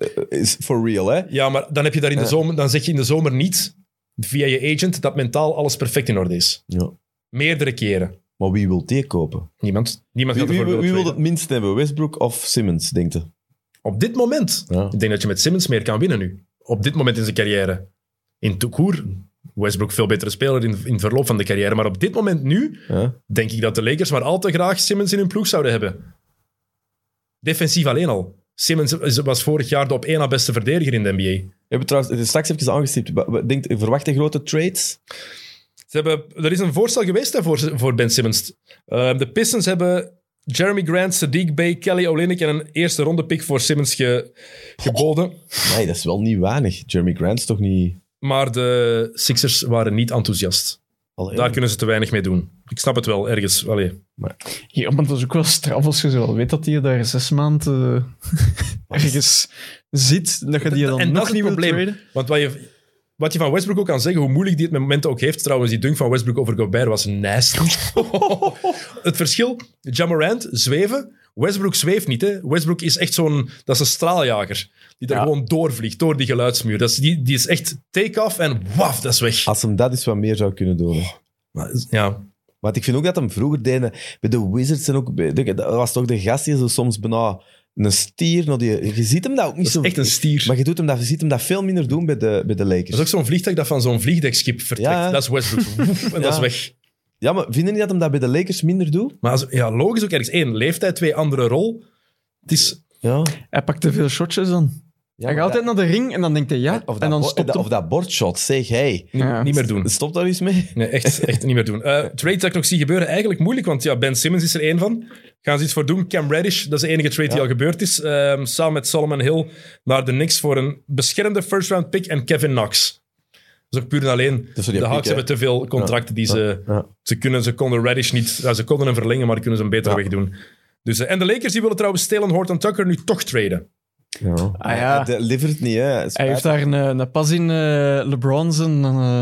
S2: orde is, is for real, hè?
S1: Ja, maar dan, heb je daar in de
S2: Ja.
S1: zomer, dan zeg je in de zomer niet, via je agent, dat mentaal alles perfect in orde is.
S2: Ja.
S1: Meerdere keren.
S2: Maar wie wil die kopen?
S1: Niemand. Niemand
S2: Wie,
S1: gaat
S2: wie,
S1: ervoor
S2: wie,
S1: willen
S2: wil het
S1: traden.
S2: minst hebben? Westbrook of Simmons, denkt je?
S1: Op dit moment.
S2: Ja.
S1: Ik denk dat je met Simmons meer kan winnen nu. Op dit moment in zijn carrière. In Toekoer. Westbrook veel betere speler in, in het verloop van de carrière. Maar op dit moment nu
S2: Ja.
S1: denk ik dat de Lakers maar al te graag Simmons in hun ploeg zouden hebben. Defensief alleen al. Simmons is- was vorig jaar de op één na beste verdediger in de NBA.
S2: We hebben trouwens het is straks even aangestipt. Wa- wa- Denkt, verwacht je grote trades?
S1: Ze hebben, er is een voorstel geweest hè, voor, voor Ben Simmons. Ehm, de Pistons hebben Jeremy Grant, Sadiq Bey, Kelly Olynyk en een eerste ronde pick voor Simmons ge- geboden.
S2: Nee, dat is wel niet weinig. Jeremy Grant is toch niet...
S1: Maar de Sixers waren niet enthousiast.
S2: Allee,
S1: Daar kunnen ze te weinig mee doen. Ik snap het wel, ergens. Allee.
S3: Ja, maar dat is ook wel straf als je zo wel weet dat je daar zes maanden eh, ergens zit. Dat je die dan
S1: en dat
S3: nog
S1: is
S3: niet
S1: het
S3: wil
S1: probleem.
S3: traden.
S1: Want wat je, wat je van Westbrook ook kan zeggen, hoe moeilijk die het met momenten ook heeft. Trouwens, die dunk van Westbrook over Gobert was nasty. het verschil, Jamorant, zweven. Westbrook zweeft niet. Hè. Westbrook is echt zo'n... Dat is een straaljager. Die daar
S3: Ja.
S1: gewoon doorvliegt, door die geluidsmuur. Dat is, die, die is echt take-off en waf, dat is weg.
S2: Als hem dat eens wat meer zou kunnen doen. hè.
S1: Maar, ja.
S2: Want ik vind ook dat hem vroeger deed... Bij de Wizards en ook... Bij, dat was toch de gast die zo soms bijna een stier... nou die, je ziet hem dat ook niet
S1: Dat
S2: zo...
S1: is echt een stier.
S2: Maar je, doet hem dat, je ziet hem dat veel minder doen bij de, bij de Lakers.
S1: dat is ook zo'n vliegtuig dat van zo'n vliegdekschip vertrekt.
S2: Ja, hè.
S1: dat is Westbrook. Woef, en dat is
S2: Ja.
S1: weg.
S2: Ja, maar vinden niet dat hem dat bij de Lakers minder doet?
S1: Maar als- ja, logisch ook ergens. één leeftijd, twee, andere rol. Het is...
S2: Ja.
S3: Hij pakt te veel shotjes dan.
S2: ja Eh,
S3: hij gaat altijd naar de ring en dan denkt hij ja.
S2: Of dat,
S3: en dan
S2: bo-
S3: stopt
S2: dat-
S3: hem.
S2: of dat bordshot, zeg hey.
S3: Ja.
S1: Niet meer doen.
S2: Stop daar eens mee.
S1: Nee, echt, echt niet meer doen. Eh, trade dat ik nog zie gebeuren, eigenlijk moeilijk, want ja, Ben Simmons is er één van. Gaan ze iets voor doen? Cam Reddish, dat is de enige trade die al gebeurd is. Ehm, samen met Solomon Hill naar de Knicks voor een beschermde first-round pick en Kevin Knox. Dus ook puur en alleen,
S2: is
S1: de
S2: voor die
S1: Hawks
S2: pick, hè?
S1: hebben te veel contracten die ze...
S2: Ja.
S1: Ze, kunnen, ze konden Reddish niet... ja, ze konden hem verlengen, maar kunnen ze hem beter
S2: Ja.
S1: wegdoen. Dus, eh, en de Lakers die willen trouwens Stalen Horton Tucker nu toch traden.
S3: Ah ja.
S2: Dat levert niet, hè.
S3: Hij heeft daar een, eh, een pas in eh, LeBron zijn eh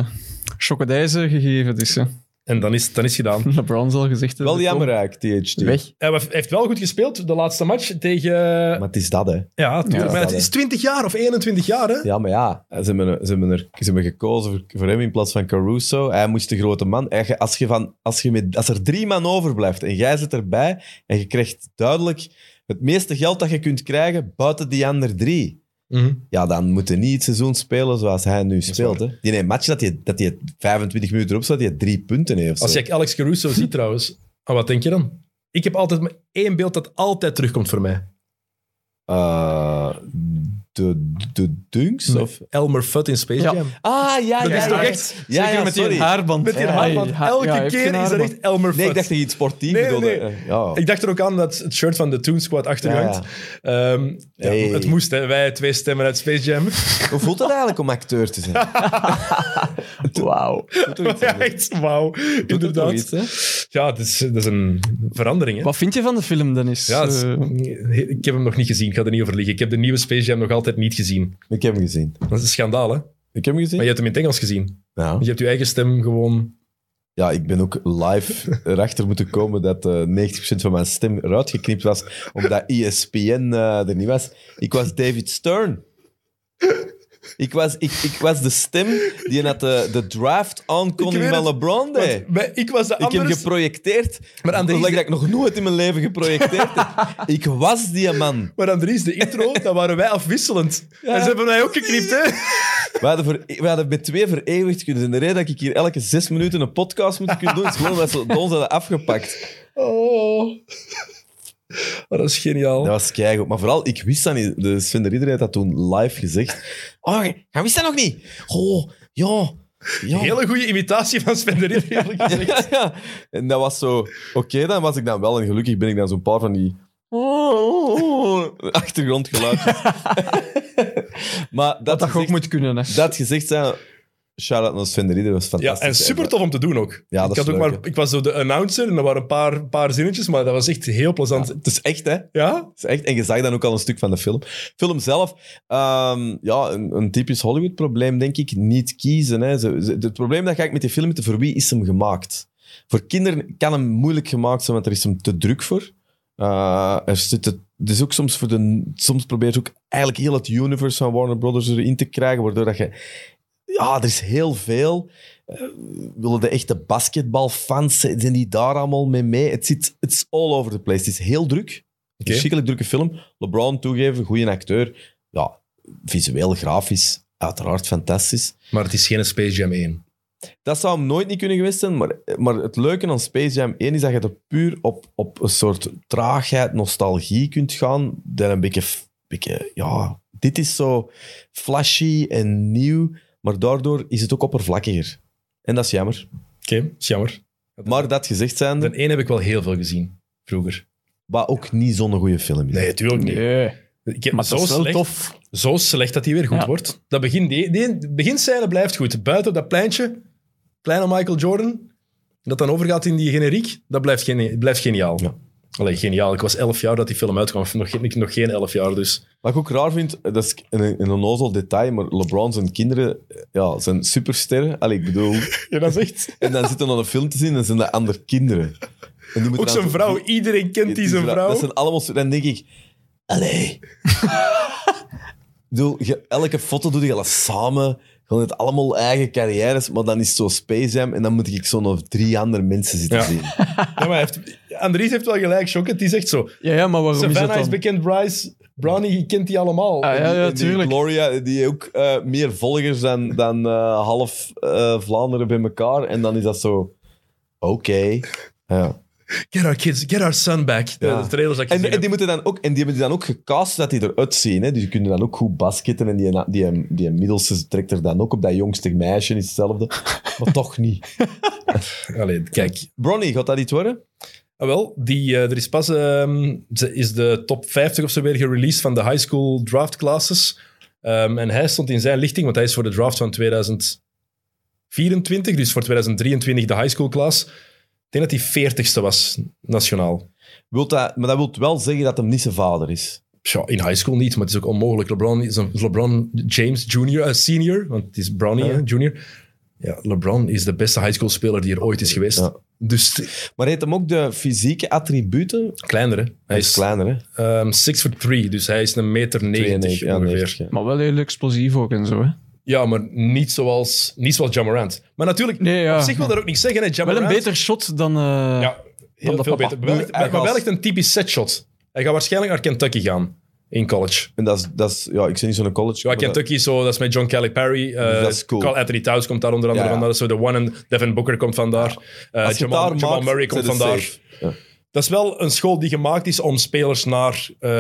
S3: chocodijzen gegeven. Dus ja,
S1: En dan is, dan is het gedaan.
S3: LeBron zal gezegd hebben.
S2: Wel jammer eigenlijk, THT.
S3: kom, Weg.
S1: Hij heeft- heeft wel goed gespeeld, de laatste match tegen...
S2: Maar het is dat, hè.
S1: Ja, tuurlijk,
S3: Ja,
S1: maar
S2: dat
S1: het
S2: hè.
S1: is 20 jaar of 21 jaar, hè?
S2: Ja, maar ja. Ze hebben, ze hebben, er, ze hebben gekozen voor, voor hem in plaats van Caruso. Hij moest de grote man. Hij ge- Als, je van, als, je met, als er drie man overblijft en jij zit erbij en je krijgt duidelijk het meeste geld dat je kunt krijgen buiten die andere drie.
S1: Mhm.
S2: Ja, dan moet hij niet het seizoen spelen zoals hij nu
S1: is
S2: speelt. Hè. Die een match dat hij dat hij 25 minuten erop staat, die hij drie punten heeft. of
S1: Als
S2: zo.
S1: je Alex Caruso ziet trouwens, ah, wat denk je dan? Ik heb altijd maar één beeld dat altijd terugkomt voor mij.
S2: Eh, de, de Dunks? Of?
S1: Elmer Fudd in Space
S3: Ja.
S1: Jam.
S2: Ah, ja,
S1: Dat
S2: ja.
S1: is toch
S2: ja.
S1: echt...
S2: Ja,
S3: Zeker
S2: ja,
S3: met
S2: sorry.
S3: die haarband.
S1: Met die
S3: Ja,
S1: haarband.
S3: ja,
S1: Elke
S3: ja, hij heeft
S1: keer
S3: geen
S1: is dat
S3: haarband.
S1: echt Elmer Fudd.
S2: Nee, ik dacht dat je iets sportief
S1: Nee,
S2: bedoelde.
S1: nee.
S2: Eh, Ja.
S1: Ik dacht er ook aan dat het shirt van de Toon Squad achter je
S2: Ja,
S1: hangt. Ehm, ja,
S2: Hey.
S1: Het moest, hè. Wij twee stemmen uit Space Jam.
S2: Hoe voelt het eigenlijk om acteur te zijn?
S3: Wauw.
S2: Doet er iets aan,
S1: Ja,
S2: hè?
S1: echt, wauw.
S2: Doet er toch
S1: Inderdaad.
S2: iets, hè?
S1: ja, dat is, dat is een verandering, hè.
S3: Wat vind je van de film, Dennis?
S1: Ja, het is-
S3: Eh,
S1: ik heb hem nog niet gezien. Ik ga er niet over liggen. Ik heb de nieuwe Space Jam nog altijd niet gezien.
S2: Ik heb hem gezien.
S1: Dat is een schandaal, hè?
S2: Ik heb hem gezien?
S1: Maar je hebt hem in het Engels gezien.
S2: Ja.
S1: Je hebt je eigen stem gewoon...
S2: ja, ik ben ook live erachter moeten komen dat eh, 90% van mijn stem E eruit geknipt was, omdat ESPN eh, er niet was. Ik was David Stern. Ik was, ik, ik was de stem die had de, de draft aankondiging
S1: Ik weet
S2: van
S1: het,
S2: LeBron deed.
S1: Want bij- ik was de
S2: Ik heb
S1: andere...
S2: geprojecteerd.
S1: Maar
S2: Maar
S1: aan
S2: aan
S1: de-
S2: dat ik nog nooit in mijn leven geprojecteerd heb. Ik was die man.
S1: Maar Andries, de intro, dan waren wij afwisselend. En ze hebben mij ook geknipt, hè?
S2: We hadden, voor, e- we hadden met twee vereeuwigd kunnen zijn. De reden dat ik hier elke zes minuten een podcast moet kunnen doen, is gewoon dat ze ons hadden afgepakt.
S1: Oh. Maar dat is geniaal.
S2: Dat was keigoed. Maar vooral, ik wist dat niet. De Sven de Ridder had dat toen live gezegd. Oh, hij wist dat nog niet. Oh, ja. ja.
S1: Hele goede imitatie van Sven de Ridder, eerlijk gezegd.
S2: Ja, ja. En dat was zo... Oké, dan was ik dan wel. En gelukkig ben ik dan zo'n paar van die... Achtergrondgeluidjes. maar dat,
S3: Dat dat je ook
S2: gezegd,
S3: moet kunnen, hè.
S2: dat gezegd zijn... Shout-out naar Sven de Ridder, was
S1: Ja,
S2: fantastisch.
S1: en super tof om te doen ook.
S2: Ja, dat
S1: ik,
S2: is
S1: had ook
S2: leuk,
S1: maar, ik was zo de announcer en er waren een paar, paar zinnetjes, maar dat was echt heel plezant. Ja?
S2: Het is echt, hè? Het is echt. En je zag dan ook al een stuk van de film. Film zelf, ehm, ja, een, een typisch Hollywood-probleem, denk ik. Niet kiezen. Hè. Ze- ze- het probleem dat ga ik met die film is, voor wie is hem gemaakt? Voor kinderen kan hem moeilijk gemaakt zijn, want er is hem te druk voor. Eh, er zit het, dus ook soms voor de... Soms probeer je ook eigenlijk heel het universe van Warner Brothers erin te krijgen, waardoor dat je... Ja, er is heel veel. Eh, willen de echte basketbalfans, zijn die daar allemaal mee mee? Het zit it's all over the place. Het is heel druk.
S1: Oké.
S2: Verschrikkelijk drukke film. LeBron toegeven, goede acteur. Ja, visueel, grafisch, uiteraard fantastisch.
S1: Maar het is geen Space Jam 1.
S2: Dat zou hem nooit niet kunnen geweest zijn, maar, maar het leuke aan Space Jam 1 is dat je er puur op, op een soort traagheid, nostalgie kunt gaan. Dan een beetje, f- beetje, ja, dit is zo flashy en nieuw, maar daardoor is het ook oppervlakkiger. En dat is jammer.
S1: Oké, is jammer.
S2: Maar dat gezegd
S1: De
S2: zijnde,
S1: 1 heb ik wel heel veel gezien, vroeger.
S2: wat ook niet zo'n goede film is.
S1: Nee, natuurlijk niet.
S3: Nee.
S1: Ik heb
S3: Maar
S1: zo,
S3: dat is wel
S1: slecht,
S3: tof.
S1: zo slecht dat hij weer goed
S3: Ja.
S1: wordt. Dat begin, die, die beginscène blijft goed. Buiten op dat pleintje, kleine Michael Jordan, dat dan overgaat in die generiek, dat blijft, geni- blijft geniaal.
S2: Ja.
S1: Allee, geniaal. Ik was 11 jaar dat die film uitkwam. Nog, geen- nog geen 11 jaar, dus.
S2: Wat ik ook raar vind, dat is een, een onnozel detail, maar LeBron zijn kinderen ja, zijn supersterren. Allee, ik bedoel...
S1: Ja, dat is echt...
S2: En dan zitten we nog een film te zien en zijn dat andere kinderen. En die moeten
S1: Ook
S2: dan
S1: zijn
S2: zo-
S1: vrouw, iedereen kent die zijn vrouw.
S2: Dat zijn allemaal... zo- Dan denk ik... Allee. Ik bedoel, je- elke foto doe je al samen. Gewoon het allemaal eigen carrières. Maar dan is het zo Space Jam. En dan moet ik zo nog drie andere mensen zitten
S1: Ja.
S2: zien.
S1: Ja, maar hij heeft, Andries heeft wel gelijk, Shock. Het is echt zo.
S3: Ja, ja, maar waarom is dat
S1: Savannah is
S3: dan?
S1: bekend, Bryce, Brownie, je kent die allemaal.
S3: Ah, ja,
S2: En die-
S3: ja,
S2: en die
S3: tuurlijk.
S2: Gloria, die ook eh, meer volgers dan, dan eh, half eh, Vlaanderen bij elkaar. En dan is dat zo... Oké. Ja.
S1: Get our kids, get our son back. De,
S2: Ja.
S1: de trailers dat ik
S2: En,
S1: gezien
S2: en
S1: heb.
S2: die moeten dan ook, en die hebben die dan ook gecast dat die eruit zien. Hè? Dus je kunt dan ook goed basketten. En die, die, eh, die, middelste trekt er dan ook op. Dat jongste meisje is hetzelfde. maar toch niet.
S1: Allee, kijk.
S2: Bronny, gaat dat iets worden?
S1: Ah, wel, die, eh, er is pas ehm, ze is de top 50 of zo weer gereleased van de high school draft classes. Ehm, en hij stond in zijn lichting, want hij is voor de draft van 2024, dus voor 2023 de high school class. Ik denk dat hij 40ste was, nationaal.
S2: Wilt dat, maar dat wil wel zeggen dat hem niet zijn vader is.
S1: Tja, in high school niet, maar het is ook onmogelijk. LeBron is een LeBron James Jr., eh, senior, want het is Brownie
S2: Ja.
S1: hè, junior. Ja, LeBron is de beste high school speler die er ooit is geweest.
S2: Ja.
S1: Dus t-
S2: Maar heeft hem ook de fysieke attributen?
S1: kleiner, hè? Hij is
S2: kleiner, hè?
S1: ehm, 6 for 3, dus hij is een meter 90
S2: 92, ja,
S1: ongeveer.
S2: 90, ja.
S3: Maar wel heel explosief ook en zo, hè.
S1: Ja, maar niet zoals, niet zoals Jamarant. Maar natuurlijk,
S3: Nee, ja.
S1: op zich wil dat ook niet zeggen, hè?
S3: Wel
S1: Jamarant.
S3: een beter shot dan... eh,
S1: Ja, heel
S3: de
S1: veel
S3: papa.
S1: beter. Maar wel echt- Maar wel
S2: Hij
S1: echt een typisch setshot. Hij gaat waarschijnlijk naar Kentucky gaan, in college.
S2: En dat is, dat is... Ja, ik zit niet zo'n college.
S1: Ja,
S2: maar dat-
S1: Kentucky is zo, dat is met John Calipari. eh
S2: dat is cool.
S1: Carl Anthony Towns komt daar onder andere
S2: Ja, ja.
S1: vandaan. Dat is zo de one en Devin Booker komt vandaar. Eh
S2: als je
S1: Jamal,
S2: daar
S1: Jamal
S2: maakt,
S1: Murray
S2: zijn
S1: komt
S2: ze
S1: vandaar.
S2: safe. Ja.
S1: Dat is wel een school die gemaakt is om spelers naar eh,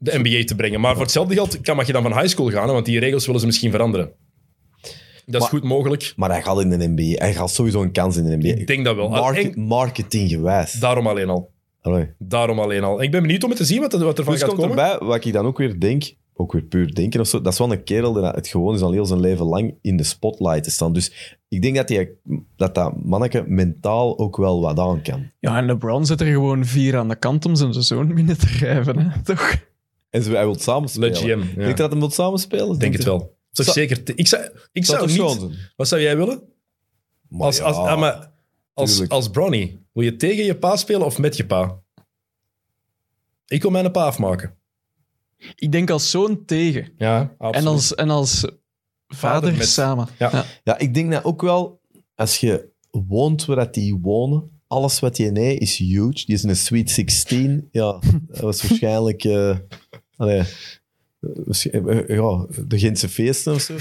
S1: de NBA te brengen. Maar voor hetzelfde geld kan, mag je dan van high school gaan, hè, want die regels willen ze misschien veranderen. Dat is
S2: Maar-
S1: goed mogelijk.
S2: Maar hij gaat in de NBA. Hij gaat sowieso een kans in de NBA.
S1: Ik denk dat wel.
S2: Market,
S1: En-
S2: Marketinggewijs.
S1: Daarom alleen al.
S2: Allee.
S1: Daarom alleen al. Ik ben benieuwd om het te zien wat, er- wat ervan
S2: Plus
S1: gaat
S2: Dus komt
S1: komen.
S2: erbij, wat ik dan ook weer denk, ook weer puur denken of zo, dat is wel een kerel die het gewoon is al heel zijn leven lang in de spotlight te staan. Dus ik denk dat die, dat, dat manneke mentaal ook wel wat aan kan.
S3: ja, en LeBron zet er gewoon vier aan de kant om zijn zoon binnen te drijven, hè. Toch?
S2: En ze- hij wil
S1: Le
S2: samenspelen.
S1: GM. ja.
S2: Denk je
S1: Ik
S2: dat hij wil samenspelen?
S1: denk het wel. Toch
S2: Zou-
S1: zeker. te- Ik zou, ik zou
S2: Zou
S1: niet... Wat zou jij willen? Als, als, ah, maar als,
S2: tuurlijk.
S1: als Bronny, wil je tegen je pa spelen of met je pa? Ik wil mijn pa afmaken.
S3: Ik denk als zoon tegen.
S1: Ja, absoluut.
S3: En als, en als vader,
S1: Vader met-
S3: samen.
S1: Ja.
S2: Ja, ik denk dat ook wel, als je woont waar dat die wonen, alles wat je nee is huge. Die is een Sweet 16. Ja, dat was waarschijnlijk... eh, allee, waarsch- eh, eh, ja, de Gentse feesten of zo.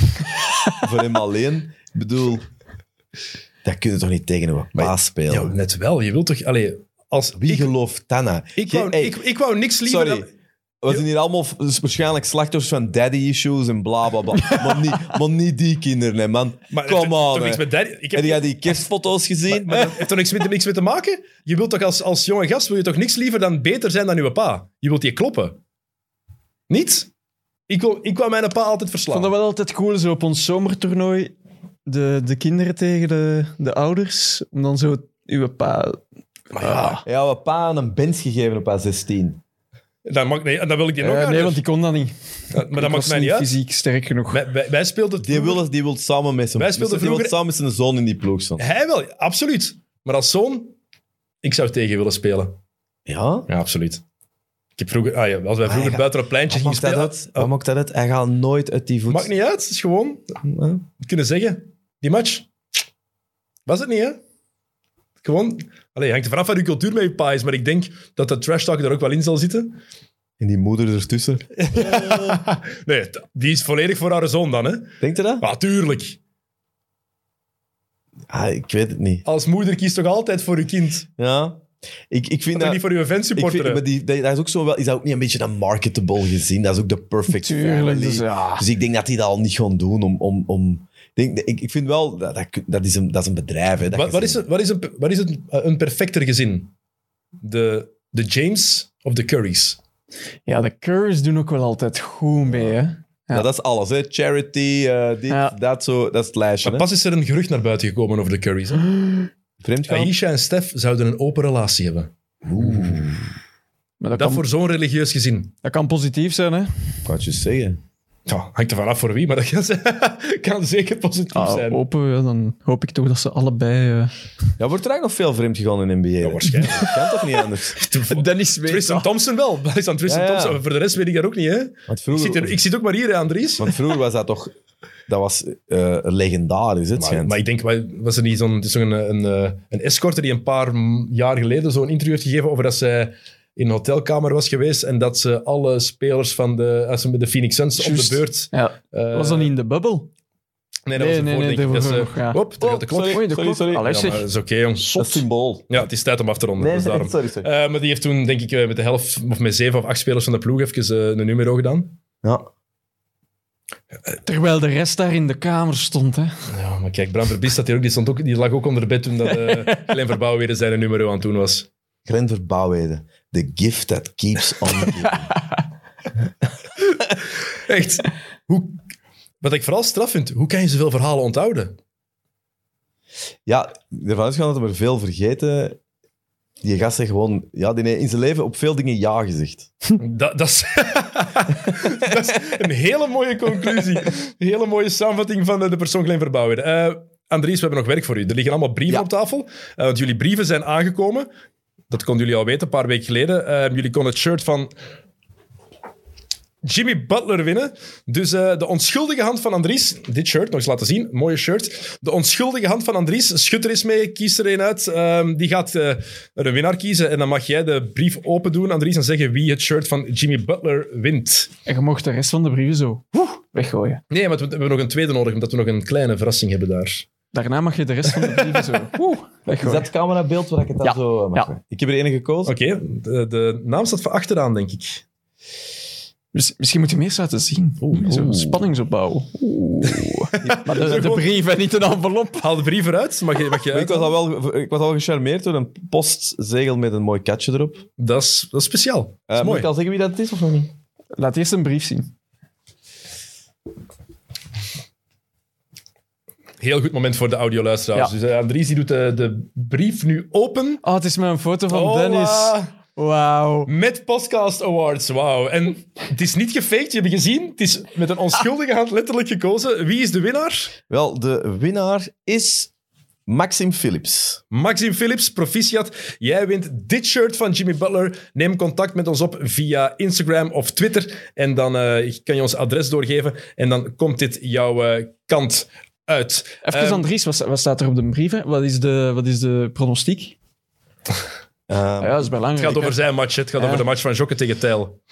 S2: Voor hem alleen. Ik bedoel, dat kun je toch niet tegen een paas spelen?
S1: Ja, net wel. Je wilt toch... Allee, als
S2: Wie
S1: ik,
S2: gelooft Tanna?
S1: ik, wou,
S2: Hey,
S1: ik, ik wou niks liever...
S2: Sorry.
S1: dan-
S2: We zijn hier allemaal v- dus waarschijnlijk slachtoffers van daddy-issues en bla bla bla. maar, niet, maar niet die kinderen, hè, man.
S1: Maar het heeft
S2: Come on.
S1: toch
S2: hè.
S1: niks met daddy... Ik heb,
S2: Heb jij die kerstfoto's gezien?
S1: maar dat heeft toch niks met, niks mee te maken? Je wilt toch als, als jonge gast wil je toch niks liever dan beter zijn dan je pa? Je wilt je kloppen. Niet? Ik wil, ik wou mijn pa altijd
S3: Ik
S1: verslaan.
S3: vond dat wel altijd cool, zo op ons zomertoernooi, de, de kinderen tegen de, de ouders, om dan zo uw pa... Ah.
S1: Maar ja,
S2: Ja, we pa aan een band gegeven op haar 16.
S1: dan, mag, nee, dan wil ik die nog
S3: Eh, nee,
S1: harder.
S3: want die kon dat niet.
S1: Ja, Maar dat
S3: Ik
S1: maakt
S3: was
S1: mij niet
S3: niet
S1: uit.
S3: fysiek sterk genoeg.
S1: Wij, wij, wij speelden...
S2: Die wil, die wil samen met zijn
S1: Wij speelden
S2: die wil
S1: vroeger-
S2: samen met zijn zoon in die ploeg staan.
S1: Hij wel, absoluut. Maar als zoon, ik zou tegen willen spelen.
S2: Ja?
S1: Ja, absoluut. Ik heb vroeger, ah ja, als wij
S2: Ah,
S1: vroeger
S2: ja.
S1: buiten op het pleintje
S2: Wat
S1: gingen
S2: maakt dat
S1: spelen...
S2: uit? Wat maakt dat uit? Hij gaat nooit uit die voet.
S1: Oh. Maakt niet uit, het is gewoon eh,
S2: Huh?
S1: kunnen zeggen. Die match, was het niet, hè? Gewoon, alleen hangt er vanaf waar je cultuur mee je pa is, maar ik denk dat de trash talk er ook wel in zal zitten.
S2: En die moeder ertussen.
S1: nee, t- die is volledig voor haar zoon dan, hè?
S2: Denkt u dat?
S1: Maar tuurlijk.
S2: Ah, ik weet het niet.
S1: Als moeder kiest toch altijd voor je kind,
S2: Ja. Ik, ik vind
S1: en
S2: dat...
S1: niet voor je
S2: Ik vind,
S1: fansupporter.
S2: maar
S1: hè?
S2: die, dat, dat is ook zo wel, is dat ook niet een beetje een marketable gezien? Dat is ook de perfect
S3: Tuurlijk,
S2: family.
S3: dus ja.
S2: Dus ik denk dat die dat al niet gaan doen om... om, om ik, denk, ik, ik vind wel, dat, dat, dat, is, een, dat is een bedrijf. Hè, dat
S1: Wat,
S2: je
S1: wat
S2: zo-
S1: is, een, wat is, een, wat is een, een perfecter gezin? De, de James of de Curry's?
S3: Ja, de Curves doen ook wel altijd goed mee, hè. Ja.
S2: Ja, dat is alles, hè. Charity, eh, dit,
S3: Ja.
S2: dat, zo, dat is het lijstje.
S1: Maar
S2: Hè.
S1: pas is er een gerucht naar buiten gekomen over de Curry's. hè?
S2: Vreemdgaan?
S1: Aisha en Stef zouden een open relatie hebben.
S2: Oeh,
S3: Maar dat, Ah,
S1: Dat
S3: kan,
S1: voor zo'n religieus gezin.
S3: dat kan positief zijn, hè.
S2: kan het je zeggen.
S1: Ja, hangt er vanaf voor wie, maar dat kan, ze- kan zeker positief
S3: Ah,
S1: zijn.
S3: open, ja, dan hoop ik toch dat ze allebei... eh,
S2: Ja, wordt er eigenlijk nog veel vreemd gegaan in NBA?
S1: Ja, waarschijnlijk.
S2: Dat kan toch niet anders?
S3: Dennis
S1: Tristan Thompson wel. Dat is aan Tristan
S2: Ja, ja.
S1: Thompson. Voor de rest weet ik dat ook niet. Hè?
S2: Want
S1: Ik, zit
S2: vroeger,
S1: er- ik zit ook maar hier, hè, Andries.
S2: want vroeger was dat toch... Dat was eh, legendarisch, het
S1: Maar,
S2: schijnt.
S1: maar ik denk, wa- was er niet zo'n het is zo'n, eh, een, eh, een escorte die een paar mm, jaar geleden zo'n interview heeft gegeven over dat zij in een hotelkamer was geweest en dat ze alle spelers van de, als ze met de Phoenix Suns op
S3: Juist.
S1: de beurt...
S3: Ja,
S1: eh,
S3: was dat niet in de bubbel?
S1: Nee, dat was
S3: Nee,
S1: ervoor,
S3: nee, nee,
S1: denk ik. Dat
S3: daarvoor
S1: ze-
S3: nog, ja.
S1: Hop, daar gaat de klok.
S2: sorry,
S3: Oei, de
S2: sorry,
S3: klok.
S2: sorry.
S3: Allee,
S1: Ja, maar
S3: zeg.
S1: dat is oké, jongens.
S2: Dat symbool.
S1: Ja, het is tijd om af te ronden. dus daarom.
S2: sorry, sorry.
S1: Eh, maar die heeft toen, denk ik, eh, met de helft of met zeven of acht spelers van de ploeg even eh, een numero gedaan.
S2: Ja.
S3: Terwijl de rest daar in de kamer stond, hè.
S1: Ja, maar kijk, Bram Verbiest staat hier ook, die, stond ook, die lag ook onder bed toen dat eh Glenn Verbouwweren zijn numero aan het doen was.
S2: Glenn Verbouwheden. The gift that keeps on giving.
S1: Echt. Hoe, wat ik vooral straf vind, hoe kan je zoveel verhalen onthouden?
S2: Ja, ervan uitgaan dat we er veel vergeten. Die gast heeft gewoon... Ja, die heeft in zijn leven op veel dingen ja gezegd.
S1: Dat, dat, is, dat is een hele mooie conclusie. Een hele mooie samenvatting van eh, de persoon Glenn Verbouwer. Eh, Andries, we hebben nog werk voor u. Er liggen allemaal brieven
S2: Ja.
S1: op tafel. Eh, want jullie brieven zijn aangekomen. Dat konden jullie al weten, een paar weken geleden. Eh, jullie konden het shirt van Jimmy Butler winnen. Dus eh, de onschuldige hand van Andries. Dit shirt, nog eens laten zien. Mooie shirt. De onschuldige hand van Andries. Schud er eens mee. Kies er een uit. Ehm, die gaat eh, er een winnaar kiezen. En dan mag jij de brief open doen, Andries. En zeggen wie het shirt van Jimmy Butler wint.
S3: En je mocht de rest van de brieven zo woe, weggooien.
S1: Nee, maar we hebben nog een tweede nodig. Omdat we nog een kleine verrassing hebben daar.
S3: Daarna mag je de rest van de brieven zo woe, weggooien.
S2: camerabeeld waar ik het
S3: dan Ja.
S2: zo
S3: mag Ja. doen?
S2: Ik heb er één gekozen.
S1: Oké, de, de naam staat van achteraan, denk ik.
S3: Miss- misschien moet je hem eerst laten zien.
S1: Oeh.
S3: Zo, spanningsopbouw. maar de, de brief en niet een envelop.
S1: Haal de brief eruit. Mag je, mag je
S2: Maar Ik
S1: uit-
S2: was, al wel, ik was al gecharmeerd door een postzegel met een mooi katje erop. Eh,
S1: Dat is, dat is speciaal. Dat is
S2: moet
S1: mooi.
S2: ik al zeggen wie dat is of nog niet?
S3: Laat eerst een brief zien.
S1: Heel goed moment voor de audioluisteraars.
S3: Ja.
S1: Dus eh, Andries die doet de, de brief nu open.
S3: Oh, het is met een foto van
S1: Hola.
S3: Dennis. Wauw.
S1: Met Podcast Awards, wauw. En het is niet gefaked, je hebt gezien. Het is met een onschuldige hand letterlijk gekozen. Wie is de winnaar?
S2: Wel, de winnaar is Maxim Philips.
S1: Maxim Philips, proficiat. Jij wint dit shirt van Jimmy Butler. Neem contact met ons op via Instagram of Twitter. En dan eh, kan je ons adres doorgeven. En dan komt dit jouw eh, kant uit.
S3: Even,
S1: Ehm,
S3: Andries, wat, wat staat er op de brieven? Wat is de, wat is de pronostiek?
S2: Eh,
S3: Ah ja, dat is
S1: het
S3: belangrijk.
S1: gaat over
S3: hè.
S1: zijn match. hè. Het gaat
S3: Ja.
S1: over de match van Jokke tegen Tijl.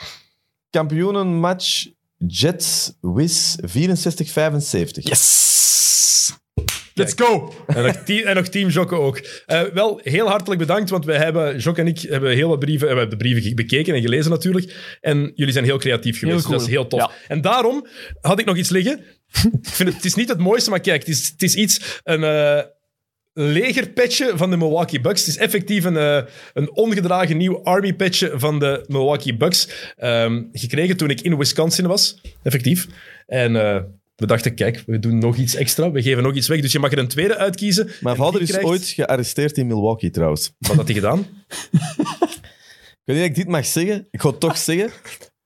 S2: Kampioenenmatch Jets Wiz 64-75.
S3: Yes!
S1: Let's go! En nog, team, en nog team Jokke ook. Eh, wel, heel hartelijk bedankt, want wij hebben, Jokke en ik hebben heel wat brieven, eh, we hebben de brieven ge- bekeken en gelezen natuurlijk. En jullie zijn heel creatief geweest,
S3: Heel cool.
S1: dus dat is heel tof.
S3: Ja.
S1: En daarom had ik nog iets liggen. ik vind het, het is niet het mooiste, maar kijk, het is, het is iets, een eh, legerpetje van de Milwaukee Bucks. Het is effectief een, eh, een ongedragen nieuw Army-petje van de Milwaukee Bucks. Ehm, gekregen toen ik in Wisconsin was, effectief. En... eh, we dachten, kijk, we doen nog iets extra. We geven nog iets weg. Dus je mag er een tweede uitkiezen.
S2: Mijn
S1: En
S2: vader
S1: die
S2: is
S1: krijgt-
S2: ooit gearresteerd in Milwaukee trouwens.
S1: Wat had hij gedaan?
S2: Ik weet niet of ik dit mag zeggen. Ik ga het toch zeggen.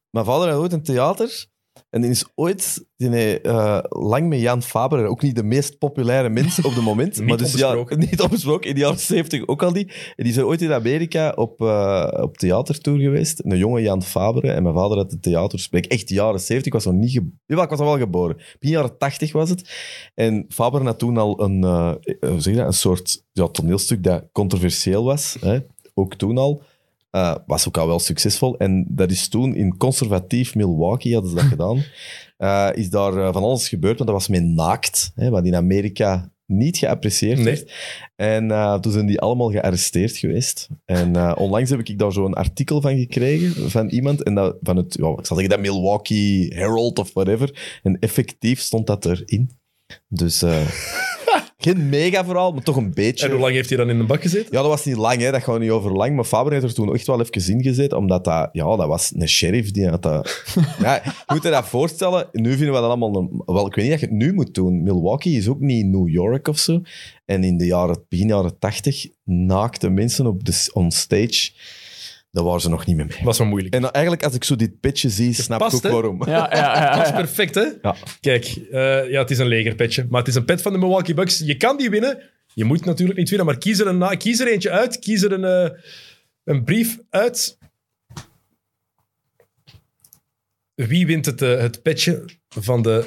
S2: Mijn vader had ooit een theater. En die is ooit die, heeft, eh, lang met Jan Faber, ook niet de meest populaire mens op het moment.
S1: Niet
S2: maar dus ja,
S1: onbesproken.
S2: niet opgesproken. In de jaren 70 ook al die. En die zijn ooit in Amerika op, eh, op theatertour geweest. Een jonge Jan Faber. En mijn vader had de theaterspreek. Echt jaren 70. Ik was nog niet geboren. Jawel, ik was al wel geboren. Begin jaren 80 was het. En Faber had toen al een, eh, eh, hoe zeg je dat, een soort ja, toneelstuk dat controversieel was. Hè? Ook toen al. Eh, was ook al wel succesvol. En dat is toen in conservatief Milwaukee hadden ze dat gedaan. Eh, is daar eh, van alles gebeurd, want dat was met naakt. Hè, wat in Amerika niet geapprecieerd
S1: Nee.
S2: werd. En eh, toen zijn die allemaal gearresteerd geweest. En eh, onlangs heb ik daar zo'n artikel van gekregen van iemand. En dat, van het, ja, ik zal zeggen, dat Milwaukee Herald of whatever. En effectief stond dat erin. Dus eh, geen mega verhaal, maar toch een beetje.
S1: En hoe lang heeft hij dan in de bak gezeten?
S2: Ja, dat was niet lang, hè. dat gaan we niet over lang. Maar Faber heeft er toen echt wel even in gezet, omdat dat, ja, dat was een sheriff die had dat. ja, je moet je dat voorstellen. Nu vinden we dat allemaal. norm- Wel, ik weet niet dat je het nu moet doen. Milwaukee is ook niet New York of zo. En in de jaren, begin jaren tachtig naakte mensen op de s- on stage, daar waren ze nog niet meer mee.
S1: Was wel moeilijk.
S2: En eigenlijk, als ik zo dit pitje zie, snap ik
S1: past,
S2: ook
S1: hè?
S2: waarom.
S3: Ja, ja, ja, ja.
S1: Dat is perfect, hè?
S2: Ja.
S1: Kijk, eh, ja, het is een legerpetje. Maar het is een pet van de Milwaukee Bucks. Je kan die winnen. Je moet natuurlijk niet winnen, maar kies er, een na- kies er eentje uit. Kies er een, eh, een brief uit. Wie wint het, eh, het petje van de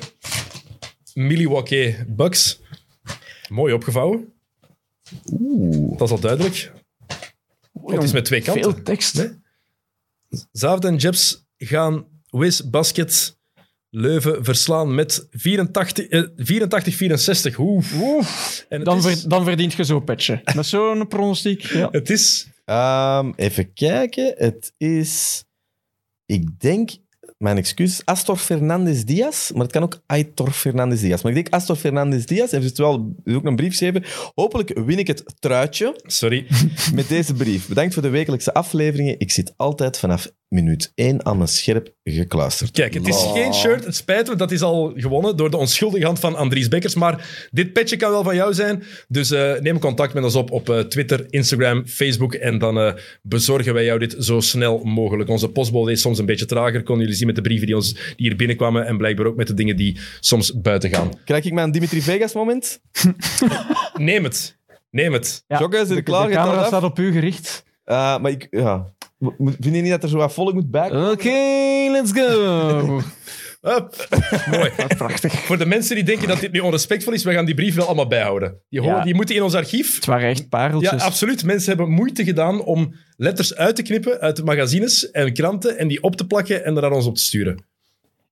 S1: Milwaukee Bucks? Mooi opgevouwen.
S2: Oeh.
S1: Dat is al duidelijk. Want het is met twee kanten.
S3: Veel tekst.
S1: Nee. Zaafd en Jeps gaan Wiz Basket Leuven verslaan met 84, eh, 84-64. Oef. En het,
S3: Dan,
S1: is,
S3: ver- dan verdient je zo'n petje. Met zo'n pronostiek. Ja.
S1: het is
S2: Ehm, even kijken. Het is, ik denk, mijn excuus, Astor Fernandez Diaz. Maar het kan ook Aitor Fernandez Diaz. Maar ik denk Astor Fernandez Diaz heeft het wel heeft ook een brief geschreven. Hopelijk win ik het truitje
S1: Sorry.
S2: met deze brief. Bedankt voor de wekelijkse afleveringen. Ik zit altijd vanaf minuut 1 aan mijn scherp gekluisterd.
S1: Kijk, het is
S2: Lol.
S1: geen shirt. Het spijt me, dat is al gewonnen door de onschuldige hand van Andries Bekkers. Maar dit petje kan wel van jou zijn. Dus eh, neem contact met ons op op eh, Twitter, Instagram, Facebook. En dan eh, bezorgen wij jou dit zo snel mogelijk. Onze postbode is soms een beetje trager. Konden jullie zien met de brieven die, ons, die hier binnenkwamen. En blijkbaar ook met de dingen die soms buiten gaan.
S2: Krijg ik mijn Dimitri Vegas moment?
S1: Neem het. Neem het.
S3: Ja.
S2: Jokke, is er
S3: de,
S2: klaar?
S3: de
S2: Je telt
S3: camera
S2: af?
S3: staat op u gericht.
S2: Eh, maar ik, ja. Mo- Vind je niet dat er zo wat volk moet bij?
S3: Oké, let's go.
S1: Hup. Mooi.
S3: Prachtig.
S1: Voor de mensen die denken dat dit nu onrespectvol is, we gaan die brief wel allemaal bijhouden. Die, horen,
S3: Ja.
S1: die moeten in ons archief.
S3: Het waren echt
S1: Ja,
S3: pareltjes.
S1: absoluut. Mensen hebben moeite gedaan om letters uit te knippen uit de magazines en kranten en die op te plakken en er aan ons op te sturen.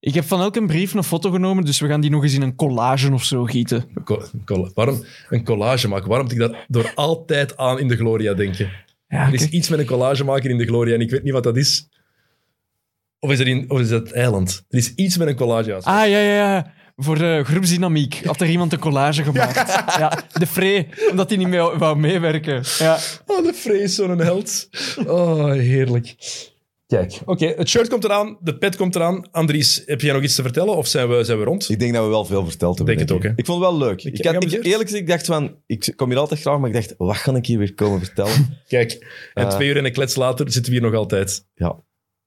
S3: Ik heb van elk een brief een foto genomen, dus we gaan die nog eens in een collage of zo gieten.
S1: Co- colla- waarom een collage maken? Waarom moet ik dat door altijd aan in de Gloria denken?
S3: Ja,
S1: Er is
S3: kijk.
S1: iets met een collage maken in de Gloria en ik weet niet wat dat is. Of is, er in, of is dat eiland? Er is iets met een collage.
S3: Ah, ja, ja, ja. Voor de groepsdynamiek had er iemand een collage gemaakt. Ja. de Frey, omdat hij niet mee wou meewerken. Ja.
S1: Oh, de vrees, zo'n held. Oh, heerlijk. Kijk. Oké, het shirt komt eraan, de pet komt eraan. Andries, heb jij nog iets te vertellen of zijn we, zijn we rond?
S2: Ik denk dat we wel veel verteld hebben.
S1: Denk het
S2: ik.
S1: ook, hè?
S2: Ik vond het wel leuk. Ik,
S1: heb
S2: had- ik,
S1: geamuseerd.
S2: eerlijk gezegd, ik dacht van, ik kom hier altijd graag, maar ik dacht, wat ga ik hier weer komen vertellen?
S1: Kijk, en
S2: Eh.
S1: twee uur en een klets later zitten we hier nog altijd.
S2: ja.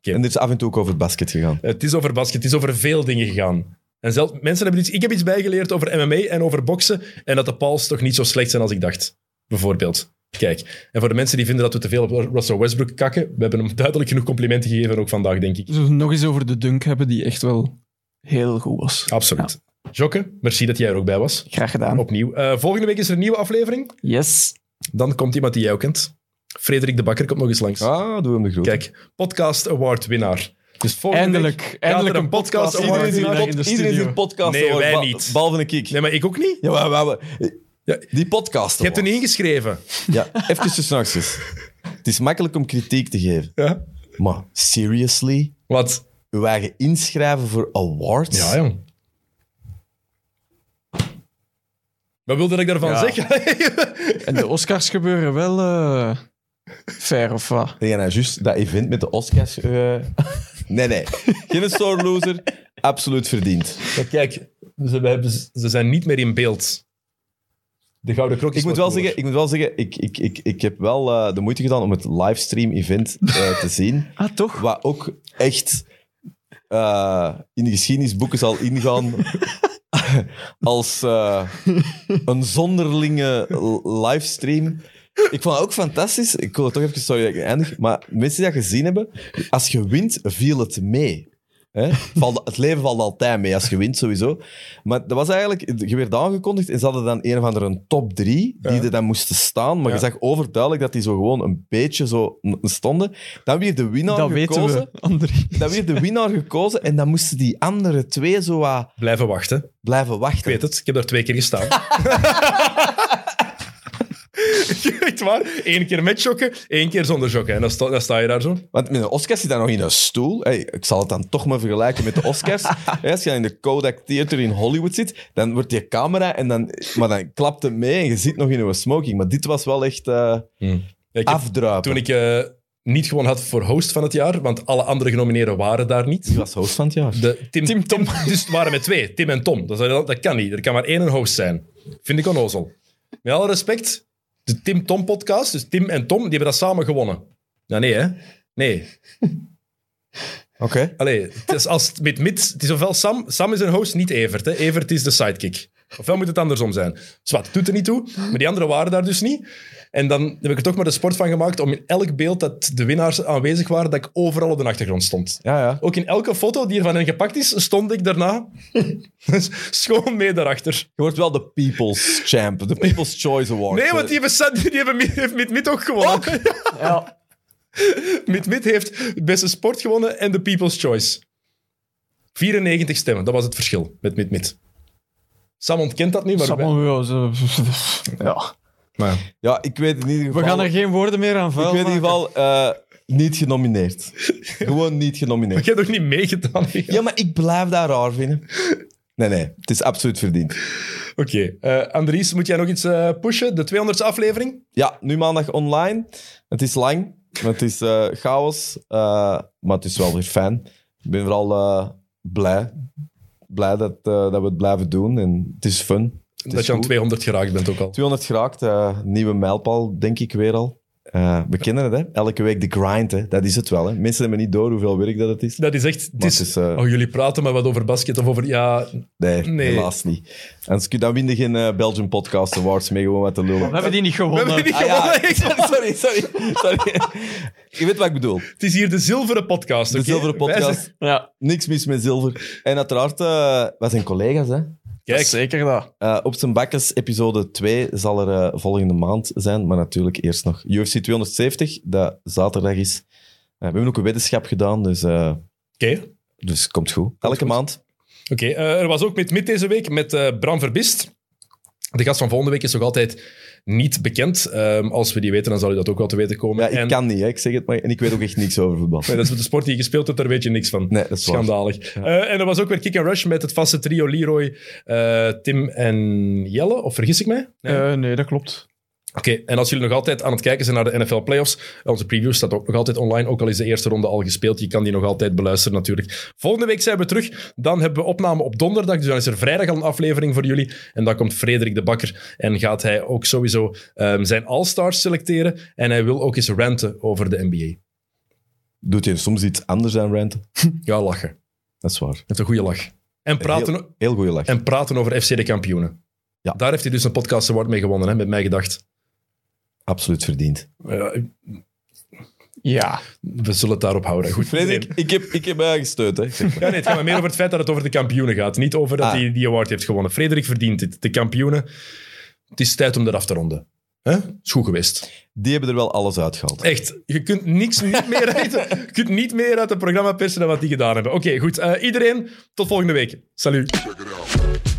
S2: En er is dus af en toe ook over basket gegaan.
S1: Het is over basket, het is over veel dingen gegaan. En zelf, mensen hebben iets, ik heb iets bijgeleerd over MMA en over boksen. En dat de Pauls toch niet zo slecht zijn als ik dacht. Bijvoorbeeld. Kijk. En voor de mensen die vinden dat we te veel op Russell Westbrook kakken. We hebben hem duidelijk genoeg complimenten gegeven, ook vandaag, denk ik.
S3: Zullen we het nog eens over de dunk hebben, die echt wel heel goed was.
S1: Absoluut. Jokke, merci dat jij er ook bij was.
S3: Graag gedaan.
S1: Opnieuw. Eh, volgende week is er een nieuwe aflevering.
S3: Yes.
S1: Dan komt iemand die jij ook kent. Frederik de Bakker komt nog eens langs.
S2: Ah, doe hem de groet.
S1: Kijk, Podcast Award winnaar. Dus volgende week-
S3: Eindelijk. Eindelijk
S1: er
S3: een podcast.
S1: podcast
S2: iedereen
S1: Iedereen
S2: is
S1: die daar
S2: een, pod- iedereen is een podcast.
S1: Nee,
S2: hoor,
S1: wij
S2: ba-
S1: niet.
S2: Behalve een kick.
S1: Nee, maar ik ook niet.
S2: Ja, maar, maar- maar-
S1: Ja.
S2: Die podcast.
S1: Je hebt er
S2: hoor.
S1: niet ingeschreven.
S2: Ja, even tussen nachtjes. Het is makkelijk om kritiek te geven.
S1: Ja.
S2: Maar seriously?
S1: Wat?
S2: Uw eigen inschrijven voor awards?
S1: Ja, jong. Wat wilde ik daarvan
S3: Ja.
S1: zeggen?
S3: En de Oscars gebeuren wel eh, fair of wat?
S2: Heb jij nou juist dat event met de Oscars... eh, nee, nee. Geen sore loser. Absoluut verdiend.
S1: Maar kijk, ze, we hebben, ze zijn niet meer in beeld. De Gouden Krok is
S2: Ik moet
S1: wat
S2: wel
S1: hoger.
S2: zeggen, ik, moet wel zeggen ik, ik, ik, ik heb wel eh, de moeite gedaan om het livestream-event eh, te zien.
S3: Ah, toch?
S2: Wat ook echt eh, in de geschiedenisboeken zal ingaan als eh, een zonderlinge l- livestream. Ik vond het ook fantastisch. Ik wil het toch even, sorry dat ik eindig. Maar mensen die dat gezien hebben, als je wint, viel het mee. Hè? Valt- het leven valt altijd mee als je wint, sowieso. Maar dat was eigenlijk, je werd aangekondigd en ze hadden dan een of andere een top drie die
S1: Ja.
S2: er dan moesten staan. Maar je
S1: Ja.
S2: zag overduidelijk dat die zo gewoon een beetje zo n- stonden. Dan weer de winnaar
S3: Dat weten
S2: gekozen.
S3: we, André.
S2: Dan weer de winnaar gekozen en dan moesten die andere twee zo wat
S1: Blijven wachten.
S2: blijven
S1: Ik
S2: wachten.
S1: weet het, ik heb daar twee keer gestaan. Echt waar. Eén keer met jokken, één keer zonder jokken. En dan sta, dan sta je daar zo.
S2: Want met de Oscars zit daar nog in een stoel. Hey, ik zal het dan toch maar vergelijken met de Oscars. Hey, als je dan in de Kodak Theater in Hollywood zit, dan wordt je camera en dan, maar dan klapt het mee en je zit nog in een smoking. Maar dit was wel echt eh
S1: Ja, ik heb-
S3: Ah,
S2: afdruipen.
S1: toen ik eh, niet gewoon had voor host van het jaar, want alle andere genomineerden waren daar niet.
S2: Die was host van het jaar.
S1: De, Tim,
S3: Tim, Tom.
S1: Dus het waren met twee, Tim en Tom. Dat, zei- dat kan niet. Er kan maar één een host zijn. Vind ik onnozel. Met alle respect, de Tim-Tom-podcast, dus Tim en Tom, die hebben dat samen gewonnen. Ja, nee, hè? Nee.
S2: Oké.
S1: Allee, het is als het met mits, het is ofwel Sam, Sam is een host, niet Evert. Hè. Evert is de sidekick. Ofwel moet het andersom zijn. Zwat, doet er niet toe. Maar die anderen waren daar dus niet. En dan heb ik er toch maar de sport van gemaakt om in elk beeld dat de winnaars aanwezig waren, dat ik overal op de achtergrond stond.
S2: Ja, ja.
S1: Ook in elke foto die er van hen gepakt is, stond ik daarna Dus schoon mee daarachter.
S2: Je wordt wel de People's Champ, de People's Choice Award. Eh,
S1: Nee, want die hebben, Sa- die hebben Mi- heeft Mit Mit ook gewonnen.
S2: Oh,
S3: Ja.
S1: Mit Mit heeft beste sport gewonnen en de People's Choice. 94 stemmen, dat was het verschil met Mit Mit. Sam ontkent dat nu, maar... wij-
S3: Ja.
S1: maar
S2: Ja, ik weet in ieder geval...
S3: We gaan er geen woorden meer aan
S2: Ik
S3: vuil
S2: weet in ieder
S3: maken.
S2: geval eh, niet genomineerd. Gewoon niet genomineerd.
S1: ik heb toch niet meegedaan? hier?
S2: Ja, maar ik blijf daar raar vinden. Nee, nee, het is absoluut verdiend.
S1: Oké. eh Andries, moet jij nog iets eh, pushen? De 200ste aflevering?
S2: Ja, nu maandag online. Het is lang, het is eh, chaos, eh, maar het is wel weer fijn. Ik ben vooral eh, blij. Blij dat, eh, dat we het blijven doen en het is fun. Het
S1: dat
S2: is
S1: je aan
S2: goed.
S1: 200 geraakt bent ook al.
S2: 200 geraakt, eh, nieuwe mijlpaal, denk ik weer al. Eh, we kennen het, hè? Elke week de grind, hè? Dat is het wel, hè? Mensen hebben niet door hoeveel werk dat het is.
S1: Dat is echt... Het
S2: Maar het
S1: is,
S2: is, eh,
S1: Oh, jullie praten maar wat over basket of over... Ja,
S2: nee,
S1: nee.
S2: helaas niet. Anders kun- dan win je geen eh, Belgian Podcast Awards mee, gewoon wat te lullen.
S3: We hebben die niet
S1: we
S3: gewonnen.
S1: hebben niet
S2: Ah, ja.
S1: gewonnen.
S2: sorry, sorry, sorry. Je weet wat ik bedoel.
S1: Het is hier de zilveren podcast.
S2: De
S1: oké?
S2: zilveren
S1: Wij
S2: podcast.
S1: zijn-
S3: Ja,
S2: Niks mis met zilver. En uiteraard, eh wij zijn collega's. Hè?
S3: dat
S1: Kijk,
S3: is zeker dat.
S2: Eh, op zijn bakkers, episode 2 zal er eh, volgende maand zijn. Maar natuurlijk eerst nog UFC 270, dat zaterdag is. Eh, we hebben ook een wetenschap gedaan, dus, eh,
S1: oké.
S2: dus komt goed. Elke
S1: goed.
S2: maand.
S1: Oké, eh, er was ook met mid deze week met eh, Bram Verbist. De gast van volgende week is nog altijd niet bekend. Ehm, als we die weten, dan zal u dat ook wel te weten komen.
S2: Ja, ik
S1: en,
S2: kan niet, hè. ik zeg het maar. En ik weet ook echt niks over voetbal.
S1: Nee, dat is de sport die je gespeeld hebt, daar weet je niks van.
S2: Nee, dat is waar.
S1: Schandalig. Eh, en er was ook weer Kick and Rush met het vaste trio Leroy, eh, Tim en Jelle. Of vergis ik mij? Nee.
S3: Eh, nee, dat klopt.
S1: Oké, en als jullie nog altijd aan het kijken zijn naar de NFL Playoffs, onze preview staat ook nog altijd online, ook al is de eerste ronde al gespeeld. Je kan die nog altijd beluisteren natuurlijk. Volgende week zijn we terug. Dan hebben we opname op donderdag, dus dan is er vrijdag al een aflevering voor jullie. En dan komt Frederik de Bakker en gaat hij ook sowieso ehm, zijn All-Stars selecteren. En hij wil ook eens ranten over de NBA.
S2: Doet je soms iets anders aan ranten?
S1: Ja, lachen.
S2: Dat is waar.
S1: Met een goede lach. En praten,
S2: Heel, heel goede lach.
S1: en praten over FC de kampioenen.
S2: Ja.
S1: Daar heeft hij dus een podcast award mee gewonnen, hè, met mij gedacht.
S2: Absoluut verdiend.
S1: Ja,
S3: Ja.
S1: we zullen het daarop houden. Goed.
S2: Frederik, ik heb, ik heb mij gesteund. Hè. Ik zeg maar.
S1: Ja, nee, het gaat maar meer over het feit dat het over de kampioenen gaat. Niet over dat
S2: Ah.
S1: hij die award heeft gewonnen. Frederik verdient dit. De kampioenen. Het is tijd om dat af te ronden. Hè? Is goed geweest.
S2: Die hebben er wel alles uitgehaald.
S1: Echt, je kunt niks niet meer uit, je kunt niet meer uit het programma persen dan wat die gedaan hebben. Oké, goed. Eh, iedereen, tot volgende week. Salut.
S4: Check it out.